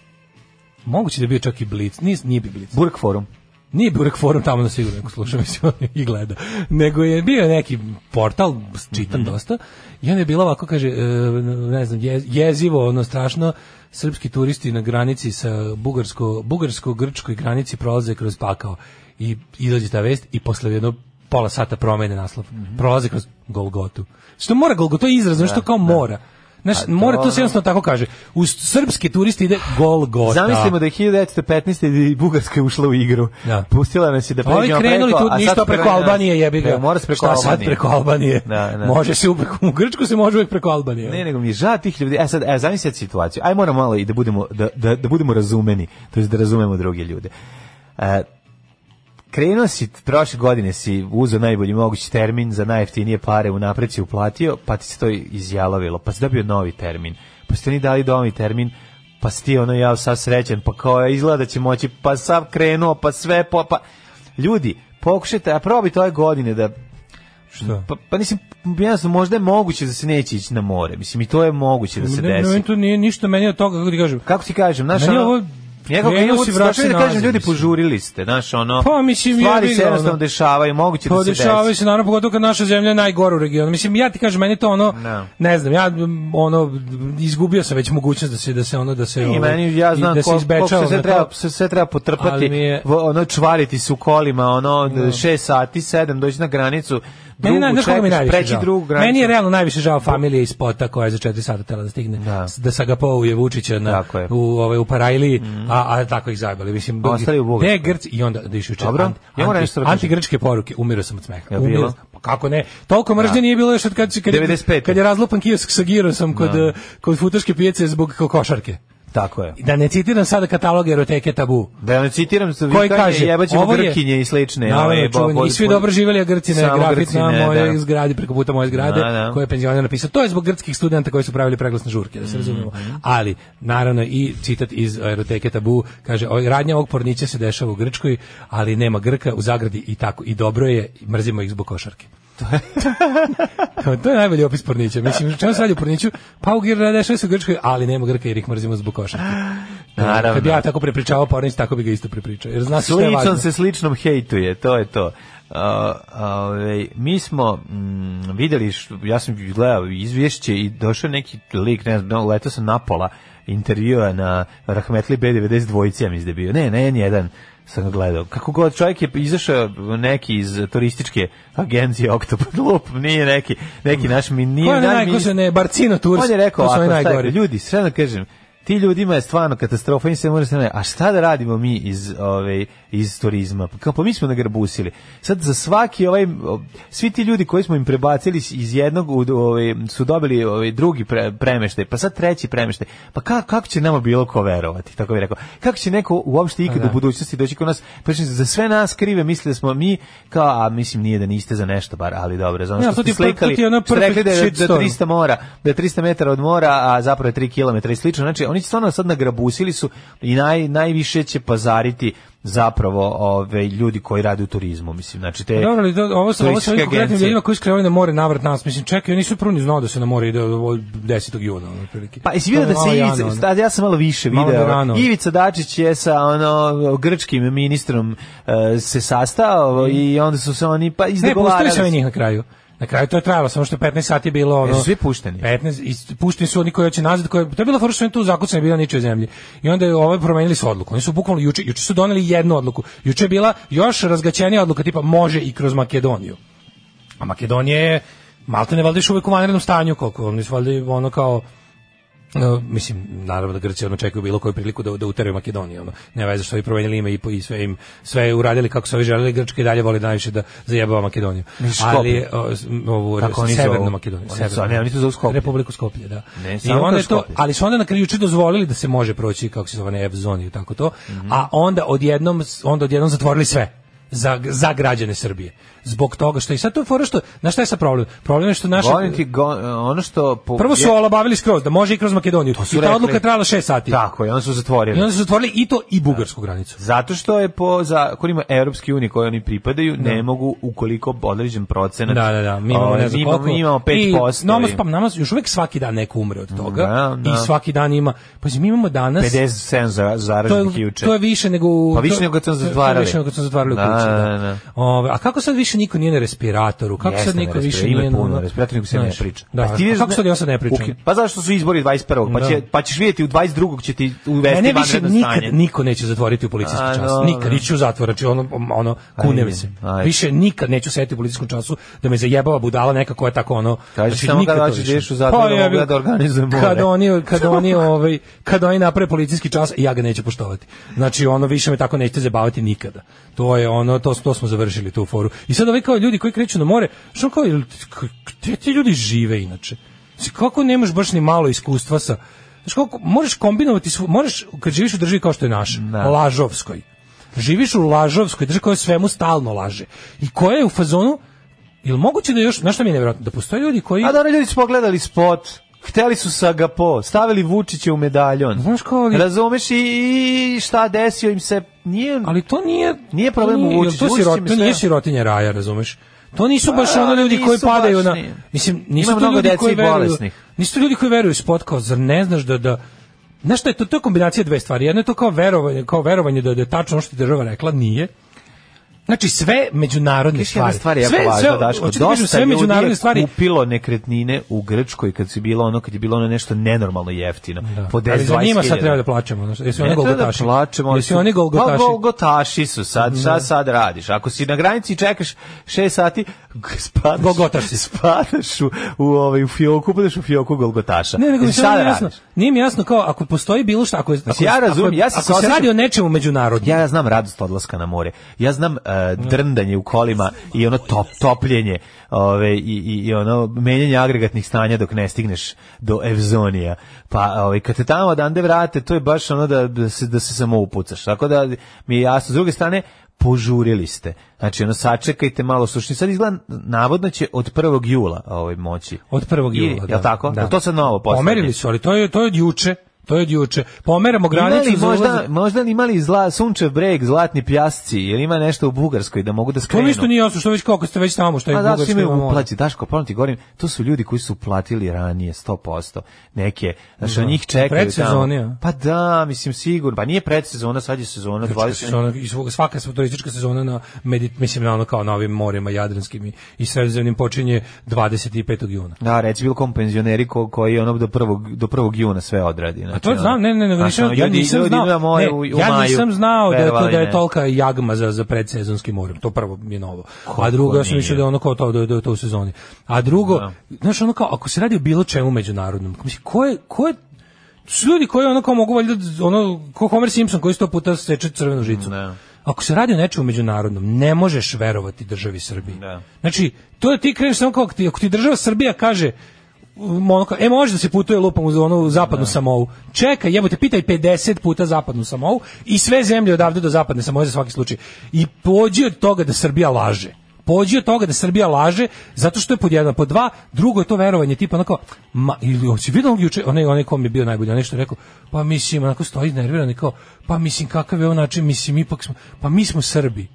Moguće da je bio čak i Blitz. Nije, nije bio Blitz.
Burk forum.
Nije Burek forum tamo na sigurno neko sluša mislim, i gleda. Nego je bio neki portal, čitam
Mhm.
dosta, i onda je bilo ovako, kaže, e, ne znam, je- jezivo, ono strašno, srpski turisti na granici sa bugarsko, bugarsko-grčkoj granici prolaze kroz pakao. I izađe ta vest i posle jedno pola sata promene naslov.
Mhm.
Prolaze kroz Golgotu. Što mora Golgotu, to je izraz, znači to kao mora. Znaš,
A to
mora, to se
ono-
jednostavno tako kaže. Uz srpske turiste ide Golgota.
Zamislimo da je 1915. i Bugarska je ušla u igru.
Da.
Pustila nas je da
Pa Ovi
pređemo
krenuli
ono,
tu
preko, a sad
ništa preko
krene nas-
Albanije, jebi ga.
Ne, mora se preko
Šta sad
Albanije.
preko Albanije?
Da, da.
Može se uvek, u Grčku se može uvek preko Albanije.
Ne, nego mi je žao tih ljudi. E sad, e, zamisli sad situaciju. Aj moramo malo i da budemo, da, da, da budemo razumeni, to jest da razumemo druge ljude. E, krenuo si, prošle godine si uzeo najbolji mogući termin za najjeftinije pare, unapred si uplatio, pa ti se to izjalovilo, pa si dobio novi termin, pa ste ni dali novi termin, pa si ti ono ja sav srećen, pa kao izgleda da će moći, pa sav krenuo, pa sve, pa, pa... Ljudi, pokušajte, a probajte ove godine da
Šta?
pa, pa mislim, jasno, možda je moguće da se neće ići na more. Mislim, i to je moguće da se
Ne, ne,
desi.
meni to nije ništa meni od toga, kako ti kažem.
Kako ti kažem, znaš,
Meni
ono...
ovo-
Nekako,
krenuo
nekako,
si,
znaš,
vraćaj
da kažem,
nazad,
ljudi,
mislim.
požurili ste, znaš, ono...
Pa, mislim,
stvari
jebi
se
ga,
jednostavno
ono.
dešavaju, moguće da se
Podešavaju
desi.
se naravno pogotovo kad naša zemlja je najgora u regionu. Mislim ja ti kažem meni je to ono
Da.
ne znam ja m, ono izgubio sam već mogućnost da se da se ono da se
I
ovaj,
meni, ja
i
znam
da se ono
koliko, koliko se
izbečavam
sve
na to.
treba, se sve treba potrpati,
Ali mi je-
vo- ono, čvariti se u kolima, ono, 6 sati, 7, doći na granicu, drugu
Meni je naj- znaš koga mi je
čekaš,
najviše
preći
žao?
drugu granicu.
Meni je realno najviše žao familije iz Pota koja je za 4 sata tela da stigne.
Da.
Da, da Sagapouje Vučića na,
Tako je. Mhm.
u, ovaj, u Parajliji, a, a tako ih zajbali. Mislim,
A ostali u Bugarskoj.
gde je Grč i onda da išu čet.
Dobro, ja moram nešto da kažem.
antigrčke poruke, umirio sam od smeha.
Ja bilo?
Umirao sam. Pa kako ne? Toliko mržnje nije bilo još od kad, kad,
95..
kad je razlupan kiosk sa Girosom kod, eh, kod futoške pijace zbog košarke.
Tako je.
Da ne citiram sada katalog eroteke tabu
Da ne citiram sa
koji
vikanje,
kaže
jebaćemo
ovo je-
Grkinje i slične.
Naravno,
ove, bo-
čuveni.
bo-
I svi
bo-
dobro živjeli, a Grci ne,
Samo
grafit
Grci
na
ne,
mojoj
da.
zgradi, preko puta moje zgrade,
Da, da.
koje je penzioner napisao. To je zbog grčkih studenta koji su pravili preglasne žurke, da se razumemo.
Mhm.
Ali, naravno, i citat iz Aeroteke Tabu, kaže, "Ovaj, radnja ovog pornića se dešava u Grčkoj, ali nema Grka u zagradi i tako. I dobro je, mrzimo ih zbog košarke. Kao, to je najbolji opis pornića. Mislim, čemu se radi u porniću? Pa u Grčkoj dešava se u Grčkoj, ali nema Grka jer ih mrzimo zbog košarke.
Naravno.
Kad bi ja tako prepričavao pornić, tako bi ga isto prepričao. Jer zna se šta je važno.
Sličan se sličnom hejtuje, to je to. Uh, ovaj, mi smo mm, videli, š- ja sam gledao izvješće i došao neki lik, ne znam, leto sam napola intervjua na Rahmetli B92 dvojici, ja mislim da je bio. Ne, ne, N1 sam ga gledao. Kako god, čovjek je izašao neki iz turističke agencije Octopus Loop, nije neki, neki naš mi nije...
Ko je onaj
naj- mi-
ko se ne Barcino Tours?
On je rekao,
to su
ako
oni najgori.
najgori. ljudi, sve da kažem, ti ljudima je stvarno katastrofa, im se mora se ne, a šta da radimo mi iz ovaj iz turizma? Pa kao pa mi smo nagrbusili. Sad za svaki ovaj o, svi ti ljudi koji smo im prebacili iz jednog u ovaj su dobili ovaj drugi pre, premeštaj, pa sad treći premeštaj. Pa ka, kako će nama bilo ko verovati? Tako bih rekao. Kako će neko uopšte
Pa
ikad u budućnosti doći kod nas? Pa mislim, za sve nas krive misle da smo mi kao a mislim nije da niste za nešto bar, ali dobro, za ono
Ne,
što
ali to ti
ste
je per-
slikali.
to ti je ono
što ste rekli da je
perfect
da
shitstorm.
300 300 mora, da je 300 metara od mora, a zapravo je 3 km i slično. Znači, oni stvarno sad nagrabusili su i naj, najviše će pazariti zapravo ove ljudi koji rade u turizmu, mislim. Znači, te
Dobro, ali do, ovo sa ovo sa
turističke
ovim konkretnim
agencije.
ljudima koji skreću na more navrat nas, mislim, čekaj, oni su prvo ni znao da se na more ide od 10. juna, ono, otprilike.
Pa jesi vidio
To je
da
malo
se Ivica,
jano, ono.
sad ja sam malo više
Malo
video.
da rano.
Ivica Dačić je sa ono grčkim ministrom e, se sastao i onda su se oni pa
Mm. Ne, pustili
izdogovarali.
su oni njih na kraju. Na kraju to je trajalo, samo što je 15 sati bilo ono.
Jesu svi pušteni?
15 i pušteni su oni koji hoće nazad, koji to je bila fora što su oni tu zakucani bila ničoj zemlji. I onda je ovaj promenili su odluku. Oni su bukvalno juče juče su doneli jednu odluku. Juče je bila još razgaćenija odluka tipa može i kroz Makedoniju. A Makedonija je malte ne valjda još uvek u vanrednom stanju, koliko oni su valjda ono kao E, mislim, naravno da Grci ono čekaju bilo koju priliku da, da uteraju Makedoniju, ono. Ne veze što ovi promenili ime i, po- i sve im sve uradili kako su ovi želeli, Grčka i dalje voli najviše da zajebava Makedoniju.
Mislim, Skopje.
Ali o, s- ovu
Kako oni
Severnu
zovu?
Makedoniju,
Oni
Severnu.
su- ne, oni to zovu Skopje.
Republiku Skoplje, da.
Ne,
I
samo
onda
kao
je to,
Skopje.
ali su onda na kraju juče dozvolili da se može proći kako se zove ne, F zoni i tako to, a onda odjednom onda odjednom zatvorili sve za, za građane Srbije. Zbog toga što i sad to je fora što, znaš šta je sa problem? Problem je što naša
Volim ti go- ono što... po-
Prvo su
je-
olabavili skroz, da može i kroz Makedoniju.
To su
I ta
rekli.
odluka je trajala 6 sati.
Tako je, onda su zatvorili.
I onda su zatvorili i to i bugarsku granicu.
Zato što je po zakonima Evropske unije koje oni pripadaju, ne mogu ukoliko određen procenat.
Da, da, da, mi imamo
ovaj,
ne znam
mi imamo-
koliko.
Mi imamo 5%.
I nama,
i
pa, nama još uvek svaki dan neko umre od toga.
Da, da.
I svaki dan ima, pa mi imamo danas...
57 za-
to
zaraženih
je,
juče.
to je više nego... u-
Pa više
to-
nego kad sam
to je
zatvarali.
više nego kad sam zatvarali u
Da,
kući. Da,
da, da.
Ove, a kako sad više niko nije na respiratoru? Kako
Jeste
sad
na
niko
respiratoru,
više
ima
nije... na-
puno na respiratoru, nego se ne
Znaš,
priča.
Da,
Pa ti vidiš-
a kako sad ja sad ne pričam?
Uki- Pa zašto su izbori 21. Pa,
Da.
će, pa ćeš vidjeti u 22. će ti uvesti
Mene više
vanredno
nikad
stanje.
niko neće zatvoriti u policijsku
A,
čas.
dobro.
Nikad ići u zatvor, znači ono ono kune mi se.
Ajde, ajde.
Više nikad neću sedeti u policijskom času da me zajebava budala neka koja je tako ono.
Kaži samo
nikad
kad
to
hoćeš
više. Pa
da ideš u zatvor, da mogu
jebi-
ja da organizujem more.
Kad oni kad oni ovaj kad oni naprave policijski čas ja ga neću poštovati. Znači ono više me tako nećete zabavati nikada. To je ono to to smo završili tu foru. I sad ovi kao ljudi koji kreću na more, što kao jel- k- gde ti ljudi žive inače? Znači, kako nemaš baš ni malo iskustva sa Znaš, kako, možeš kombinovati, svu- možeš, kad živiš u državi kao što je naša, Lažovskoj, živiš u Lažovskoj, državi koja svemu stalno laže, i koja je u fazonu, jel moguće da još, znaš šta mi je nevjerojatno, da postoje ljudi koji...
A dobro, ljudi su pogledali spot, hteli su sa ga po, stavili Vučića u medaljon.
Znaš kao, ali-
Razumeš i, i šta desio im se, nije...
Ali to nije
Nije problem
to
u
nije,
Vučiću,
To,
Vučić
sirot,
im
to
sve-
nije sirotinja raja, razumeš? To nisu baš
Pa,
ono ljudi koji
nisu baš,
padaju na
nije.
mislim nisu
Ima
to
mnogo
ljudi
dece
koji
i
veruju.
bolesnih.
Nisu to ljudi koji veruju spot kao zar ne znaš da da Znaš šta je to, to je kombinacija dve stvari. Jedno je to kao verovanje, kao verovanje da, da je tačno ono što je država rekla, nije. Znači sve međunarodne
Još jedna
stvari.
stvar je jako
sve,
važna, Daško.
hoću ti kažem,
Dosta
sve
ljudi
međunarodne
je
stvari.
kupilo nekretnine u Grčkoj kad si bilo ono kad je bilo ono nešto nenormalno jeftino. Po 10
ali za njima
20
sad treba da
hiljada.
plaćamo. znaš, Jesu oni
Ne treba
golgotaši?
Da plačemo,
Jesu oni golgotaši?
Pa golgotaši su sad, šta sad radiš? Ako si na granici i čekaš 6 sati, g- spadaš,
Golgotaš si.
spadaš u, u, ovaj, u fioku, upadaš u fioku golgotaša. E,
Ne, nego mi
I
samo nije jasno. Nije mi jasno kao ako postoji bilo šta, ako, je- ako,
ja
ako je-
razumem, ja se
ako se
osjećam-
radi o nečemu međunarodnom.
Ja znam radost odlaska na more. Ja znam e, drndanje u kolima i ono top, topljenje ove, i, i, i ono menjanje agregatnih stanja dok ne stigneš do Evzonija. Pa ove, kad te tamo odande vrate, to je baš ono da, da, se, da se samo upucaš. Tako da mi je jasno. S druge strane, požurili ste. Znači, ono, sačekajte malo sušni. Sad izgleda, navodno će od 1. jula ovaj, moći.
Od 1.
I-
jula.
Jel tako?
Da.
Jel to sad novo poslednje?
Pomerili su, ali to je, to je od juče. To je od juče. Pomeramo granicu
Imali
za
možda,
ulazak.
možda li imali zla, sunčev breg, zlatni pjasci, ili ima nešto u Bugarskoj da mogu da
To
skrenu?
mi isto Pa nije jasno, što već kako ste već tamo, što je
A Pa da, svi
Bugarska
imaju
ima more.
uplaći, Daško, pa ti govorim, to su ljudi koji su platili ranije 100%, neke, znači da. njih čekaju
Predsezoni, a?
tamo. Pa da, mislim, sigurno, pa nije predsezona, sad je sezona
Grčka
20.
sezona, i svog- svaka sva turistička sezona na Medi- mislim na ono kao na ovim morima jadranskim i, i sredozemnim počinje 25. juna.
Da, reci bilo kom penzioneri ko, koji ono do 1. do 1. juna sve odradi. Znači,
A to znam, ne, ne, ne,
Znaš,
nisam,
ono,
ja
ljudi-
nisam
ljudi
znao,
idu na more
ne,
u- u
ja nisam
maju,
znao da je, to,
verovali
da je
ne.
tolika jagma za, za predsezonski morem, to prvo mi je novo. a drugo, ja sam
nije?
mislio da je ono kao to, da je, da je to u sezoni. A drugo, znaš, ono kao, ako se radi o bilo čemu međunarodnom, mislim, ko je, ko je su ljudi koji ono kao mogu valjda ono ko Homer Simpson koji sto puta seče crvenu žicu.
Da.
Ako se radi o nečemu međunarodnom, ne možeš verovati državi Srbiji.
Da.
Znači, to je ti kreneš samo kao ti, ako ti država Srbija kaže um, ono kao, e može da se putuje lupom uz onu zapadnu samovu. Čekaj, jebote, pitaj 50 puta zapadnu samovu i sve zemlje odavde do zapadne samove za svaki slučaj. I pođi od toga da Srbija laže pođi od toga da Srbija laže zato što je pod jedan, pod dva, drugo je to verovanje tipa onako, ma, ili hoće vidio onog juče, onaj, onaj kom je bio najbolji, onaj što je rekao, pa mislim, onako stoji nerviran i kao, pa mislim, kakav je on način, mislim, ipak smo, pa mi smo Srbi.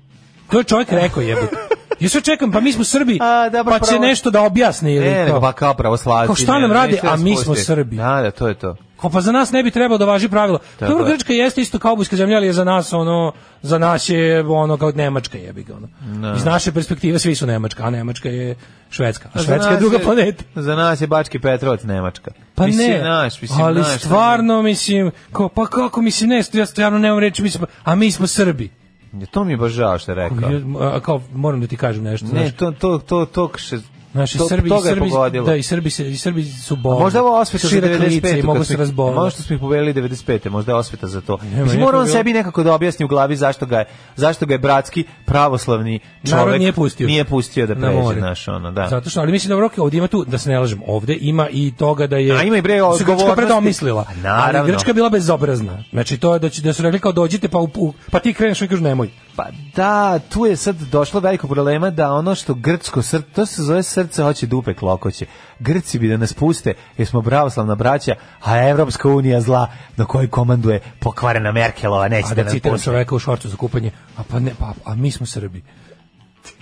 To je čovjek rekao jebote. Ja sve čekam, pa mi smo Srbi,
A, dobro,
pa će
pravo.
nešto da objasne ili
Ne,
kao.
nego pa kao pravoslavci.
Kao šta
ne,
nam
ne,
radi?
neće da
A mi
spusti.
smo Srbi.
Da, da, to je to.
Kao pa za nas ne bi trebalo da važi pravilo.
Tako
Dobro,
je.
Grčka jeste isto kaubojska zemlja, ali je za nas ono, za nas je ono kao Nemačka jebi ga ono. Iz naše perspektive svi su Nemačka, a Nemačka je Švedska. A
Pa za
Švedska je
nas
druga planeta.
Za nas je Bački Petrovac Nemačka.
Pa
Mislim,
ne,
naš, mislim,
ali
naš,
stvarno mislim, kao, pa kako mislim, ne, ja stvarno nemam reći, mislim, a mi smo Srbi.
Ja, To mi je baš žao što je rekao.
A kao, moram da ti kažem nešto,
Ne,
znaš,
to, to, to, to, kše,
Naši
to,
Srbi, i
toga je
Srbi,
pogodilo.
da, i Srbi, se, i Srbi su
A
bolni.
možda ovo osveta za
Širak lice
95.
i mogu se razboliti.
Možda smo ih pobedili 95. Možda je osveta za to.
Nema,
Mislim,
nije
mora
to
on
bilo-
sebi nekako da objasni u glavi zašto ga je, zašto ga je bratski pravoslavni čovek
Narod nije pustio.
nije pustio da
Na
pređe
more.
naš ono, da.
Zato što, ali mislim da Roki ovdje ima tu, da se ne lažem, ovdje ima i toga da je...
A ima i, bre,
da su Grčka
odgovornosti.
predomislila.
A, naravno.
Ali Grčka je bila bezobrazna. Znači to je da, će, da su rekli kao dođite pa, u- u- pa ti kreneš i kažu nemoj.
Pa da, tu je sad došlo veliko problema da ono što grčko srce, to se zove srce hoće dupe klokoće. Grci bi da nas puste jer smo pravoslavna braća, a Evropska unija zla do kojoj komanduje pokvarena Merkelova,
A
neće
Pa
da
da
nas
citiram
puste.
čoveka u šorcu za kupanje, a pa ne, pa, a mi smo Srbi.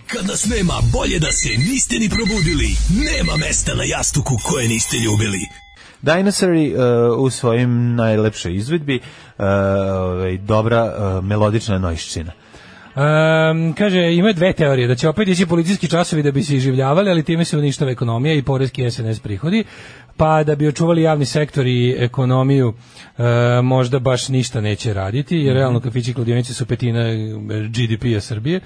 Kad nas nema, bolje da se niste ni probudili. Nema mesta na jastuku koje niste ljubili.
Dinosauri uh, u svojim najlepšoj izvedbi, uh, ovaj, dobra uh, melodična nojšćina.
Ehm, kaže, ima dve teorije, da će opet ići policijski časovi da bi se iživljavali, ali time se uništava ekonomija i porezki SNS prihodi, pa da bi očuvali javni sektor i ekonomiju, e, možda baš ništa neće raditi, jer realno kafići i kladionice su petina e, GDP-a Srbije.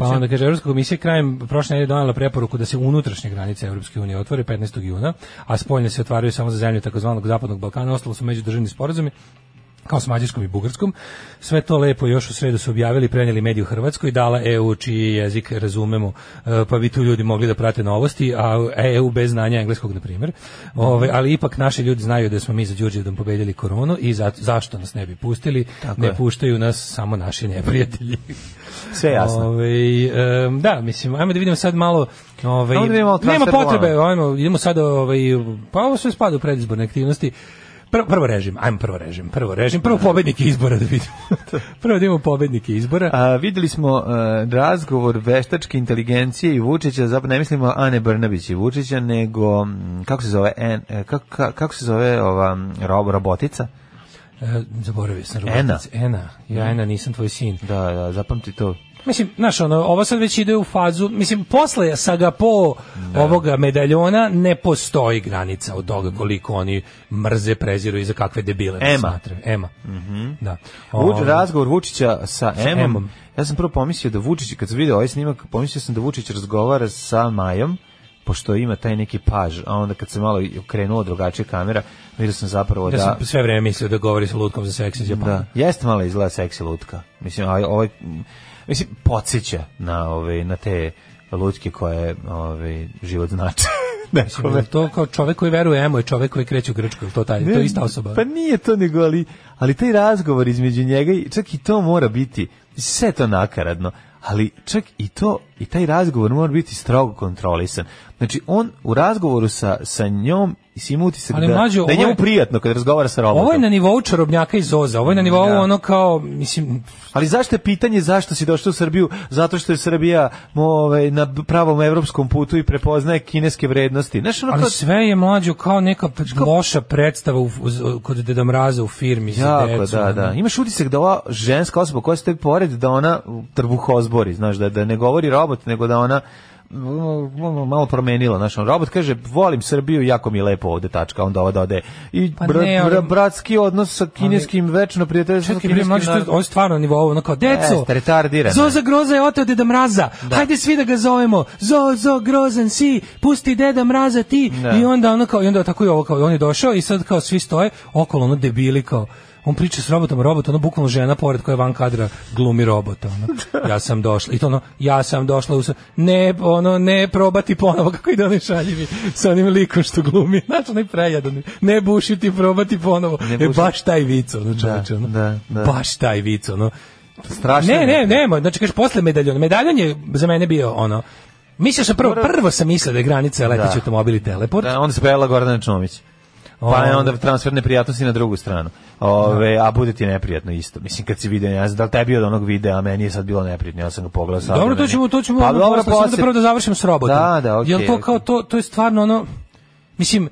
Pa onda kaže, Evropska komisija krajem prošle nedelje donela preporuku da se unutrašnje granice Evropske unije otvore 15. juna, a spoljne se otvaraju samo za zemlje takozvanog Zapadnog Balkana, ostalo su međudržavni sporazumi kao s Mađarskom i Bugarskom. Sve to lepo još u sredu su objavili, prenijeli mediju Hrvatskoj, dala EU čiji jezik razumemo, e, pa bi tu ljudi mogli da prate novosti, a EU bez znanja engleskog, na primjer. Ove, ali ipak naši ljudi znaju da smo mi za Đurđevdom pobedili koronu i za, zašto nas ne bi pustili, ne
je.
puštaju nas samo naši neprijatelji.
Sve jasno.
Ovaj, em, da, mislim, ajmo da vidimo sad malo... Ovaj,
Ajmo da vidimo malo
nema
transfer
potrebe, ajmo, idemo sad... Ovaj, pa ovo sve spada u predizborne aktivnosti. Prvo, prvo režim, ajmo prvo režim, prvo režim, prvo pobednike izbora da vidimo. prvo da imamo pobednike izbora.
A, videli smo e, razgovor veštačke inteligencije i Vučića, zapravo ne mislimo Ane Brnabić i Vučića, nego mm, kako se zove en, e, kako, ka- kako se zove ova mm, rob, robotica?
E, zaboravio sam.
Ena.
Rubac. Ena, ja Ena nisam tvoj sin.
Da, da, zapamti to.
Mislim, znaš, ono, ovo sad već ide u fazu, mislim, posle Sagapo ovoga medaljona ne postoji granica od toga koliko oni mrze, preziru i za kakve debile nas
Ema. Mhm.
smatraju. Ema. Da. Ovaj,
Vuč,
Ovo-
razgovor Vučića sa Emom.
Emom.
Ja sam prvo pomislio da Vučić, kad sam vidio ovaj snimak, pomislio sam da Vučić razgovara sa Majom, pošto ima taj neki paž, a onda kad se malo okrenula drugačija kamera, vidio sam zapravo
Ja
da...
sam sve vreme mislio da govori sa lutkom za seks iz Japana.
Da, jeste malo izgleda seksi lutka. Mislim, a ovaj m, mislim podsjeća na ove na te lutke koje ove život znači.
Mislim, je li pa- to kao čovek koji veruje emo je čovek koji kreće u Grčku, je li to taj, to je ista osoba.
Pa nije to nego ali ali taj razgovor između njega i čak i to mora biti sve je to nakaradno. Ali čak i to i taj razgovor mora biti strogo kontrolisan. Znači on u razgovoru sa sa njom i svim utisak
Ali,
da,
mlađo,
da je
ovo je-
njemu prijatno kad razgovara sa robotom.
Ovo je na nivou čarobnjaka iz Oza, ovo je na nivou
Da.
ono kao, mislim,
Ali zašto je pitanje zašto si došao u Srbiju? Zato što je Srbija mo, ovaj, na pravom evropskom putu i prepoznaje kineske vrednosti. Znaš, ono
ali
kao...
sve je mlađo kao neka
Pa
loša predstava u, u- kod Deda Mraza u firmi za
Jako,
decu.
da,
ono.
da. Imaš utisak da ova ženska osoba koja stoji pored, da ona trbuhozbori, znaš, da, da ne govori robot, nego da ona m- malo promenila, znaš, on robot kaže, volim Srbiju, jako mi je lepo ovde, tačka, onda ova ode. I
Pa
bra-
ne, ali-
bra- bratski odnos sa kineskim, večno prijateljstvo sa
Čekaj, bre,
kineskim
mlađe, to je,
narodom.
ovo je stvarno na nivou, ono kao, deco,
Jeste, retardirano E, je.
Zoza Groza je oteo Deda Mraza, hajde svi da ga zovemo, Zozo Grozan si, pusti Deda Mraza ti,
Da.
i onda ono kao, i onda tako i ovo kao, i on je došao i sad kao svi stoje, okolo ono debili kao, on priča s robotom, robot, ono bukvalno žena pored koja je van kadra glumi robota, ono, ja sam došla, i to ono, ja sam došla, u, s- ne, ono, ne probati ponovo, kako ide onaj šaljivi sa onim likom što glumi, znači onaj prejadan, ne bušiti, probati ponovo,
Ne
e,
bušiti.
baš taj vic, ono, čoveče, ono.
da, da.
Baš taj vic, ono.
Strašno
Ne,
je.
ne, nema, znači kažeš posle medaljon. Medaljon je za mene bio ono. Mislio sam prvo, prvo sam mislio da je granica leteći
Da.
automobil i teleport.
Da, onda se pojavila Gordana Čomić. Pa je onda transfer neprijatnosti na drugu stranu. Ove, a bude ti neprijatno isto. Mislim, kad si vidio, ja znam da li tebi od onog videa, a meni je sad bilo neprijatno, ja sam ga pogledao sad.
Dobro, to
meni-
ćemo, to ćemo.
Pa
ono
dobro,
posle, samo da
posle-
prvo da završim s robotom.
Da, da, okej,
Jel to kao,
okej.
to, to je stvarno ono, mislim,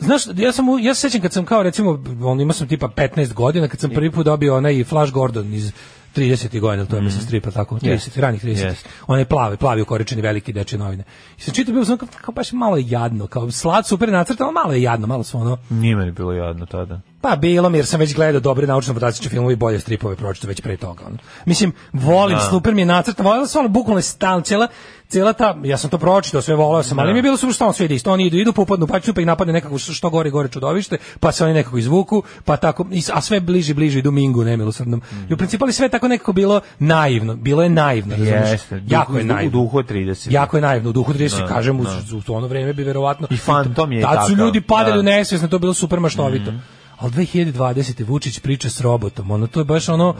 Znaš, ja sam u- ja se sećam kad sam kao recimo on imao sam tipa 15 godina kad sam prvi put dobio onaj Flash Gordon iz 30. godina, to je mislim stripa tako, 30, ranih 30.
Mhm. Jest.
Onaj plavi, plavi ukoričeni veliki dečje novine. I sam čitao bio sam ono kao, kao baš malo je jadno, kao slad super nacrtano, malo je jadno, malo su ono.
Nije meni bilo jadno tada.
Pa bilo mi, jer sam već gledao dobre naučno-fantastične filmove i bolje stripove pročito već pre toga. Ono. Mislim, volim, super mi je nacrta, volio sam, ali bukvalno je stan, cijela, cijela ta, ja sam to pročitao, sve volio sam, ali mi je bilo super što on sve ide isto, oni idu, idu, pa upadnu, pa ću, pa ih napadne nekako što, što gore, i gore čudovište, pa se oni nekako izvuku, pa tako, i s- a sve bliži, bliži idu Mingu nemilosrdnom.
Mhm.
I u principu ali sve je tako nekako bilo naivno, bilo je naivno, razumiješ?
Jeste,
jako je
u
naivno.
duhu od 30.
Jako je naivno, u duhu 30,
Da,
kažem, u,
da.
u ono vreme bi verovatno...
I Phantom je
Tad su
takav,
ljudi padali
da. Mhm.
u nesvesno, to je bilo super maštovito. Ali 2020. Vučić priča s robotom, ono, to je baš ono,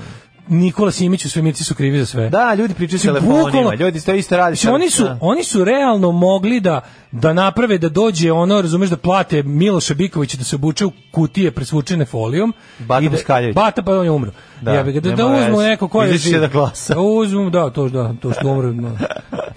Nikola Simić u svemirci su krivi za sve.
Da, ljudi pričaju s
Mislim,
telefonima,
bukvalno-
ljudi to isto radi.
Mislim,
sad-
oni su,
Da.
oni su realno mogli da, da naprave, da dođe ono, razumeš, da plate Miloša Bikovića da se obuče u kutije presvučene folijom.
Bata
I da-
Boškaljević.
Bata, pa on je umro.
Da,
Da, da, da,
nema
uzmu
veze.
neko ko je...
Izaći će da glasa.
Da uzmu, da, to, da, to što umre. no.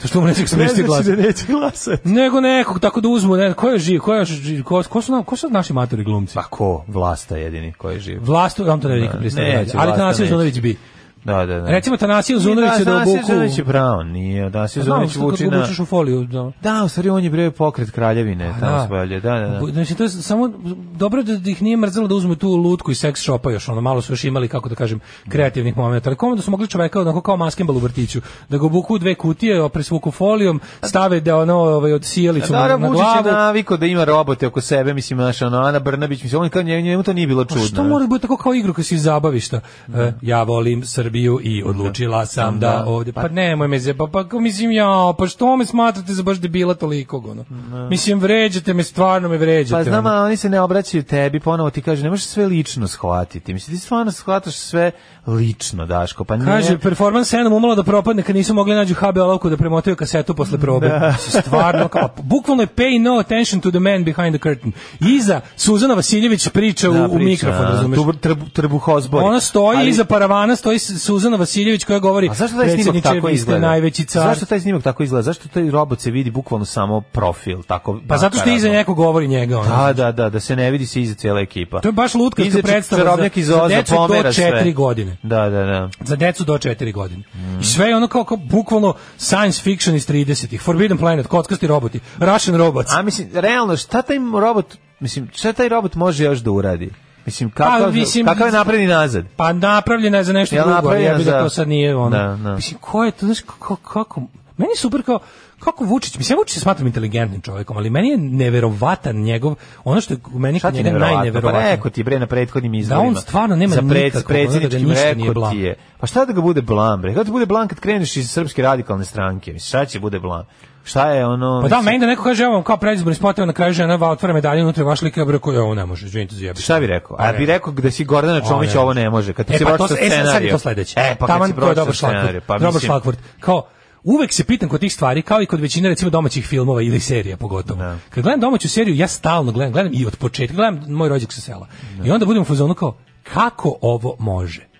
to što umre, neće sam
Ne
isti
znači
glas.
da neće glasati.
Nego nekog, tako da uzmu, ne, ko je živ, ko, je, još živ, ko, ko, su, nam- ko su naši matori glumci?
Pa ko? Vlasta jedini koji živi.
Vlast, on to ne bi nikad
Da,
pristao da
neće,
radi, ali
Vlasta
Tanasio
neće.
Zunović bi.
Da, da, da.
Recimo Tanasio Zunović je da
Tanasio Zunović je
obuku... Pa
pravo, nije. Tanasio
Znam,
Zunović
što kad
vuči
ga
na...
obučeš u foliju, da.
Da, u stvari on je bre pokret kraljevine, tamo
Pa Da.
se pojavlja, da, da, da.
Znači, to je samo, dobro da ih nije mrzelo da uzme tu lutku iz seks shopa još, ono, malo su još imali, kako da kažem, kreativnih momenta, ali komu da su mogli čoveka onako kao maskembal u vrtiću, da ga obuku u dve kutije, presvuku folijom, stave da ono, ovaj, od sijalicu na,
Naravno,
na
Vučić je
glavu.
naviko da ima robote oko sebe, mislim, znaš, ono, Ana Brnabić, mislim, on kao njemu, njemu to nije bilo
Pa
čudno.
Što mora da bude tako kao igru kad si iz zabavišta? E, ja volim Srbiju i odlučila sam da,
Da.
ovdje... Pa nemoj me zeba, pa kao mislim ja, pa što me smatrate za baš debila toliko, ono? Mislim, vređate me, stvarno me vređate.
Pa znam,
ono.
a oni se ne obraćaju tebi, ponovo ti kažu, ne možeš sve lično shvatiti. Mislim, ti stvarno shvataš sve lično, Daško, pa nije...
Kaže, performans 7 umalo da propadne kad nisu mogli nađu HB olovku da premotaju kasetu posle probe. Mislim, Stvarno, kao, bukvalno je pay no attention to the man behind the curtain. Iza, Suzana Vasiljević priča u,
Da,
u
priča,
mikrofon,
a,
razumeš?
tu trbu- trbuhozbori.
Ona stoji
Ali-
iza paravana, stoji S- Suzana Vasiljević koja govori
A zašto taj snimak
"Predsjedniče,
tako
vi ste
izgleda?
najveći car.
Zašto taj snimak tako izgleda? Zašto taj robot se vidi bukvalno samo profil? Tako
Pa zato što iza
nakaradno?
neko govori njega. Ono.
Da, da, da, da se ne vidi se iza cijela ekipa.
To je baš lutkarska
Iza čar-
predstava za-
čarobnjak iz
za
Oza
decu do
pomera sve.
četiri godine.
Da, da, da.
Za decu do 4 godine.
Mm.
I sve je ono kao, kao bukvalno science fiction iz 30-ih. Forbidden Planet, kockasti roboti, Russian robots.
A mislim, realno, šta taj robot, mislim, šta taj robot može još da uradi? Mislim, kakav,
Pa, mislim-
kakav je napred i nazad?
Pa napravljena je za nešto
Jel
drugo, ali ja
napravljena
bih da
za-
to sad nije ono.
Da, da.
Mislim, ko je to, znaš, kako, kako, meni je super kao, kako Vučić, mislim, ja Vučić se smatram inteligentnim čovjekom, ali meni je neverovatan njegov, ono što je u meni
Šta
kod
ti
njega
neverovatno? Pa
najneverovatnije.
rekao ti bre na prethodnim izborima.
on stvarno nema
za pred,
nikakvog, ono
predsjedničkim
da ga ništa
rekao
nije blam.
ti je. Pa šta da ga bude blam bre? Kako ti bude blam kad kreneš iz srpske radikalne stranke? Mislim, šta će bude blam? Šta je ono...
Pa da,
mislim,
meni da neko kaže, evo vam kao predizborni spot, evo na kraju žena va otvara medalje, unutra je vaš lik, ja bih rekao, "Jo, ovo ne može, izvinite, zjebite.
Šta bi rekao?
Pa
A bi
ne.
rekao da si Gordana Čomić
ne.
ovo ne može. Kad ti
E,
si
pa
pročitao
to, e, sad- sad je
scenarij.
to sledeće.
E, pa kad
Taman
si
to je
pročitao
dobar šlagvord.
scenarij. Pa
dobar
mislim,
šlagvord. Kao, uvek se pitam kod tih stvari, kao i kod većine recimo domaćih filmova ili serija pogotovo.
Da.
Kad gledam domaću seriju, ja stalno gledam, gledam i od početka, gledam moj rođak sa sela. I onda budem u fazonu kao, kako ovo može?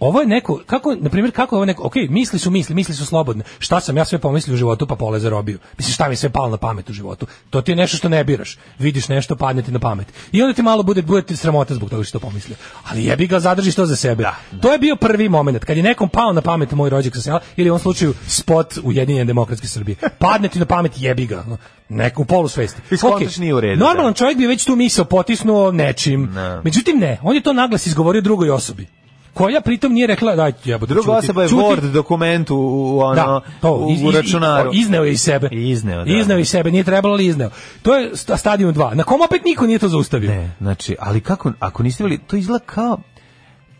Ovo je neko, kako, na primjer, kako je ovo neko, ok, misli su misli, misli su slobodne. Šta sam ja sve pomislio u životu, pa pole zarobio. Mislim, šta mi je sve palo na pamet u životu? To ti je nešto što ne biraš. Vidiš nešto, padne ti na pamet. I onda ti malo bude, bude ti sramota zbog toga što to pomislio. Ali jebi ga, zadržiš to za sebe. To je bio prvi moment, kad je nekom pao na pamet moj rođak sa sela, ili u ovom slučaju spot Ujedinjene demokratske Srbije. Padne ti na pamet, jebi ga. ono, Neku u polu svesti.
I skontaš
Ok,
nije u redu,
Normalan
da.
čovjek bi već tu misao potisnuo nečim.
Ne.
Međutim, ne. On je to naglas izgovorio drugoj osobi koja pritom nije rekla daj jebote
Druga
čuti,
osoba je
čuti.
Word dokument u, u, ono,
Da, to,
u,
iz-
u
iz-
računaru.
Izneo je iz sebe.
Izneo, da.
Izneo iz sebe, nije trebalo ali izneo. To je sta- stadion 2. Na kom opet niko nije to zaustavio.
Ne, znači, ali kako, ako niste bili, to izgleda kao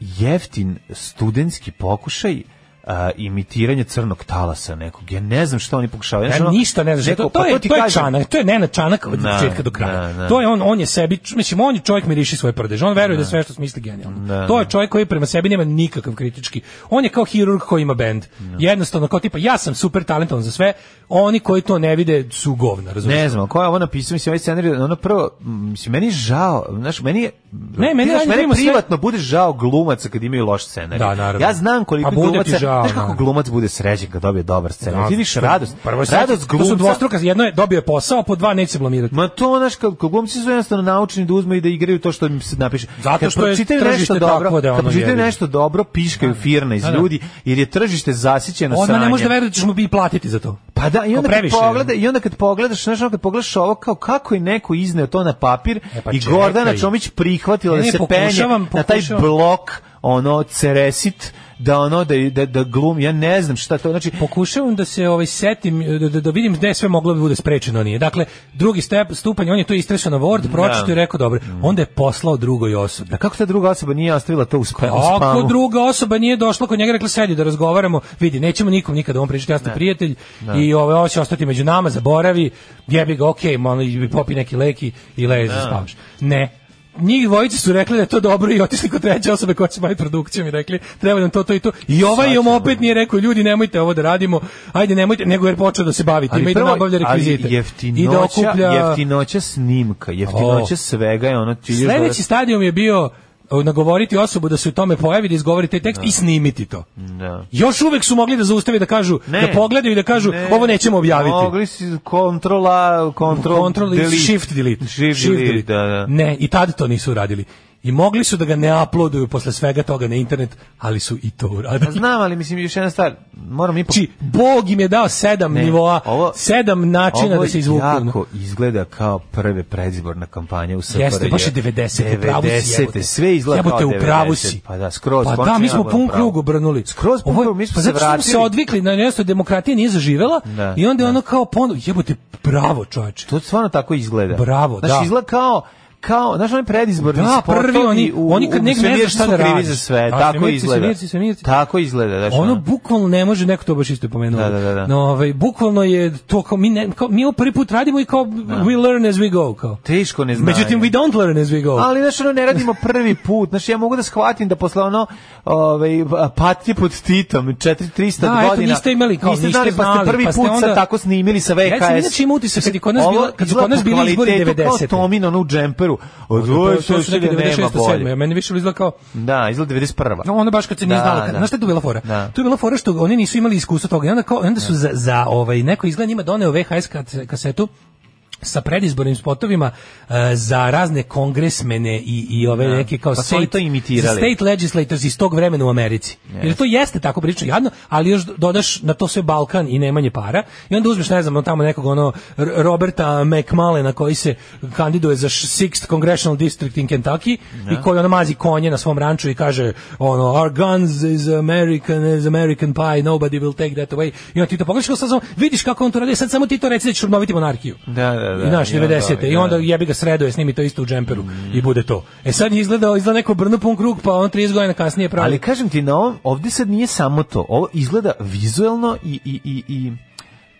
jeftin studentski pokušaj a, imitiranja crnog talasa nekog. Ja ne znam što oni pokušavaju.
Ja
Znaš, ono,
E, ništa ne znaš.
neko-
to, to
pa
je,
ti
to je
kažem.
čanak, to je Nenad Čanak od
Da,
početka do kraja.
da, da.
To je on, on je sebi, mislim, on je čovjek miriši svoje prdež. On veruje da je sve što smisli genijalno.
Da,
to je čovjek koji prema sebi nema nikakav kritički. On je kao hirurg koji ima bend. Jednostavno, kao tipa, ja sam super talentovan za sve, oni koji to ne vide su govna, razumiješ?
Ne znam, ko je ovo napisao, mislim, ovaj scenarij, ono prvo, m, mislim, meni je žao, znaš, meni je,
Ne, meni je
znaš,
ajde,
meni
vidimo sve-
privatno bude žao glumaca kad imaju loš scenarij.
Da, naravno.
Ja znam koliko
Pa bude ti
glumaca,
žao,
znaš kako
naravno.
glumac bude srećen kad dobije dobar scenarij.
Da,
Ti vidiš
to-
radost,
Prvo je
radost
sad- To su
glumca,
dvostruka, jedno je dobio je posao, po dva neće se blamirati.
Ma to znaš kad kad glumci su jednostavno naučeni da uzmu i da igraju to što im se napiše.
Zato
Kad
što je
pročitaju
tržište
nešto
takvo
dobro,
da je
kad
ono
pročitaju
jebi ga.
nešto dobro, piškaju firna iz
Da, da.
ljudi jer je tržište zasićeno
Odmah ne
sranjem.
može da veruje da ćeš mu bi i platiti za to.
Pa da, i
Kao
onda kad
previše je.
pogleda, i onda kad pogledaš, znaš, ono kad pogledaš ovo kao kako je neko izneo to na papir
E, pa
i
čekaj.
Gordana Čomić prihvatila
Ne,
da
ne,
se penje
pokušavam,
na taj
pokušavam.
blok ono ceresit da ono da da da glum ja ne znam šta to znači
Pokušavam da se ovaj setim da, da, da vidim gde je sve moglo da bude sprečeno a nije. Dakle, drugi step stupanj, on je to istresao na Word, pročitao i rekao dobro. Onda je poslao drugoj osobi.
a kako ta druga osoba nije ostavila to u spa- u spamu
Ako druga osoba nije došla kod njega, i rekla sedi da razgovaramo, vidi, nećemo nikom nikada on pričati, ja sam prijatelj i ove, ovo će ostati među nama, zaboravi, jebi ga, okej, malo i popi neki leki i leži da. spavaš. Ne, Njih dvojice su rekli da je to dobro i otišli kod treće osobe koja se bavi produkcijom i rekli treba nam to, to i to. I ovaj im opet nije rekao ljudi nemojte ovo da radimo, ajde nemojte, nego je počeo da se bavi time i da nabavlja rekvizite.
ali jeftinoća,
I da okuplja...
jeftinoća snimka, jeftinoća
O.
svega je ono ti ideš
Sledeći stadijum je bio o, nagovoriti osobu da se u tome pojavi, da izgovori taj tekst i snimiti to.
Da.
Još uvek su mogli da zaustave da kažu, da pogledaju i da kažu
ne.
ovo nećemo objaviti.
Mogli si kontrola, kontrol,
Control i
delete.
shift delete.
Shift, delete, da, da.
Ne, i tad to nisu uradili. I mogli su da ga ne uploaduju posle svega toga na internet, ali su i to
Pa
uradili.
Znam, ali mislim, još jedna stvar, moram ipak...
Znači, Bog im je dao sedam
Ne,
nivoa,
ovo-
sedam načina
Ovo
da se izvuku. ono.
jako izgleda kao prve predizborna kampanja u SFRJ.
Jeste, baš je 90, u pravu si.
90,
jebote.
sve izgleda kao
Jebote,
90.
u pravu si.
Pa da, skroz.
Pa da,
konačno
mi
ja
smo
budem
pun
pravo.
krug obrnuli.
Skroz pun
Ovo je-
krug, mi smo
pa
se
zato što smo se
vratili.
odvikli, na nešto demokratija nije zaživela
Da,
i onda je
da.
ono kao ponovno, jebote, bravo čoveče.
To stvarno tako izgleda.
Bravo,
znači,
da.
izgleda kao kao, znaš, oni predizborni
Da,
spotovi
prvi oni-
u,
oni kad
u
nek ne
svemir
znaš šta
su
da
krivi
radiš.
za sve,
Da,
tako
svemirci,
izgleda.
svemirci, svemirci.
Tako izgleda, znaš,
Ono
ono.
bukvalno ne može, neko to baš isto je pomenuo.
Da, da, da, da.
No, ovaj, bukvalno je to kao mi, ne, kao, mi ovo prvi put radimo i kao we learn as we go. Kao.
teško ne znaju.
Međutim, we don't learn as we go.
Ali znaš, ono ne radimo prvi put. Znaš, ja mogu da shvatim da posle ono ovaj patnje pod Titom 4300
Da, eto,
godina.
niste imali kao,
niste
niste
znali, pa ste
znali,
prvi
pa ste
put sad
onda-
tako snimili sa VHS.
Ja sam inače imao utisak kad je kod nas
Ovo
bila- kad su kod
izgleda
nas
po
bili izbori
kvalitetu Kao
90-te.
Tomin ono u džemperu. Od
to, to su neke
96
96. 7. Ja meni više izgleda kao
Da, izgleda 91.
No, ono baš kad se nije
Da,
znalo, kad,
da.
znaš šta je tu bila fora?
Da.
Tu je bila fora što oni nisu imali iskustva toga. I onda, kao, onda su za, za ovaj, neko izgled njima doneo VHS kad- kasetu sa predizbornim spotovima eh, za razne kongresmene i, i ove neke kao
Pa su oni to imitirali.
za state legislators iz tog vremena u Americi. Jer to jeste tako prilično jadno, ali još dodaš na to sve Balkan i nemanje para i onda uzmeš, ne znam, tamo nekog ono R- Roberta McMallena koji se kandiduje za š- 6th Congressional District in Kentucky i koji ono mazi konje na svom ranču i kaže ono, our guns is American is American pie, nobody will take that away i onda ti to pogledaš kao sad samo, vidiš kako on to radi sad samo ti to reci da ćeš obnoviti monarhiju
Da, da, da.
i naš
I onda
90-te. I
ovi,
onda
da.
jebi ga sredo je snimi to isto u džemperu i bude to. E sad je izgledao, izgleda neko brno pun krug, pa on 30 godina kasnije pravi.
Ali kažem ti, na ovom, ovdje sad nije samo to. Ovo izgleda vizuelno i, i, i, i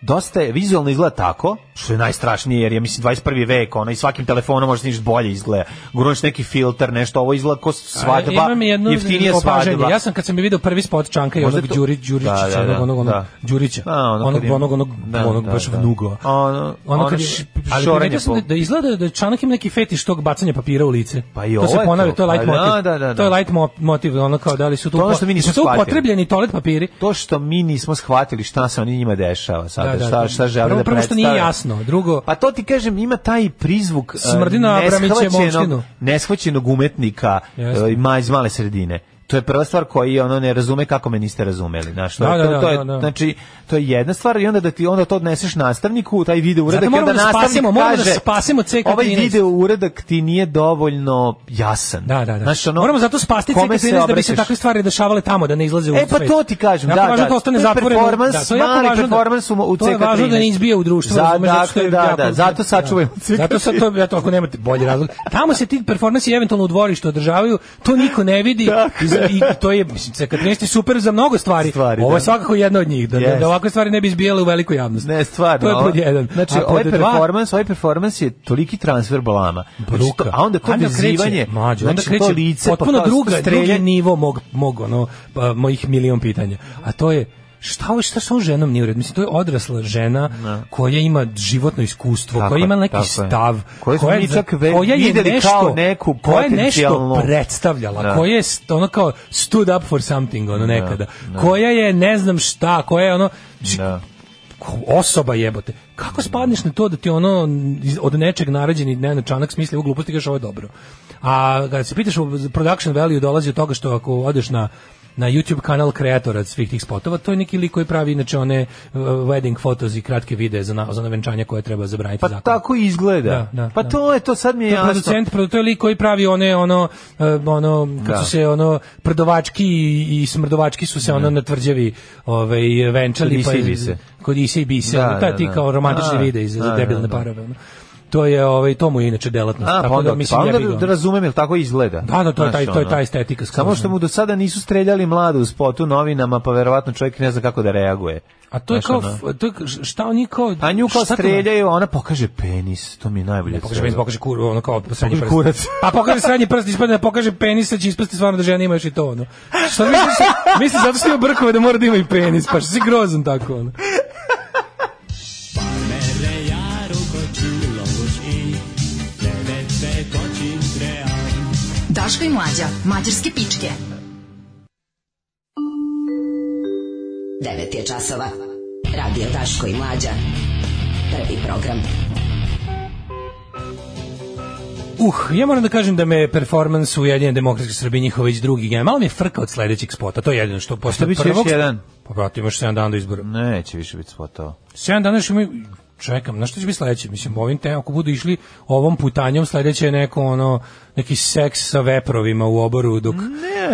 dosta je, vizuelno izgleda tako, što je najstrašnije jer je mislim 21. vek ona i svakim telefonom možeš ništa bolje izgleda gurneš neki filter nešto ovo izgleda kao svadba
A, imam jedno
jeftinije
opažanje.
svadba
Ja sam kad sam je video prvi spot Čanka i
Možda
onog
to-
Đurić, Đurićića,
Da, da, da,
onog, onog, onog
da.
Đurića,
A, ono
onog,
kad je-
onog, onog,
Da,
onog
da,
baš
da.
vnugo.
Ono- ono
kad je-
š-
ali
šoranje
primetio sam da,
po-
da izgleda da Čanak ima neki fetiš tog bacanja papira u lice.
Pa i
to se
ovo je
ponavlja,
to.
to je light
Pa da,
motiv.
da, da, da.
To je light mo- motiv, ono kao da li su tu
To je ono
po-
što mi nismo
su tu
shvatili.
upotrebljeni toalet papiri.
to što mi nismo shvatili šta se oni njima dešava sada,
Da, da,
šta,
da.
šta žele
Prvo-
da
prvo što nije
predstave.
jasno, drugo-
Pa to ti kažem, ima taj prizvuk e,
Smrdi na Abramićevu
neshvaćenog-
opštinu.
neshvaćenog umetnika
Jeste.
e, ma, iz male sredine. To je prva stvar koji ono ne razume kako me niste razumeli. Znaš, to, je-
Da, da,
to- to
da,
je,
da, da.
znači, to je jedna stvar i onda da ti onda to odneseš nastavniku, taj video uredak,
Zato
i onda
moramo da
nastavnik
spasimo, moramo da
kaže,
spasimo CK13.
Ovaj video uredak ti nije dovoljno jasan.
Da, da, da.
Znaš, ono,
Moramo zato spasti
kome se
CK13 da bi se
obraćaš?
takve stvari dešavale tamo, da ne izlaze u
E pa
svet.
to ti kažem,
jako
da,
važno
da.
da ostane
To je
zatvoreno.
performans,
da, to je jako
mali
važno
performans u- u
To je važno da ne
CK13.
izbije u društvo.
Za-
razumeš, zato što je
dakle, da,
jako-
da, zato sačuvajmo CK13.
Zato sad to, ja to ako nemate bolji razlog. Tamo se ti performansi eventualno u dvorištu održavaju, to niko ne vidi. I, za- i to je, mislim, CK13 je super za mnogo stvari.
Stvari,
Ovo je
da.
svakako jedna od njih, da, da,
Jest.
da ovakve stvari ne bi izbijale u veliku javnost.
Ne, stvarno.
To je pod
ovo-
jedan.
Znači,
A pod
ovaj
dva-
performans, ovaj performans je toliki transfer balama. Znači,
Bruka.
to- a onda to vezivanje,
kreće, mlađe, onda
znači, to
kreće
lice, pa
potpuno
to
druga, drugi
streljanje.
nivo mog, mog ono, pa, mojih milion pitanja. A to je, šta ovo šta sa ovom ženom nije u redu? Mislim to je odrasla žena koja ima životno iskustvo,
Tako
koja ima
je,
neki
tako je.
stav,
Koju smo mi čak ve-
koja je
videli
nešto,
kao neku
koja je nešto
potencijalnu-
predstavljala,
Da.
koja je st- ono kao stood up for something ono nekada, koja je ne znam šta, koja je ono znači,
Da.
ko- osoba jebote. Kako spadneš na to da ti ono iz- od nečeg narađeni Nenad Čanak smisli u gluposti i kažeš ovo je dobro. A kad se pitaš o production value dolazi od toga što ako odeš na na YouTube kanal kreatora svih tih spotova, to je neki lik koji pravi inače one uh, wedding fotos i kratke videe za, na, za ona venčanja koje treba zabraniti
Pa
zakonom.
tako i izgleda.
Da, da,
pa
da.
to je, to sad mi je
To je
jasno.
producent, produ- to je lik koji pravi one ono eh, ono kad
Da.
su se ono prdovački i, i smrdovački su se ono na tvrđavi ovaj venčali
Kod ICBC.
kod Ise i Bise,
Da,
ono, taj
da,
ti
da.
kao romantični
Da,
videi za, za
da,
debilne
da, da.
parove. ono. To je ovaj to mu je inače delatnost.
A, pa
tako
onda,
da mislim
pa onda
jebi ga,
da
ono. Pa
razumem, jel tako izgleda?
Da, da, to je
Znaš,
taj- to je
ono.
ta estetika skroz,
Samo što
ono.
mu do sada nisu streljali mladu u spotu novinama, pa verovatno čovjek ne zna kako da reaguje.
A to je
Znaš,
kao
ono.
f- to je k- šta oni kao
A nju kao
šta to- znači?
streljaju, ona pokaže penis, to mi je najbolje.
Ne pokaže
od
penis,
svega.
pokaže kur, ono kao srednji
Pokaže
prst.
kurac.
Pa pokaže srednji prst, ispadne da pokaže penis, sad će ispasti stvarno da žena ima još i to, ono. Što misliš, misliš zato što ima brkove da mora da ima i penis, pa što si grozan tako, ono.
Daško i mlađa, mađarske pičke. 9 je časova. Radio Daško i mlađa. Prvi program.
Uh, ja moram da kažem da me performans u Jedine demokratske Srbije njihov već drugi gen. Malo mi je frka od sledećeg spota, to je jedino što posle
bit će još
prvog.
jedan?
Pa brate, imaš 7 dana do izbora.
Neće više biti spotao.
7 dana još imaju čekam, na što će biti sledeće? Mislim, ovim temom, ako budu išli ovom putanjom, sledeće je neko, ono, neki seks sa veprovima u oboru dok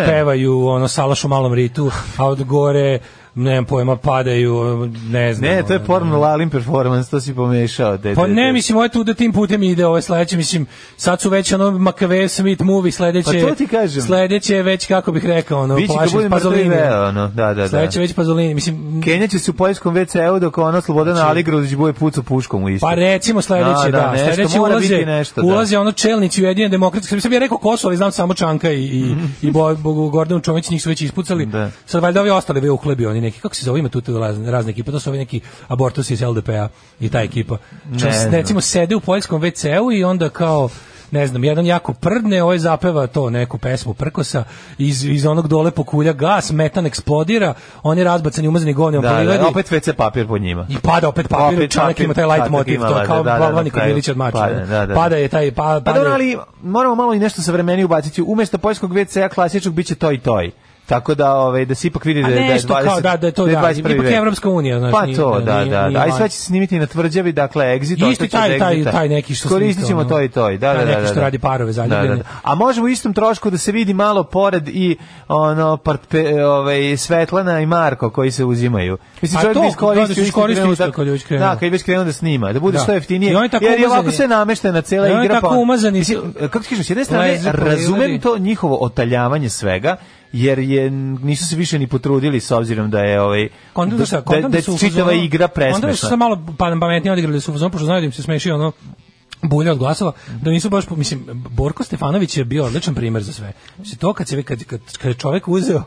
pevaju, ono, salaš u malom ritu, a od gore, nemam pojma, padaju, ono, ne znam.
Ne, to je
ono,
porno lalim performans, to si pomešao. De,
Pa
de,
ne,
de.
mislim, ovo je tu da tim putem ide, ovo je sledeće, mislim, sad su već ono Makave Smith movie, sledeće,
Pa to ti kažem.
sledeće je već, kako bih rekao, ono,
Biće kad
plašim
bude mrtvi
Pazolini.
veo, ono, da, da, da.
Sledeće već Pazolini, mislim,
Kenja će se u poljskom WC-u dok ona Slobodana Aligrović bude pucu puškom u istu.
Znači- Pa recimo sledeće,
Da,
da,
da, nešto,
sledeće
mora
ulaze,
biti nešto, da.
ulaze ono čelnici Ujedinjene demokratske Srbije. Sam ja rekao Kosovo, ali znam samo Čanka i, i, i Bo, Bo, Gordanu Čomić, njih su već ispucali.
Mhm. Da.
Sad valjda ovi ostali bio uhlebi, oni neki, kako se zove, ima tu te razne, razne ekipe, to su ovi neki abortus iz LDP-a i ta ekipa. Čas,
znam.
recimo sede u poljskom WC-u i onda kao ne znam, jedan jako prdne, ovaj zapeva to neku pesmu Prkosa, iz, iz onog dole pokulja gas, metan eksplodira, on je razbacan i umazani govnjom po
da, da,
livadi.
da, opet WC papir pod njima.
I pada opet papir,
Opet
čanak
papir,
ima taj light
čanak
motiv,
ima,
to je
da,
kao
da, da,
Balvan i
na kraju.
Kodilić od mača.
Pada, da, da.
Pada je taj, pa,
Pa dobro,
pada-
ali moramo malo i nešto savremenije ubaciti. Umesto poljskog WC-a klasičnog biće toj toj. Tako da, ovaj, da se ipak vidi da,
A
je- da je 20,
nešto kao, da, da je to,
je
da,
21.
ipak je
vek.
Evropska unija, znaš,
Pa
nije-
to,
nije-
da, da,
nije
da. A i
van.
sve će se snimiti na tvrđavi, dakle, exit,
Isti
ostaće
taj-
od
taj-
exita.
taj neki što
Koristit
snimka,
ćemo
ono,
to i to, da, da,
taj
da.
neki
da,
što
da.
radi parove zaljubljene.
Da, da, da. A možemo u istom trošku da se vidi malo pored i ono, partpe, ovaj, Svetlana i Marko koji se uzimaju. Mislim,
A
čovjek
Pa to,
bi
da, da se
iskoristio,
iskoristi
krenuo
isto
da-
kad je već krenuo.
Da, kad je već krenuo da snima, da bude
Da.
što jeftinije.
I oni tako
Jer je ovako
umazani-
sve nameštena cela
I oni
igra.
tako
pa-
umazani su-
Mislim, Kako ti kažeš, s jedne strane,
Lezi po livadi.
razumem to njihovo otaljavanje svega jer je nisu se više ni potrudili s obzirom da je ovaj
Kontam da,
da,
šta, kontam
da je
su u
čitava
fazonu-
igra
Kontam da su
presmešna.
se malo pa- pametnije odigrali da su u fazonu, pošto znaju da im se smeši ono bulja od glasova, da nisu baš, po- mislim, Borko Stefanović je bio odličan primer za sve. Mislim, to kad, se, kad, kad, kad je čovek uzeo,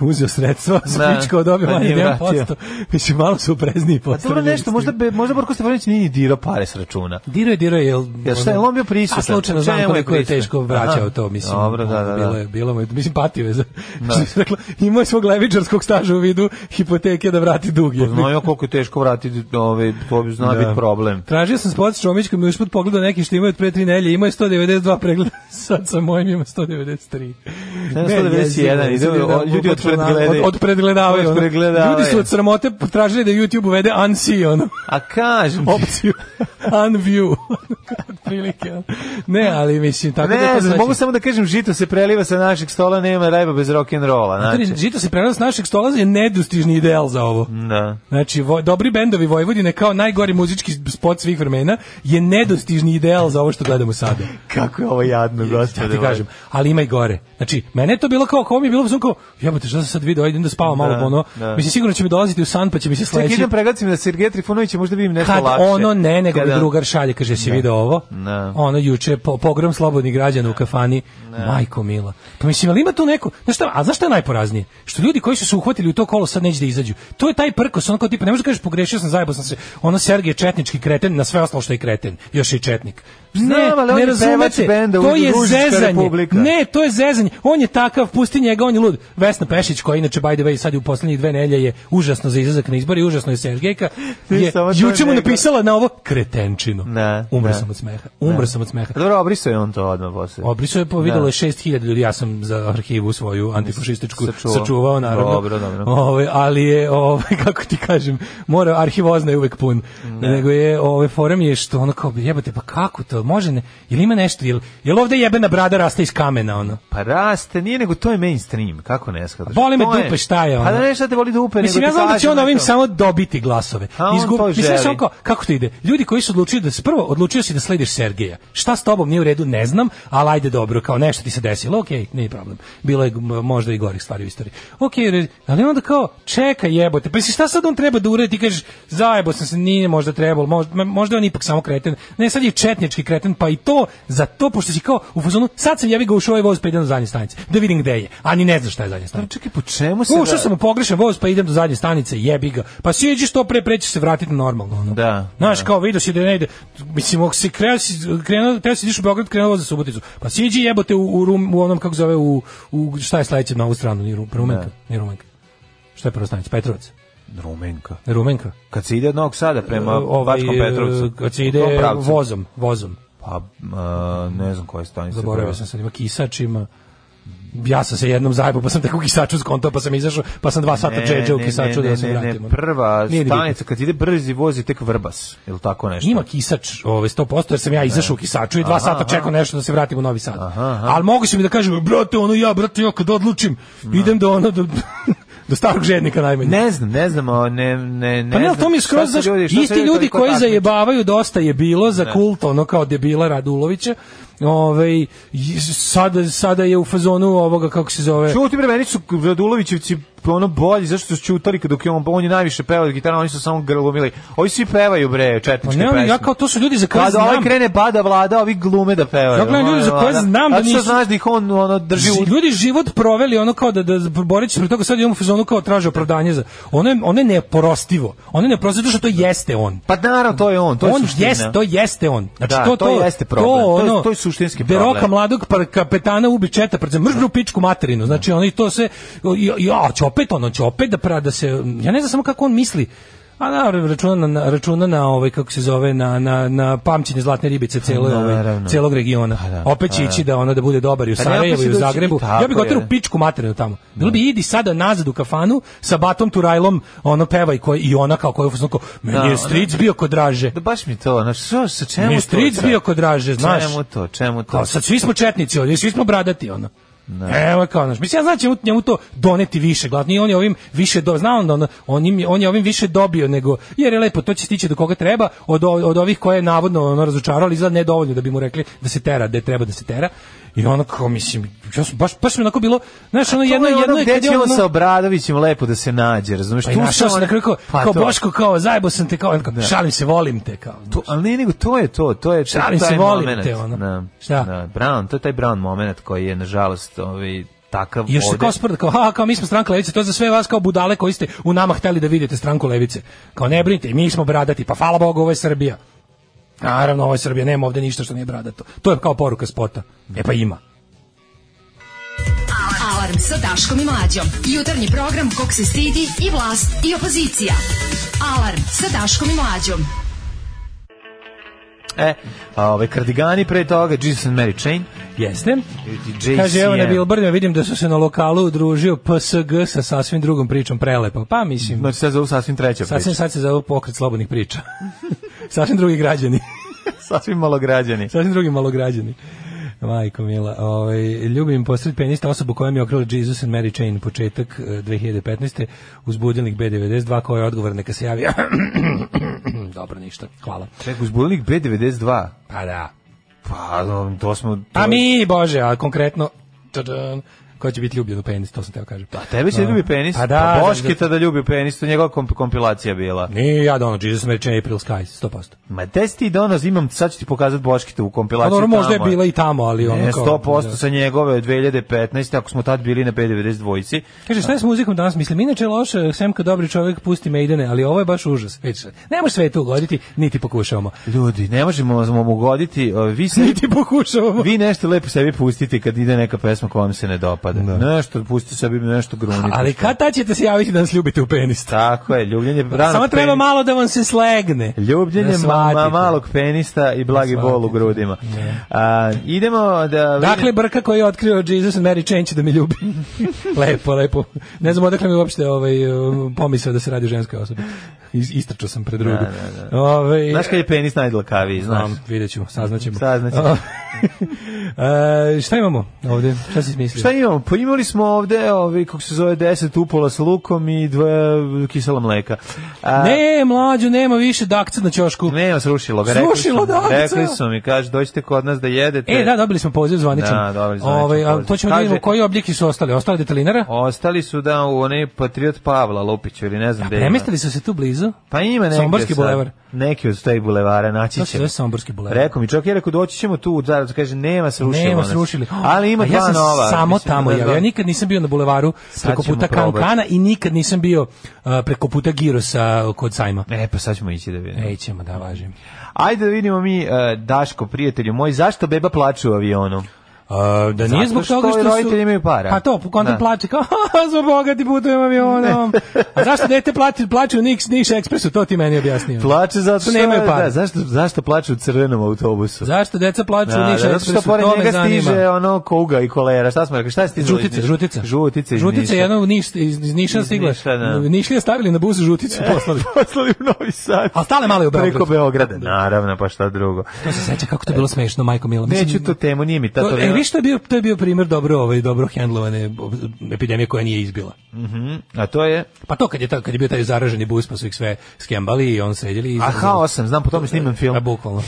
uzeo sredstva,
Da,
spičkao dobio
pa
manje
nije
1%,
vratio.
mislim, malo su oprezniji
Pa dobro
postavljeni.
nešto, možda, be, možda Borko Stefanović nije ni dirao pare s računa.
Diro je, diro je, jel...
Jel šta, jel on bio prisutan?
A slučajno
U
znam
čemu je
koliko je
prisutan?
teško vraćao
Aha.
to, mislim. ono,
Dobro, da, da,
Bilo
da.
je, bilo mu je, mislim, patio je za... Da. rekla, imao je svog levičarskog staža u vidu hipoteke da vrati dug. je.
Znao koliko je teško vratiti, ovaj, to bi zna
Da.
biti problem.
Tražio sam spot s Čomićkom i usput pogledao neki što imaju od pre tri nelje, imao je 192 pregleda, sad sa mojim ima 193.
Ne,
Ne,
191,
jezivo,
ide,
jezivo,
o, ljudi
bukvalno
od predgledaju.
Od, od predgledavaju.
Od
ono.
predgledavaju.
Ljudi su od sramote tražili da YouTube uvede unsee, ono,
A kažem ti,
opciju, unview, od prilike. Ne, ali mislim, tako da...
ne
to
znam,
znači-
mogu samo da kažem, žito se preliva sa našeg stola, nema rajba bez rock'n'rolla,
Znači,
znači. Mm.
žito se prelaz našeg stola je nedostižni ideal za ovo.
Da.
Znači, vo, dobri bendovi Vojvodine kao najgori muzički spot svih vremena je nedostižni ideal za ovo što gledamo sada.
Kako je ovo jadno,
Ja
gospode.
ti kažem, ali ima i gore. Znači, mene je to bilo kao, kao mi je bilo sam kao, jebote, šta sam sad video, idem da spavam malo,
Da,
ono,
da.
mislim, sigurno će mi dolaziti u san, pa će mi se
Čekaj,
sleći.
idem pregledati da Sergeja Trifunovića, možda vidim nešto
Kad
lakše.
ono ne, nego mi
Kada-
drugar šalje, kaže, si video ovo?
Da.
Ono juče, po, pogrom slobodnih građana u kafani, majko mila. Pa mislim, ali ima tu neko, znaš šta, a znaš šta je najporaznije? Što ljudi koji su se uhvatili u to kolo sad neće da izađu. To je taj prkos, ono kao tipa, ne možeš da kažeš pogrešio sam, zajebao sam se. Ono, Sergej je četnički kreten, na sve ostalo što je kreten, još je i četnik. Ne,
Znam, ali on
ne
je pevač
razumete,
benda
to je
Udružička
zezanje.
republika.
Ne, E, to je zezanje. On je takav, pusti njega, on je lud. Vesna Pešić, koja inače, by the way, sad je u poslednjih dve nelje je užasno za izlazak na izbor i užasno je Sergejka,
Ti
je
samo to
juče mu
njega.
napisala na ovo kretenčinu.
Ne,
Umro
ne.
sam od smeha. Umro sam od smeha.
A Pa Dobro, obriso je on to odmah posle.
Obriso je povidelo
Da.
je 6000 ljudi, ja sam za arhivu svoju antifašističku
Sačuvao.
sačuvao, naravno.
Dobro, dobro.
Ovaj, ali je, ovaj, kako ti kažem, mora, arhiv oznaje uvek pun. Nego je, ovaj, fora mi je što ono kao, jebate, pa kako to, može ne, jel ima nešto, jel, jel ovde jebena brada raste iz kamena, ono?
Pa raste, nije nego to je mainstream, kako ne shvataš?
Boli me
To
dupe, šta je ono?
Pa da ne šta te boli dupe,
Mislim, ja
nego ti
znam da će on
kažem
ovim
to.
samo dobiti glasove.
A on to
Mislim,
želi.
znaš ono kao, kako to ide? Ljudi koji su odlučili da se prvo odlučio si da slediš Sergeja. Šta s tobom nije u redu, ne znam, ali ajde dobro, kao nešto ti se desilo, okej, nije problem. Bilo je m, možda i gorih stvari u istoriji. Okej, re- ali onda kao, čekaj jebote, pa mislim, šta sad on treba da uradi? Ti kažeš, zajebo sam se, nije možda trebalo, možda, možda je on ipak samo kreten. Ne, sad je četnički kreten, pa i to, za to, pošto si kao u fazonu, sad sam jebi ga ušao u ovaj voz pa idem do zadnje stanice, da vidim gde je, a ni ne znam šta je zadnja stanica.
Pa Čekaj, po čemu se...
Ušao
ra-
sam u pogrešan voz, pa idem do zadnje stanice, jebi ga. Pa siđi što pre, pre će se vratiti normalno. Ono.
Da,
Znaš,
da.
kao vidio si da ne ide. Mislim, ako si krenuo, si, krenuo, teo si ideš u Beograd, krenuo voz za Suboticu. Pa siđi jebote u, u, rum, u onom, kako zove, u, u šta je sledeće na ovu stranu, ni Rumenka. Ni Rumenka. Šta je prva stanica? Petrovac.
Rumenka.
Ne Rumenka.
Kad se ide od Novog Sada prema
E, ovaj,
Bačkom Petrovcu.
e, Kad se
u
ide
tom pravcu.
vozom, vozom.
Pa, a, ne znam koja je stanica.
Zaboravio sam sad, ima kisač, ima ja sam se jednom zajebao, pa sam tako u kisaču skontao, pa sam izašao, pa sam dva sata
Ne,
džedža u
ne,
kisaču
ne,
da se
ne, ne,
vratim. ono.
Prva
Nije ni bitno.
stanica, kad ide brzi voz je tek Vrbas, ili tako nešto?
Ima kisač, ovaj 100%, jer sam ja izašao u kisaču i dva sata čekao nešto da se vratim u Novi Sad. Ali mogu se mi da kažem, brate, ono ja, brate, ja kad odlučim, idem do ono, do, do starog žednika najmanje.
Ne znam, ne znam, o, ne, ne, ne
Pa ne, ali
znam
to mi je
šta
skroz,
se
znaš,
šta se
isti ljudi
toliko
koji
takmiče.
zajebavaju dosta je bilo za kult, ono kao debila Radulovića, ovaj, i sada, sada je u fazonu ovoga, kako se zove...
Čuti bre, meni su Radulovićevci ono bolji, zašto su čutali kad je on, on je najviše pevao gitara, oni su samo grlomili. Ovi svi pevaju
Pa
bre, četničke
ne,
pesme.
ali ja kao to su ljudi za koje
Kada ovaj
znam.
krene bada vlada, ovi glume da pevaju.
Ja gledam ljude za koje
Ono,
znam da
zato što
nisu-
znaš da ih on ono, drži u...
Ži- ljudi život proveli ono kao da da boreći se protiv toga sad imamo fazonu kao traže opravdanje za ono je, ono je neprostivo ono je neprostivo zato što to jeste on
Pa naravno, to je on, to je
on
suština.
jeste, to jeste on. Znači
Da,
to
to jeste problem. To je-
ono,
to je suštinski
Beroka
problem.
mladog par kapetana ubi četa pred mržbru pičku materinu. Znači oni to se ja, ja će opet ono će opet da pra da se ja ne znam samo kako on misli. A na računa na računa na ovaj kako se zove na na na pamćenje zlatne ribice celo ovaj
Naravno. Pa
celog regiona.
da,
opet će ići da ono da bude dobar i u
Pa ne, opet
Sarajevu
će
i u
doći-
Zagrebu.
tako
Ja bih
je.
ga u pičku materinu tamo. Bilo bi idi sada nazad u kafanu sa batom Turajlom, ono pevaj koji i ona kao koja je u fazonu kao,
Da,
meni je
ona-
stric bio kod draže.
Da baš mi to, znaš, što, sa čemu
Mi
to?
je stric
sad?
bio kod Draže, znaš.
Čemu to, čemu to?
Kao sad svi smo četnici ovdje, svi smo bradati, ono. Evo kao naš. Mislim ja znam da će mu- njemu to doneti više gladni on je ovim više do znao on da on, on, im- on je ovim više dobio nego jer je lepo to će stići do koga treba od o- od ovih koje je navodno ono razočarao ali izgleda nedovoljno da bi mu rekli da se tera da treba da se tera. I ono kao mislim ja sam baš baš mi onako bilo znaš ono jedno
Jedno,
jedno je
gde
kad je
će on
ono-
sa Obradovićem lepo da se nađe, razumeš?
Pa i našao sam na kraju kao,
Pa
kao
to.
Boško, kao zajebo sam te, kao, kao šalim se, volim te, kao.
To, ali ne, nego to je to, to je
Šalim
taj
se, volim
moment.
te, ono.
Da,
Šta?
Da, Brown, to je taj Brown moment koji je, nažalost, ovaj, takav
I još se
ovde.
kao sprda, kao, ha, kao mi smo stranka levice, to je za sve vas kao budale koji ste u nama hteli da vidite stranku levice. Kao ne brinite, mi smo bradati, pa hvala Bogu, ovo je Srbija. Naravno, ovo je Srbija, nema ovde ništa što nije bradato. To je kao poruka spota. E pa ima.
Alarm sa Daškom i Mlađom. Jutarnji program kog se stidi i vlast i opozicija. Alarm sa Daškom i Mlađom.
E, a ovaj Kardigani pre toga, Jesus and Mary Chain.
Jeste.
JCM.
Kaže, evo na Bilbordima vidim da su se na lokalu udružio PSG sa sasvim drugom pričom prelepo. Pa mislim,
Znači, sad zovu sasvim treća priča.
sasvim sad se zove pokret slobodnih priča. sasvim drugi građani.
sasvim malo građani.
Sasvim drugi malograđani. Majko mila, ovaj, ljubim posred pijanista osobu koja mi je okrila Jesus and Mary Chain početak eh, 2015. uz budilnik B92, dva koja je odgovor neka se javi. Dobro, ništa, hvala.
Čekaj, uzbudnik B92.
Pa da.
Pa, no, to smo... To
A mi, bože, a konkretno, tadam, koja će biti ljubljen u penis, to sam teo kažem. Pa
Tebe će da ljubi penis.
Pa da,
Pa Bošketa da ljubi penis, to je njegova komp kompilacija bila.
Nije ja dono, Jesus and Mary Chain, April Skies, 100%.
Ma gde si ti donos, imam, sad ću ti pokazati Bošketa u
Pa
kompilaciji.
dobro, možda je
tamo
bila i tamo, ali ono
Ne,
kao...
100%
da.
sa njegove od 2015. Ako smo tad bili na B92-ci.
Kaže, šta je s muzikom danas? Mislim, inače je loše, sem kad dobri čovjek pusti Maidene, ali ovo je baš užas. Vidiš, ne može sve to ugoditi, niti pokušavamo.
Ljudi, ne možemo vam ugoditi. o, Vi, se,
Niti pokušavamo.
vi nešto lepo sebi pustite kad ide neka pesma koja vam se ne dopada. Nešto, pustite sebi nešto grunite.
Ali kad tad ćete se javiti da nas ljubite u penis?
Tako je, ljubljenje... ranog
Samo treba
penis-
malo da vam se slegne.
Ljubljenje
Da
ma,
shvatite.
ma- malog penista i blagi
Da
bol u
shvatite.
grudima. A, idemo da...
Dakle, Brka koji je otkrio Jesus and Mary Chain će da me ljubi. lepo, lepo. Ne znam odakle mi uopšte ovaj, um, pomisao da se radi o ženskoj osobi. Is, istračao sam pred rugu. Da, da, Ovaj,
Znaš kad je penis najdlakaviji, znaš.
Znam, vidjet ćemo, saznaćemo.
Saznaćemo.
E, šta imamo ovde? Šta si mislio?
Šta imamo? Pa imali smo ovde, ovi, kako se zove, 10 upola s lukom i dva kisela mleka. A,
Ne, mlađu, nema više dakca na ćošku.
Ne, srušilo ga.
Srušilo
rekli su, mi,
dakca.
Rekli su mi, kaže, dođite kod nas da jedete.
E, da, dobili smo poziv zvaničan.
Da, dobili zvaničan
Ovaj, a
poziv.
to ćemo da vidimo
Kaže-
koji obliki su ostali. Ostali detalinara?
Ostali su da u onaj Patriot Pavla Lupiću ili ne znam gde ima.
Premestili su se tu blizu?
Pa ima negde.
Somborski
sad.
bulevar.
Neki od taj bulevara naći
To se
ćemo.
zove Somborski bulevar.
Rekao mi čovjek je rekao doći ćemo tu, zaraz kaže nema srušilo.
Nema
nas.
srušili.
Ali ima
A
dva
ja sam
nova.
samo
mislim,
tamo.
da,
Ja,
da.
ja nikad nisam bio na bulevaru preko
ćemo
puta
probati.
Kankana i nikad nisam bio a, preko puta Girosa kod sajma.
E, pa sad ćemo ići da vidimo.
Ej, ćemo da važim.
Ajde da vidimo mi, e, Daško, prijatelju moj, zašto beba plače u avionu?
A, da nije
Zato
zbog
što
toga što su...
roditelji imaju para.
Pa to, kontra
Da.
plače kao, "Ha, smo bogati putujem avionom. A zašto dete plače, plače u Nix, Niš Ekspresu, to ti meni objasnio.
Plače zato što,
Što nemaju
je-
para.
Da, zašto, zašto plače u crvenom autobusu?
Zašto deca plaču
Da,
u
da,
Niš
zato što
Ekspresu,
pored
to me
njega
zanima.
stiže ono kuga i kolera. Šta smo rekli? Šta je stizalo? iz
Žutice,
Niša?
žutica.
Žutice iz
Žutica je
Niša.
jedna u Niš, iz, iz Niša
Iz
stigla.
Niša, da.
Nišlija stavili na bus žuticu i poslali.
Poslali u Novi Sad.
A stale male u Beogradu.
Preko Beograda, naravno, pa šta drugo.
To se seća kako to je bilo smešno, majko mila. Mislim,
Neću tu temu, nije mi tato.
To, e,
vremena.
viš, to je bio, to je bio primer dobro, ovaj, dobro hendlovane ob- epidemije koja nije izbila.
Mm, A to je...
Pa to kad je, ta, kad je bio taj zaraženi bus, pa su ih sve skembali i on sedjeli. i-
A haos sam, znam, po tome snimam
A
film.
bukvalno.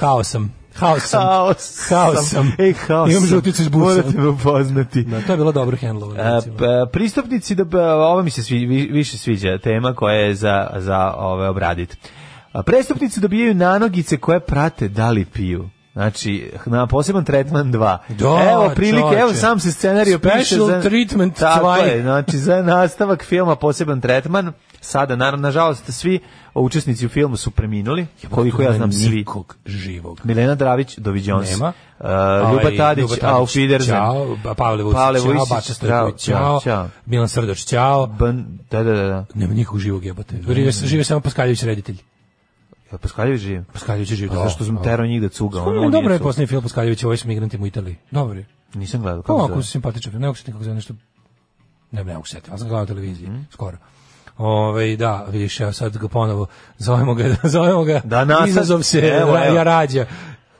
Haosam. Haosam.
Haos.
Haos sam.
Ej, haos
Imam
sam.
žuticu iz busa.
Morate me upoznati.
Da, to je bilo dobro hendlovano.
E,
recimo.
p- pristupnici da b- ovo mi se svi, vi- više sviđa tema koja je za za ove obraditi. A, Prestupnici dobijaju nanogice koje prate da li piju. Znači, na poseban tretman 2.
Da,
evo prilike,
čoveče.
evo sam se scenarijo piše
Special
za...
treatment
Tako
dva.
je, znači za nastavak filma poseban tretman. Sada, naravno, nažalost, svi učesnici u filmu su preminuli, koliko ja znam svi.
Nikog živog.
Milena Dravić, doviđons.
Nema. Ovaj,
Uh, Ljuba Tadić, auf Wiedersehen.
Ćao, Pa- Pavle Vucic,
Pavle
ćao,
Vucic,
Bača
zdravo,
Stojković, ćao,
ćao.
Milan Srdoč, ćao.
Ben- da, da, da, da.
Nema nikog živog jebote. Žive, žive samo Paskaljević reditelj.
Ja, Paskaljević živi.
Paskaljević je živ.
Pa zašto sam terao njih da cuga? Ono, on
Dobro
je
je
cu-
posljednji film Paskaljevića, ovo je s migrantima u Italiji. Dobro je.
Nisam gledao.
Pa
Kako
ovako
Kako
se simpatičan, film, ne mogu se nikako za nešto, ne, ne mogu se setiti, ali sam gledao na televiziji,
Mhm.
skoro. Ove, da, vidiš, evo sad ga ponovo, zovemo ga, zovemo ga,
Da, nasad-
izazov se,
evo,
ra-
evo.
ja rađa.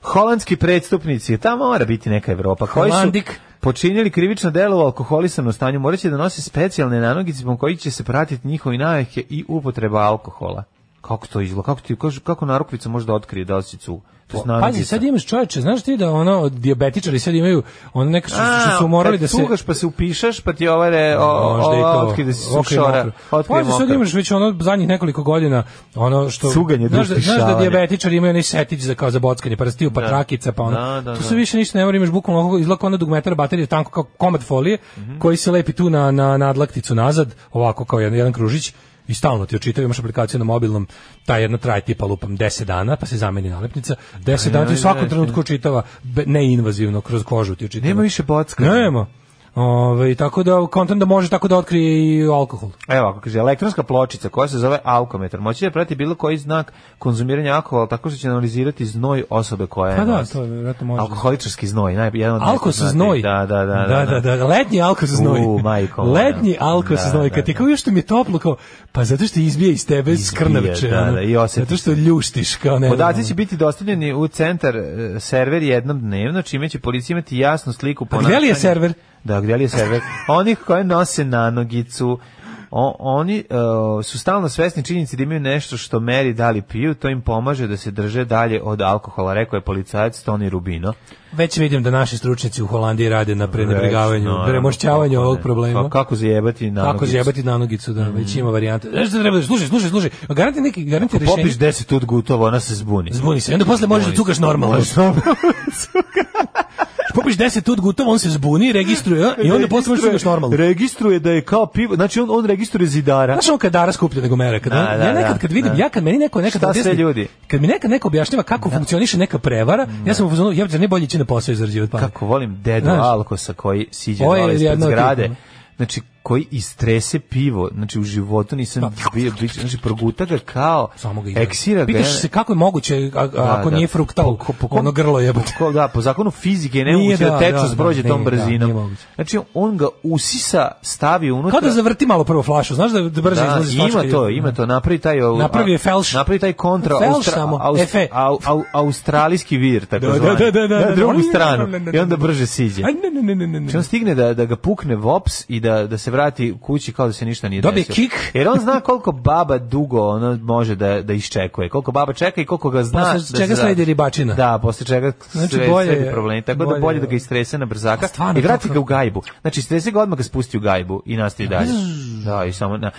Holandski predstupnici, ta mora biti neka Evropa. Koji su,
Holandik.
počinili krivično delo u alkoholisanom stanju moraće da nose specijalne nanogice po kojih će se pratiti njihovi navike i upotreba alkohola. Kako to izgleda? Kako, ti, kaž- kako narukvica može da otkrije da li si cu? To je
Pazi,
nanogica.
sad imaš čoveče, znaš ti da ono, dijabetičari sad imaju, ono neka su, što su morali
kad
da se...
cugaš pa se upišaš, pa ti ova re, o,
Možda i
ova
to.
otkrije da si
Otkrije
sušora.
mokro.
Otkrije
Pazi, sad
mokro.
imaš već ono zadnjih nekoliko godina ono što
Cuganje,
znaš, da, znaš da
duštišavanje.
dijabetičari imaju onaj setić za kao za bockanje prstiju pa
Da.
trakica pa ono
Da, da,
tu
da.
se više ništa ne mora imaš bukvalno ovako izlako ono dugmetara baterije tanko kao komad folije
Mhm.
koji se lepi tu na na nadlakticu nazad ovako kao jedan, jedan kružić i stalno ti očitaju, imaš aplikaciju na mobilnom, ta jedna traje tipa lupam 10 dana, pa se zameni nalepnica, 10 dana ti u
nemoj
svakom
reći.
trenutku očitava, be- neinvazivno, kroz kožu ti očitava.
Nema više bockanja.
Nema. Ove, tako da kontent da može tako da otkrije i alkohol.
Evo, ako kaže, elektronska pločica koja se zove alkometar, moći će da prati bilo koji znak konzumiranja alkohola tako što će analizirati znoj osobe koja je
Pa da,
nosi.
to je vjerojatno može.
Alkoholičarski znoj, naj, jedan od
Alko se
najpoznatijih.
znoj.
Da, da, da.
da, da, da. Letnji alko se znoj.
U, majko moja.
Letnji alko se
Da,
znoj.
da,
Kad ti
da.
kao još što mi je toplo, kao, pa zato što izbije iz tebe skrnaveče.
da,
ono.
da, i osjetiš
Zato što ljuštiš, kao ne.
Podaci
znam.
će biti dostavljeni u centar e, server jednom dnevno, čime će policija imati jasnu sliku
A
ponašanja.
gde li je server?
Da, gde li je server? Onih koje nose nanogicu, o- oni e, su stalno svesni činjenice da imaju nešto što meri da li piju, to im pomaže da se drže dalje od alkohola, rekao je policajac Toni Rubino.
ono. Već vidim da naši stručnjaci u Holandiji rade na prenabrigavanju,
Već, no,
premošćavanju
kako
ovog
ne.
problema.
Pa kako zajebati nanogicu?
Kako zjebati nanogicu, da, već ima varijante. Znaš šta treba da slušaj, slušaj, slušaj. Garanti neki, garanti rešenje.
Mm. Pa Popiš 10 ut gutovo, ona se zbuni. ono-
Zbuni se, onda posle možeš da
Zbuni se.
cukaš normalno.
Možeš normalno.
Popiš 10 tut gutova, on se zbuni, registruje i onda posle možeš da cukaš normalno.
Registruje da je kao pivo, znači on, on registruje zidara.
Znaš ono kad dara skuplja nego meraka,
Da, da,
ja nekad
da,
kad vidim,
da.
ja kad meni neko nekad
Šta
objasni-
sve ljudi?
kad mi nekad neko objašnjava kako funkcioniše neka prevara, ja sam u fazonu, jebote, zar nije bolje ići na posao izrađivati pare.
Kako volim dedu
Znaš.
Alkosa koji siđe
Ovo je
dole ispred
jedno od
zgrade.
tih, ono.
Znači, koji istrese pivo, znači u životu nisam bio, bić, znači proguta ga kao,
Samo ga ide.
eksira ga.
Pitaš se kako je moguće a- a-
Da,
ako
da.
nije fruktal,
Po- po- po-
ono grlo jebote.
Ko- da, po zakonu fizike je
Nije,
nemoguće
da,
da, tečnost
da, da,
prođe
ne,
tom
da, nije
brzinom.
moguće.
znači, on ga usisa, stavi unutra.
Kao da zavrti malo prvo flašu, znaš da, da brže
Da,
izlazi iz
ima
flaške.
to, ima to, napravi taj au-
Napravi je felš.
Napravi taj kontra
Felš
austra-
samo,
aus-
efe.
au- au- australijski vir tako
Da,
zvani.
da, da, da, da,
na drugu
da.
stranu
Ne, ne, ne,
i onda
ne.
brže siđe.
Aj, ne, ne, ne, ne, ne.
Znači on stigne da, da ga pukne vops i da, da se vrati kući kao da se ništa nije
Dobije
desilo.
kik.
Jer on zna koliko baba dugo ono može da, da iščekuje. Koliko baba čeka i koliko ga zna.
Posle
da
čega
se
sledi
vrati.
ribačina.
Da, posle čega
Znači,
znači, sve,
bolje
sledi
je-
problemi. Tako
bolje
da bolje
je.
da ga istrese na brzaka
A stvarno,
i vrati
kako-
ga u gajbu. Znači istrese ga odmah ga spusti u gajbu i nastavi dalje. Da, i samo... Na,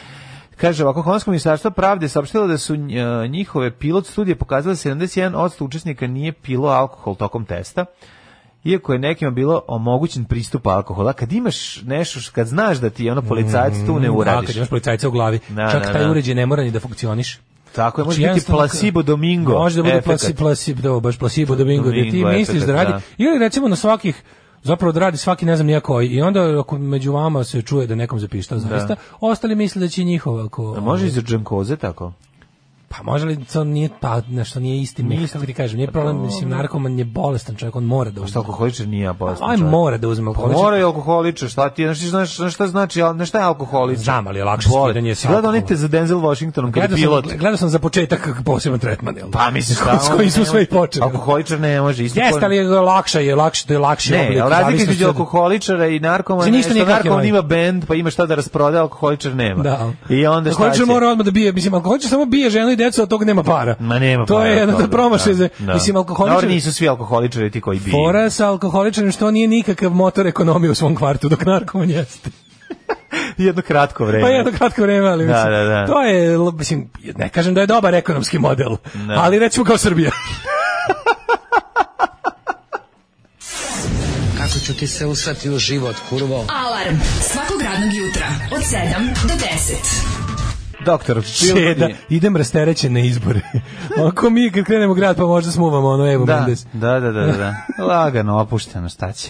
Kaže, ovako, Holandsko ministarstvo pravde je saopštilo da su nj- njihove pilot studije pokazale da 71% učesnika nije pilo alkohol tokom testa iako je nekima bilo omogućen pristup alkohola, kad imaš nešto, š- kad znaš da ti ono policajac tu ne
A,
uradiš.
kad imaš policajca u glavi.
Da,
Čak
da,
taj
da.
uređaj ne mora ni da funkcioniš.
Tako je, može
Znači,
biti
jednostavno-
placebo domingo.
Može da bude
efekat.
plasi, plasi, da, baš placebo domingo, gde ti
Domingo
misliš da
efekat,
radi.
da.
Ili recimo na svakih zapravo da radi svaki ne znam ni ja koji i onda ako među vama se čuje da nekom zapišta zaista ostali misle da će njihova ako
A Može i za džankoze tako?
pa može li to nije pa nešto nije isti meh, kako ti kažem nije problem mislim narkoman je bolestan čovjek on mora da uzme
Šta alkoholičar nije apostan
aj mora da uzme
Pa mora i alkoholičar, šta ti, je, znaš, ti znaš, znaš šta znači, al- znaš šta je alkoholičar?
Znam, ali je lakše
Bole.
skidanje
Si
sa
Gledao
alkohola.
oni te za Denzel Washingtonom kada
Gledao sam,
je pilot.
gledao sam za početak poseban tretman, jel?
Pa misliš šta?
S kojim smo sve i počeli.
Alkoholičar ne može. isto ko-
Jeste, ali je lakša je, lakše, to je lakši
Ne,
oblik.
ali razlika
zavisnosti
između
od-
alkoholičara i narkomana
Znači,
je
ništa
što
nije kao
narkoman
heroin.
ima bend, pa ima šta da rasproda, alkoholičar nema.
Da.
I onda šta će?
Alkoholičar mora odmah da bije, mislim, alkoholičar samo bije ženu i decu, od toga nema para.
Ma nema
To je
para
jedno
od
da
toga,
promaše,
da,
za-
da.
mislim,
Dobro,
alkoholičar...
nisu svi alkoholičari ti koji biju.
Fora sa alkoholičarem što on nije nikakav motor ekonomije u svom kvartu, dok narkoman jeste.
Jedno kratko vreme.
Pa jedno kratko vreme, ali
E. Da,
mislim,
da, da.
to je, l- mislim, ne kažem da je dobar ekonomski model, ali recimo kao Srbija.
Kako ću ti se usrati u život, kurvo?
Alarm svakog radnog jutra od 7 do 10.
Doktor,
Čeda, idem rasterećen na izbore. Ako mi kad krenemo u grad, pa možda smuvamo ono Evo
Da,
Mendes.
da, da, da, da. Lagano, opušteno, šta će?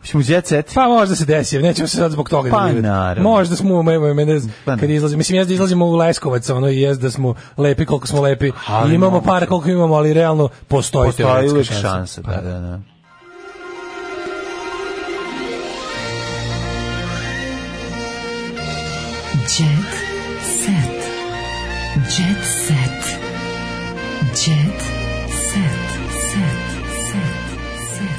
Hoćemo u jet set?
Pa možda se desi, nećemo se sad zbog toga
Pa,
naljutiti.
naravno.
Možda smo evo mene
Pa,
kad
ne.
izlazimo, mislim jaz da izlazimo u Leskovac, ono i jaz da smo lepi koliko smo lepi.
Ali
I imamo
moguće.
para koliko imamo, ali realno postoji,
Postoji
teoretska
uvek
šansa. Pa,
šansa, da, da, da.
Jet set. Jet set. Jet set. Set. Set. Set.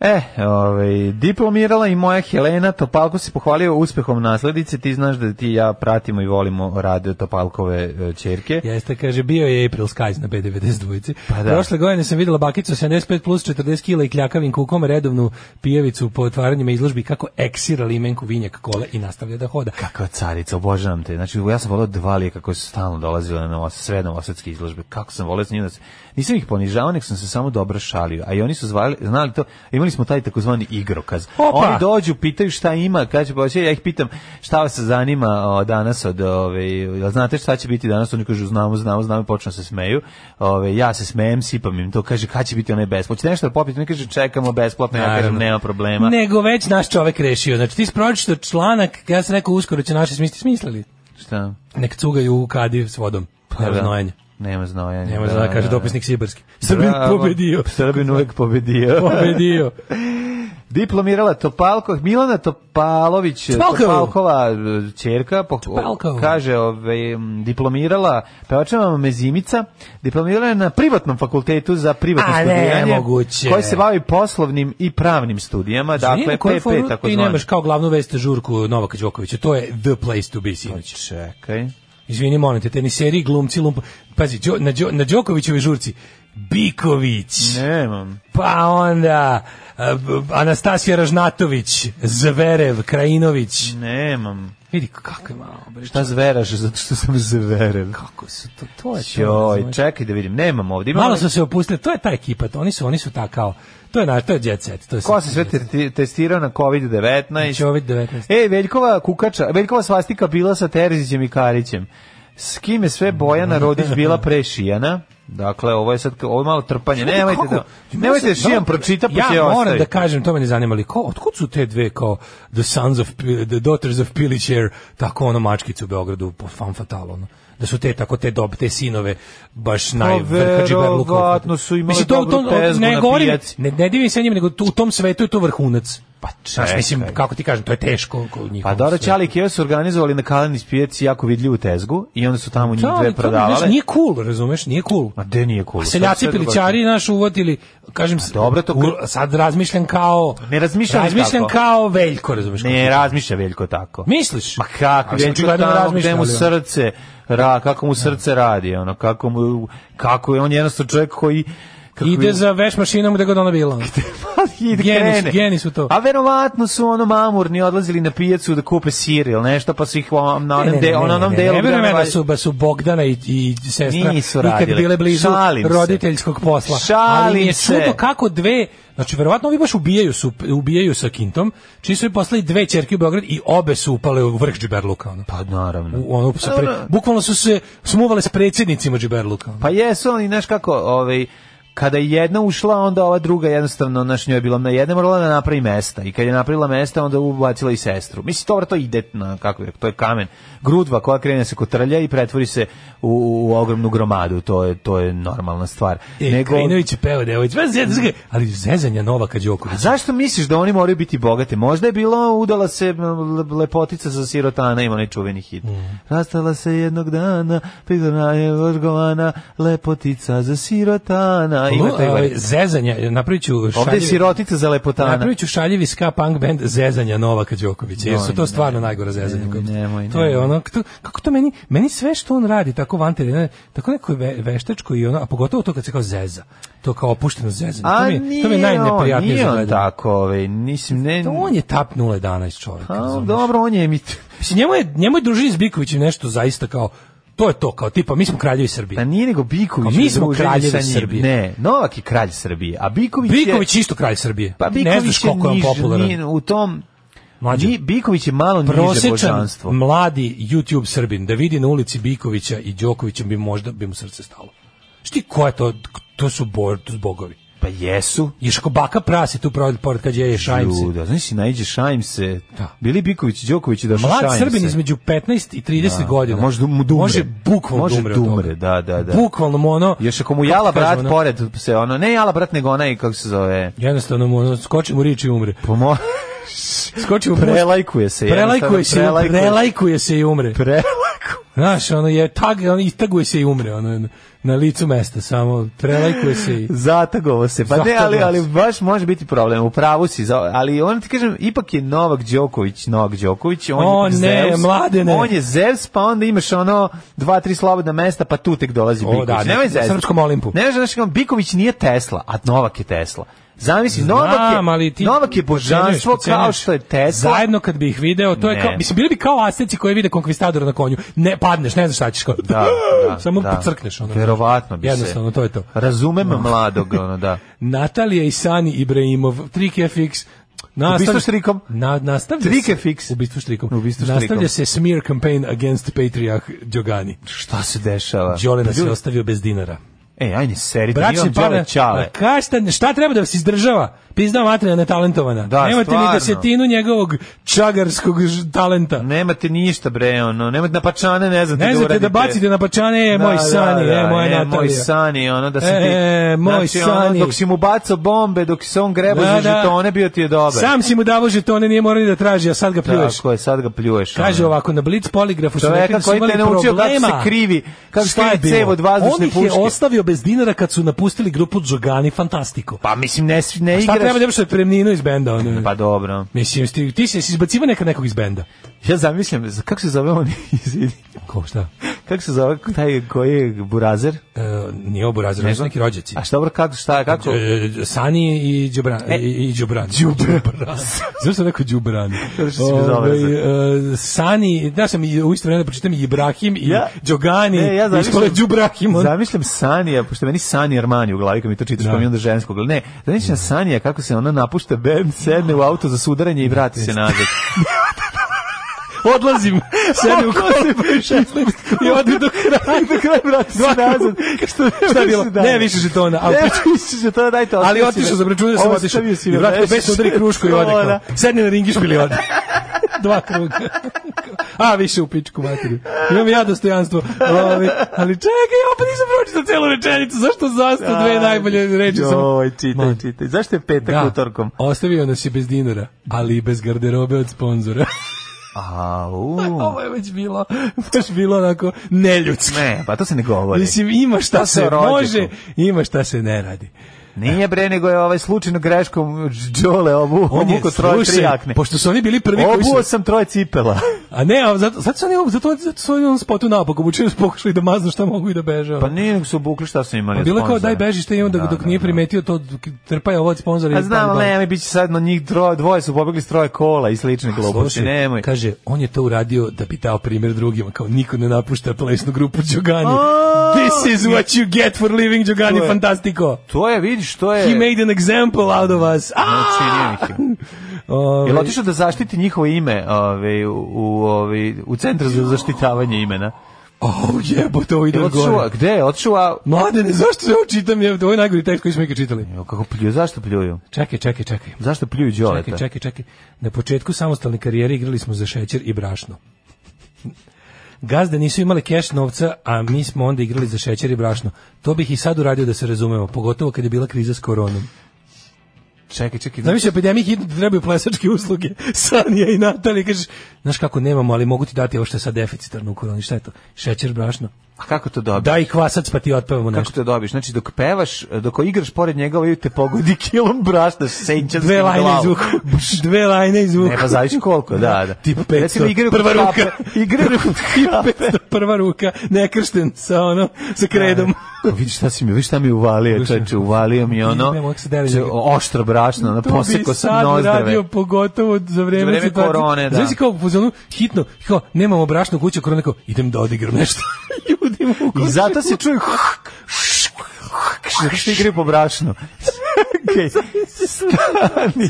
E, ovaj, diplomirala i moja Helena, Topalko se pohvalio uspehom nasledice, ti znaš da ti i ja pratimo i volimo rade Topalkove e, ćerke.
Jeste, kaže, bio je April Skies na B92.
Pa da.
Prošle godine sam videla bakicu 75 plus 40 kila i kljakavim kukom redovnu pijevicu po otvaranjima izložbi kako eksira limenku vinjak kole i nastavlja da hoda.
Kakva carica, obožavam te. Znači, ja sam volio dva lijeka koje su stalno dolazile na novos, sve novosadske izložbe. Kako sam volio s njima. da se- Nisam ih ponižavao, nek sam se samo dobro šalio. A i oni su zvali, znali to, imali smo taj takozvani igrokaz.
Opa!
Oni dođu, pitaju šta ima, kad će poći, ja ih pitam šta vas zanima o, danas od, ove, jel znate šta će biti danas? Oni kažu znamo, znamo, znamo i počnu se smeju. Ove, ja se smejem, sipam im to, kaže kad će biti onaj besplatno. Hoćete nešto da popite? Oni kaže čekamo besplatno, ja kažem
Naravno.
nema problema.
Nego već naš čovek rešio. Znači, ti si pročito članak, ja sam rekao, uskoro će naši smisliti smislili.
Šta?
Nek cugaju u kadi s vodom.
Pa
Nema
da.
znojenja.
Nema znojanja.
Nema znojenja, kaže dopisnik Sibarski. Srbin
Bravo.
pobedio.
Srbin uvek pobedio.
Pobedio.
Diplomirala Topalko, Milana Topalović,
Topalkov.
Topalkova e, ćerka, po-
Topalkov.
kaže, ove, m, diplomirala pevačama Mezimica, diplomirala je na privatnom fakultetu za privatno
A, ne,
studiranje,
moguće.
koji se bavi poslovnim i pravnim studijama, dakle,
Dakle,
PP, tako
ti
zvane.
nemaš kao glavnu vest žurku Novaka Đokovića. To je the place to be sinoć.
Čekaj.
Izvini, molim te, teniseri, glumci, lump... Pazi, Đo- na, Đo- na Đokovićevoj žurci Biković.
Nemam.
Pa onda a, b- Anastasija Ražnatović, Zverev, Krajinović.
Nemam.
Vidi kako je malo. bre,
Šta zveraš, zato što sam zverem.
Kako su to? To je to,
Joj,
razumeš?
čekaj da vidim, nemam ovdje. Imam
Malo su se opustili. To je ta ekipa. to- Oni su, oni su ta kao... To je, na, to je jet set. To je
Ko se sve te- te- testirao na
Znači,
COVID-19?
COVID-19.
E, Veljkova kukača, Veljkova svastika bila sa Terzićem i Karićem. S kim je sve Bojana Rodić bila pre Šijana? Dakle, ovo je sad, ovo je malo trpanje. Nemojte da, nemojte da Šijan pročita, pa će
Ja moram
ostavi.
da kažem, to me ne zanima, ali ko, otkud su te dve kao The Sons of, Pi- The Daughters of Pilić Air, tako ono mačkice u Beogradu, po- fan fatal, ono. Da su te tako te dob, te sinove baš najvrhađi
Pa verovatno su imali dobru tezgu
ne
na
govorim,
pijaci.
ne, ne divim se njima, nego tu- u tom svetu je to vrhunac. Pa
čekaj.
mislim, kako ti kažem, to je teško.
Pa Dora Ćali i Keva su organizovali na Kalani spijaci jako vidljivu tezgu i onda su tamo njih dve
Čali,
prodavale.
nije cool, razumeš, nije cool.
Ma gde nije cool?
A seljaci
Sad sve
pilićari naš uvatili, kažem,
dobro, to-
u- sad razmišljam kao...
Ne razmišljam
Razmišljam
tako.
kao Veljko, razumeš.
Ne razmišlja Veljko tako.
Misliš?
Ma kako,
A sam
Veljko
očigledno
tamo
razmišlja,
gde mu
ali ono.
srce, ra, kako mu srce radi, ono, kako mu, kako je, on je jednostavno čovjek koji, kako
Ide
je-
za veš mašinom gde god ono ona bila.
ide
Geni su-
krene.
geni su to.
A verovatno su ono mamurni odlazili na pijacu da kupe sir ili nešto, pa su ih vam- na onom, de, na onom
ne,
delu.
ne,
gde
verujem
ono
ja da
valja-
su, ba su Bogdana i, i sestra
Nisu
nikad
radile.
bile blizu
Šalim se.
roditeljskog posla. Ali mi je
Šalim se.
čudo kako dve, znači verovatno ovi baš ubijaju, su, ubijaju sa Kintom, čiji su i poslali dve čerke u Beograd i obe su upale u vrh Džiberluka. Ono.
Pa naravno.
U, ono, sa pre, bukvalno su se smuvale s predsjednicima Džiberluka. ono.
Pa jesu oni, znaš kako, ovaj, kada je jedna ušla, onda ova druga jednostavno, znaš, njoj je bila na jedne, morala da napravi mesta. I kad je napravila mesta, onda je ubacila i sestru. Mislim, dobro, to ide na, kako je, to je kamen. Grudva koja krene se kotrlja i pretvori se u, u ogromnu gromadu. To je, to je normalna stvar.
E, Nego... Krajinović je peo devojč, bez zezanja, ali zezanja Novaka Đokovića.
Mm. A zašto misliš da oni moraju biti bogate? Možda je bilo udala se m, le- lepotica sa sirotana, ima onaj čuveni hit.
Mm.
Rastala se jednog dana, pridana je vrgovana, lepotica za sirotana. Ima
Lu-
taj
ovaj,
varijan.
zezanja, napravit ću
Ovde je
šaljivi-
sirotica za lepotana.
Napravit ću šaljivi ska punk band Zezanja Novaka Đokovića, jer su
Nemoj,
to stvarno najgora zezanja. koja postoje.
nemoj,
to je
nemoj.
ono, to- kako to meni, meni sve što on radi, tako van terena, tako neko ve, veštačko i ono, a pogotovo to kad se kao zeza, to kao opušteno zezanje, to
A
mi, je-
nije,
to mi je
on,
najneprijatnije
nije
za
on
gledanje.
tako, ovaj, nisim, ne...
To on je tap 011 čovjek.
A,
razumeš?
dobro, on je emit.
Mislim, njemu je, njemu je druženje s Bikovićem nešto zaista kao, to je to, kao tipa, mi smo kraljevi Srbije.
Pa nije nego Biković.
A mi
je
smo
druženje
kraljevi
sa njim.
Srbije.
Ne, Novak je kralj Srbije, a Biković,
Biković
je...
je isto kralj Srbije.
Pa
Ti
Biković
ne znaš
je
koliko je on
niž-
popularan.
nije u tom...
Mlađe.
Ni, Biković je malo niže
prosječan
božanstvo.
mladi YouTube Srbin da vidi na ulici Bikovića i Đokovića bi možda bi mu srce stalo. Šti ko je to? To su bor, to su bogovi.
Pa jesu.
Još ako baka prasi tu pored pored kad je Šajm se.
Luda, znaš si, najđe Šajm se.
Da.
Bili Biković, Đoković i došao Šajm se.
Mlad Srbin između 15 i 30 godina.
može da mu dumre.
Može bukvalno
Može
dumre od toga.
dumre, da, da, da.
Bukvalno mu ono...
Još ako mu
kako
jala
kažem,
brat
ono,
pored se ono, ne jala brat nego onaj kako se zove.
Jednostavno mu ono, skoči mu rič i umre.
Pomo
Skoči mu
prelajkuje se.
Prelajkuje
jednostavno,
se, prelajkuje se i umre.
prelajkuje.
Znaš, ono je tag, ono istaguje se i umre, ono na licu mesta samo prelajkuje se i
Zatagovo se. Pa ne, ali, ali baš može biti problem. U pravu si. za- Ali on ti kažem, ipak je Novak Đoković, Novak Đoković. On
O,
je
ne,
Zeus,
mladene.
On je Zeus, pa onda imaš ono dva, tri slobodna mesta, pa tu tek dolazi
O,
Biković.
da,
Nemoj
na
zezati.
Srpskom Olimpu.
Ne znaš, znaš, kao, Biković nije Tesla, a Novak je Tesla. Zamisli, Novak je,
Znam, ali ti
Novak je božanstvo
cenjuješ,
kao
cenjuješ.
što je Tesla.
Zajedno kad bi ih video, to je
Ne.
kao, mislim, bili bi kao aseci koji vide konkvistadora na konju. Ne, padneš, ne znaš šta ćeš kao.
Da, da,
samo
da.
pocrkneš. Ono,
Verovatno bi se.
Jednostavno, to je to.
Razumem mladog, ono, da.
Natalija i Sani Ibrahimov, 3KFX, Nastavlja,
Ubistvo štrikom.
Na, nastavlja
Trike
se,
fiks.
Ubistvo štrikom.
Ubistvo štrikom.
Nastavlja se smear campaign against patrijarh Đogani.
Šta se dešava? Pa
Đole nas je
Ljudi-
ostavio bez dinara.
Ej, E, ajde, serite,
Bračni
imam Đole
par,
Ćale.
Ka šta, šta treba da se izdržava? Pizda materija netalentovana.
Da,
Nemate
stvarno.
ni desetinu njegovog čagarskog ž- talenta.
Nemate ništa bre, ono, nemate na pačane, ne znate
Ne
da
znate
uradite.
da bacite na pačane, e,
Da,
moj
da,
sani,
da,
e, moja
e,
Natalija.
moj sani, ono, da sam
E,
ti...
moj
znači, ono,
sani.
dok si mu bacao bombe, dok se on grebo
Da,
za
da.
žetone, bio ti je dobar.
Sam si mu davo žetone, nije morao ni da traži, a sad ga pljuješ.
Tako je, sad ga pljuješ.
Kaže
ono.
ovako, na Blitz poligrafu su rekli
Čoveka
da su
koji
imali
te naučio kako
problema.
se krivi, kako se
Šta je
krivi cev
bilo?
od vazdušne
On ih
puške.
je ostavio bez dinara kad su napustili grupu Džogani Fantastiko.
Pa mislim, ne, s- ne
Šta
igraš.
treba da imaš otpremninu iz benda? Ono?
Pa dobro.
Mislim, ti, ti si jesi izbacivao nekad nekog iz benda.
Ja zamislim, z- kako se zove on, izvini,
Ko, šta?
kako se zove taj koji je burazer?
E, nije obu razred,
Ne
ne
znam.
neki rođaci.
A šta dobro, kako, šta, kako?
E, Sani i Đubran.
E.
I, i Đubran. Đubran. Zašto sam rekao Đubran?
Zato što si bezobrazan.
Ovaj, e, Sani, da sam i u isto vreme da pročitam i Ibrahim i
Ja-
Đogani.
Ne, ja
Ispalo je
zamišljam,
Đubrahim. on-
zamišljam Sanija, pošto meni Sanija Armani u glavi, kad mi to čitaš,
Da.
pa mi onda žensko gleda. Ne, zamišljam Sanija kako se ona napušta bend, sedne u auto za sudaranje i vrati se nazad.
Odlazim. Sedi u
Odlazim,
kolu. I odi do kraja.
I do kraja vrati se nazad. Što,
Šta je bilo?
više dalje.
Ne, više žetona, a u
Ne,
pičku.
više žetona, dajte.
Ali
ostavio si
otišao
me.
za računanje sam
Ovo,
otišao.
ostavio si
I
me,
vratio
veš.
bez udari krušku i ode
O,
kao.
da.
Sedni na ringišpil i ode. Dva kruga. A, više u pičku materiju. Imam ja dostojanstvo. Ovi, ali čekaj, opet nisam pročitao celu rečenicu. Zašto zastao dve najbolje reči? sam-
Joj, čitaj,
Ma,
čitaj. Zašto je petak
Da,
utorkom?
ostavio nas je bez dinara, ali i bez garderobe od sponzora.
Au.
Ovo je već bilo, baš bilo onako neljudski.
Ne, pa to se ne govori.
Mislim, ima šta
To se
se
rođe
može,
tu.
ima šta se ne radi.
Nije bre, nego je ovaj slučajno greškom džole obu,
On je,
obuko troje tri
slušaj,
jakne.
Pošto su oni bili prvi koji su...
Obuo sam troje cipela.
A ne, a zato, zato su oni, zato, zato su oni u onom spotu napak obučili, su pokušali da maznu šta mogu i da beže. ono.
Pa nije nego su obukli šta su imali.
Pa
od
bilo je kao
sponzora.
daj beži šta imam da,
Da,
dok
da,
nije
da.
primetio to k- trpaj ovo od sponzora.
A znam, ali nemoj, bit će sad na njih dvoje, dvoje su pobegli s troje kola i slične gluposti, nemoj.
Kaže, on je to uradio da bi dao primjer drugima, kao niko ne napušta plesnu grupu Đogani. This is what you get for leaving Đogani
To je-
Fantastico.
To je, vidiš, to je...
He made an example out of us. Ovaj,
Ne,
Ah!
cijenim ih. Znači, Jel otišao da zaštiti njihovo ime ove, u, u, ove, u centru za zaštitavanje imena?
Oh, jebote, ovo ide
Jel
od gore.
otišao, a gde je? Otišao, a...
Mladene, zašto se ovo čitam? Jebote, ovo je najgori tekst koji smo ikad čitali.
Evo, Kako pljuju, zašto pljuju?
Čekaj, čekaj, čekaj.
Zašto pljuju Đoleta?
Čekaj, čekaj, čekaj. Na početku samostalne karijere igrali smo za šećer i brašno. Gazde nisu imali keš novca, a mi smo onda igrali za šećer i brašno. To bih i sad uradio da se razumemo, pogotovo kad je bila kriza s koronom.
čekaj, čekaj. znači-
Znam više, epidemiji hitno ti trebaju plesačke usluge. Sanija i Natalija, kažeš, znaš kako nemamo, ali mogu ti dati ovo što je sad deficitarno u koroni. Šta je to? Šećer, brašno?
A kako to dobiješ?
Daj kvasac pa ti otpevamo
Kako
nešto.
to dobiješ? Znači, dok pevaš, dok igraš pored njega, ovaj te pogodi kilom brašna s senčarskim
Dve lajne
glavom.
izvuku. Dve lajne izvuku.
Ne, pa zavisi koliko, da, da.
Tip
Recimo,
500,
igraju kod
prva
kape,
ruka.
Igraju kod kape.
Prva ruka, nekršten sa ono, sa kredom.
Pa vidi šta si mi, vidi šta mi uvalio,
Slušaj.
čoveče, uvalio mi
Ne
ono,
mogu se deliti.
če- oštro brašno, ono, posekao sam
To bi sad radio
nozdrave.
pogotovo za vreme,
Za vreme
situacije.
korone, da.
Znaš si kao u fazonu hitno, kao nemamo brašnu kuću, korona kao idem da odigram nešto. Ljudima u
I
kuću.
zato se čuje zato što igraju po brašnu. Okej, stani.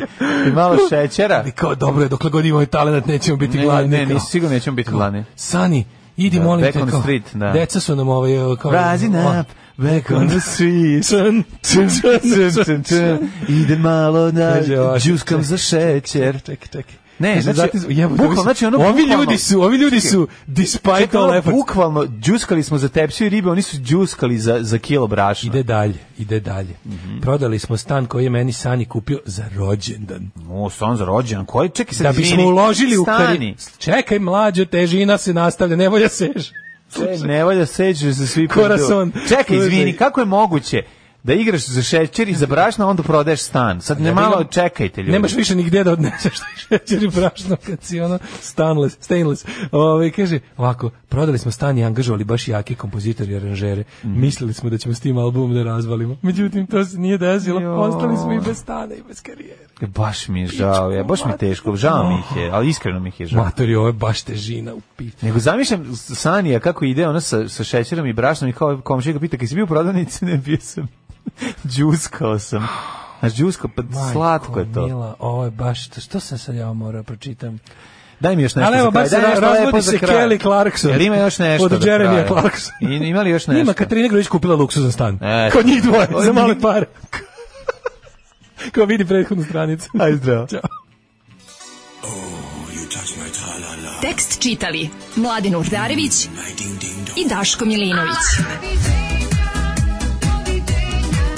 I malo šećera.
Ali kao dobro je, dokle god imamo talent nećemo biti
Ne,
gladni.
ne,
kao.
nisi sigurno nećemo biti gladni.
Sani, idi
Da,
molim
back
te
on the
kao.
street, da.
Deca su nam ovaj kao
Rising up, back on the street.
Tun, tun, tun,
Tun, tun, tun. Ide malo na
Kaže Znači, ovako,
džuskam za šećer.
Čekaj, čekaj.
Ne,
Kaže,
znači,
zato- jebote,
bukvalno,
ovi su-
znači, ono
ovi
bukvalno-
ljudi su, ovi ljudi su despite
Čekaj,
all
ono,
efforts.
bukvalno, džuskali smo za tepsiju ribe, oni su džuskali za, za kilo brašna.
Ide dalje, ide dalje. Prodali smo stan koji je meni Sani kupio za rođendan.
O, stan za rođendan. Koji čekaj sad
da bismo uložili u
kari.
kari... Čekaj, mlađo, težina se nastavlja, ne volja sež.
Sve ne valja seću se svi
Corazon.
putu. Čekaj,
Slušaj.
izvini, kako je moguće da igraš za šećer i za brašno, a onda prodaješ stan? Sad ne
Ja
malo
imam-
čekajte ljudi.
Nemaš više nigde da odneseš šećer i brašno kad si ono stainless, stainless. Ove, kaže, ovako, prodali smo stan i angažovali baš jake kompozitori i aranžere.
Mhm.
Mislili smo da ćemo s tim albumom da razvalimo. Međutim, to se nije desilo. Ostali smo i bez stana i bez karijere.
E, Baš mi je žao, ja, baš mi je teško, žao mi ih je, ali iskreno mi ih je žao.
Matori, ovo je baš težina u pitanju.
Nego zamišljam Sanija kako ide ona sa, sa šećerom i brašnom i kao komšija ga pita, kaj si bio u prodavnici? Ne, bio sam. Džuskao sam. Znaš, džuskao, pa
Majko
slatko je to.
Mila, ovo je baš, što, što sam sad ja mora pročitam?
Daj mi još nešto
Ali evo,
za kraj,
baš
daj
se
nešto
ra- razvodi
lepo za
se
kraj.
Kelly Clarkson.
Jel ima još nešto
Od
do kraja?
Jeremija Clarksona.
I- Ima li još nešto?
Nima, Katarina Grujić kupila luksuzan stan.
Eto.
Kod njih dvoje,
Od
za male
njih-
pare. Ko vidi prethodnu stranicu.
Aj, zdravo.
Ćao.
Tekst čitali Mladin Urdarević i Daško Milinović.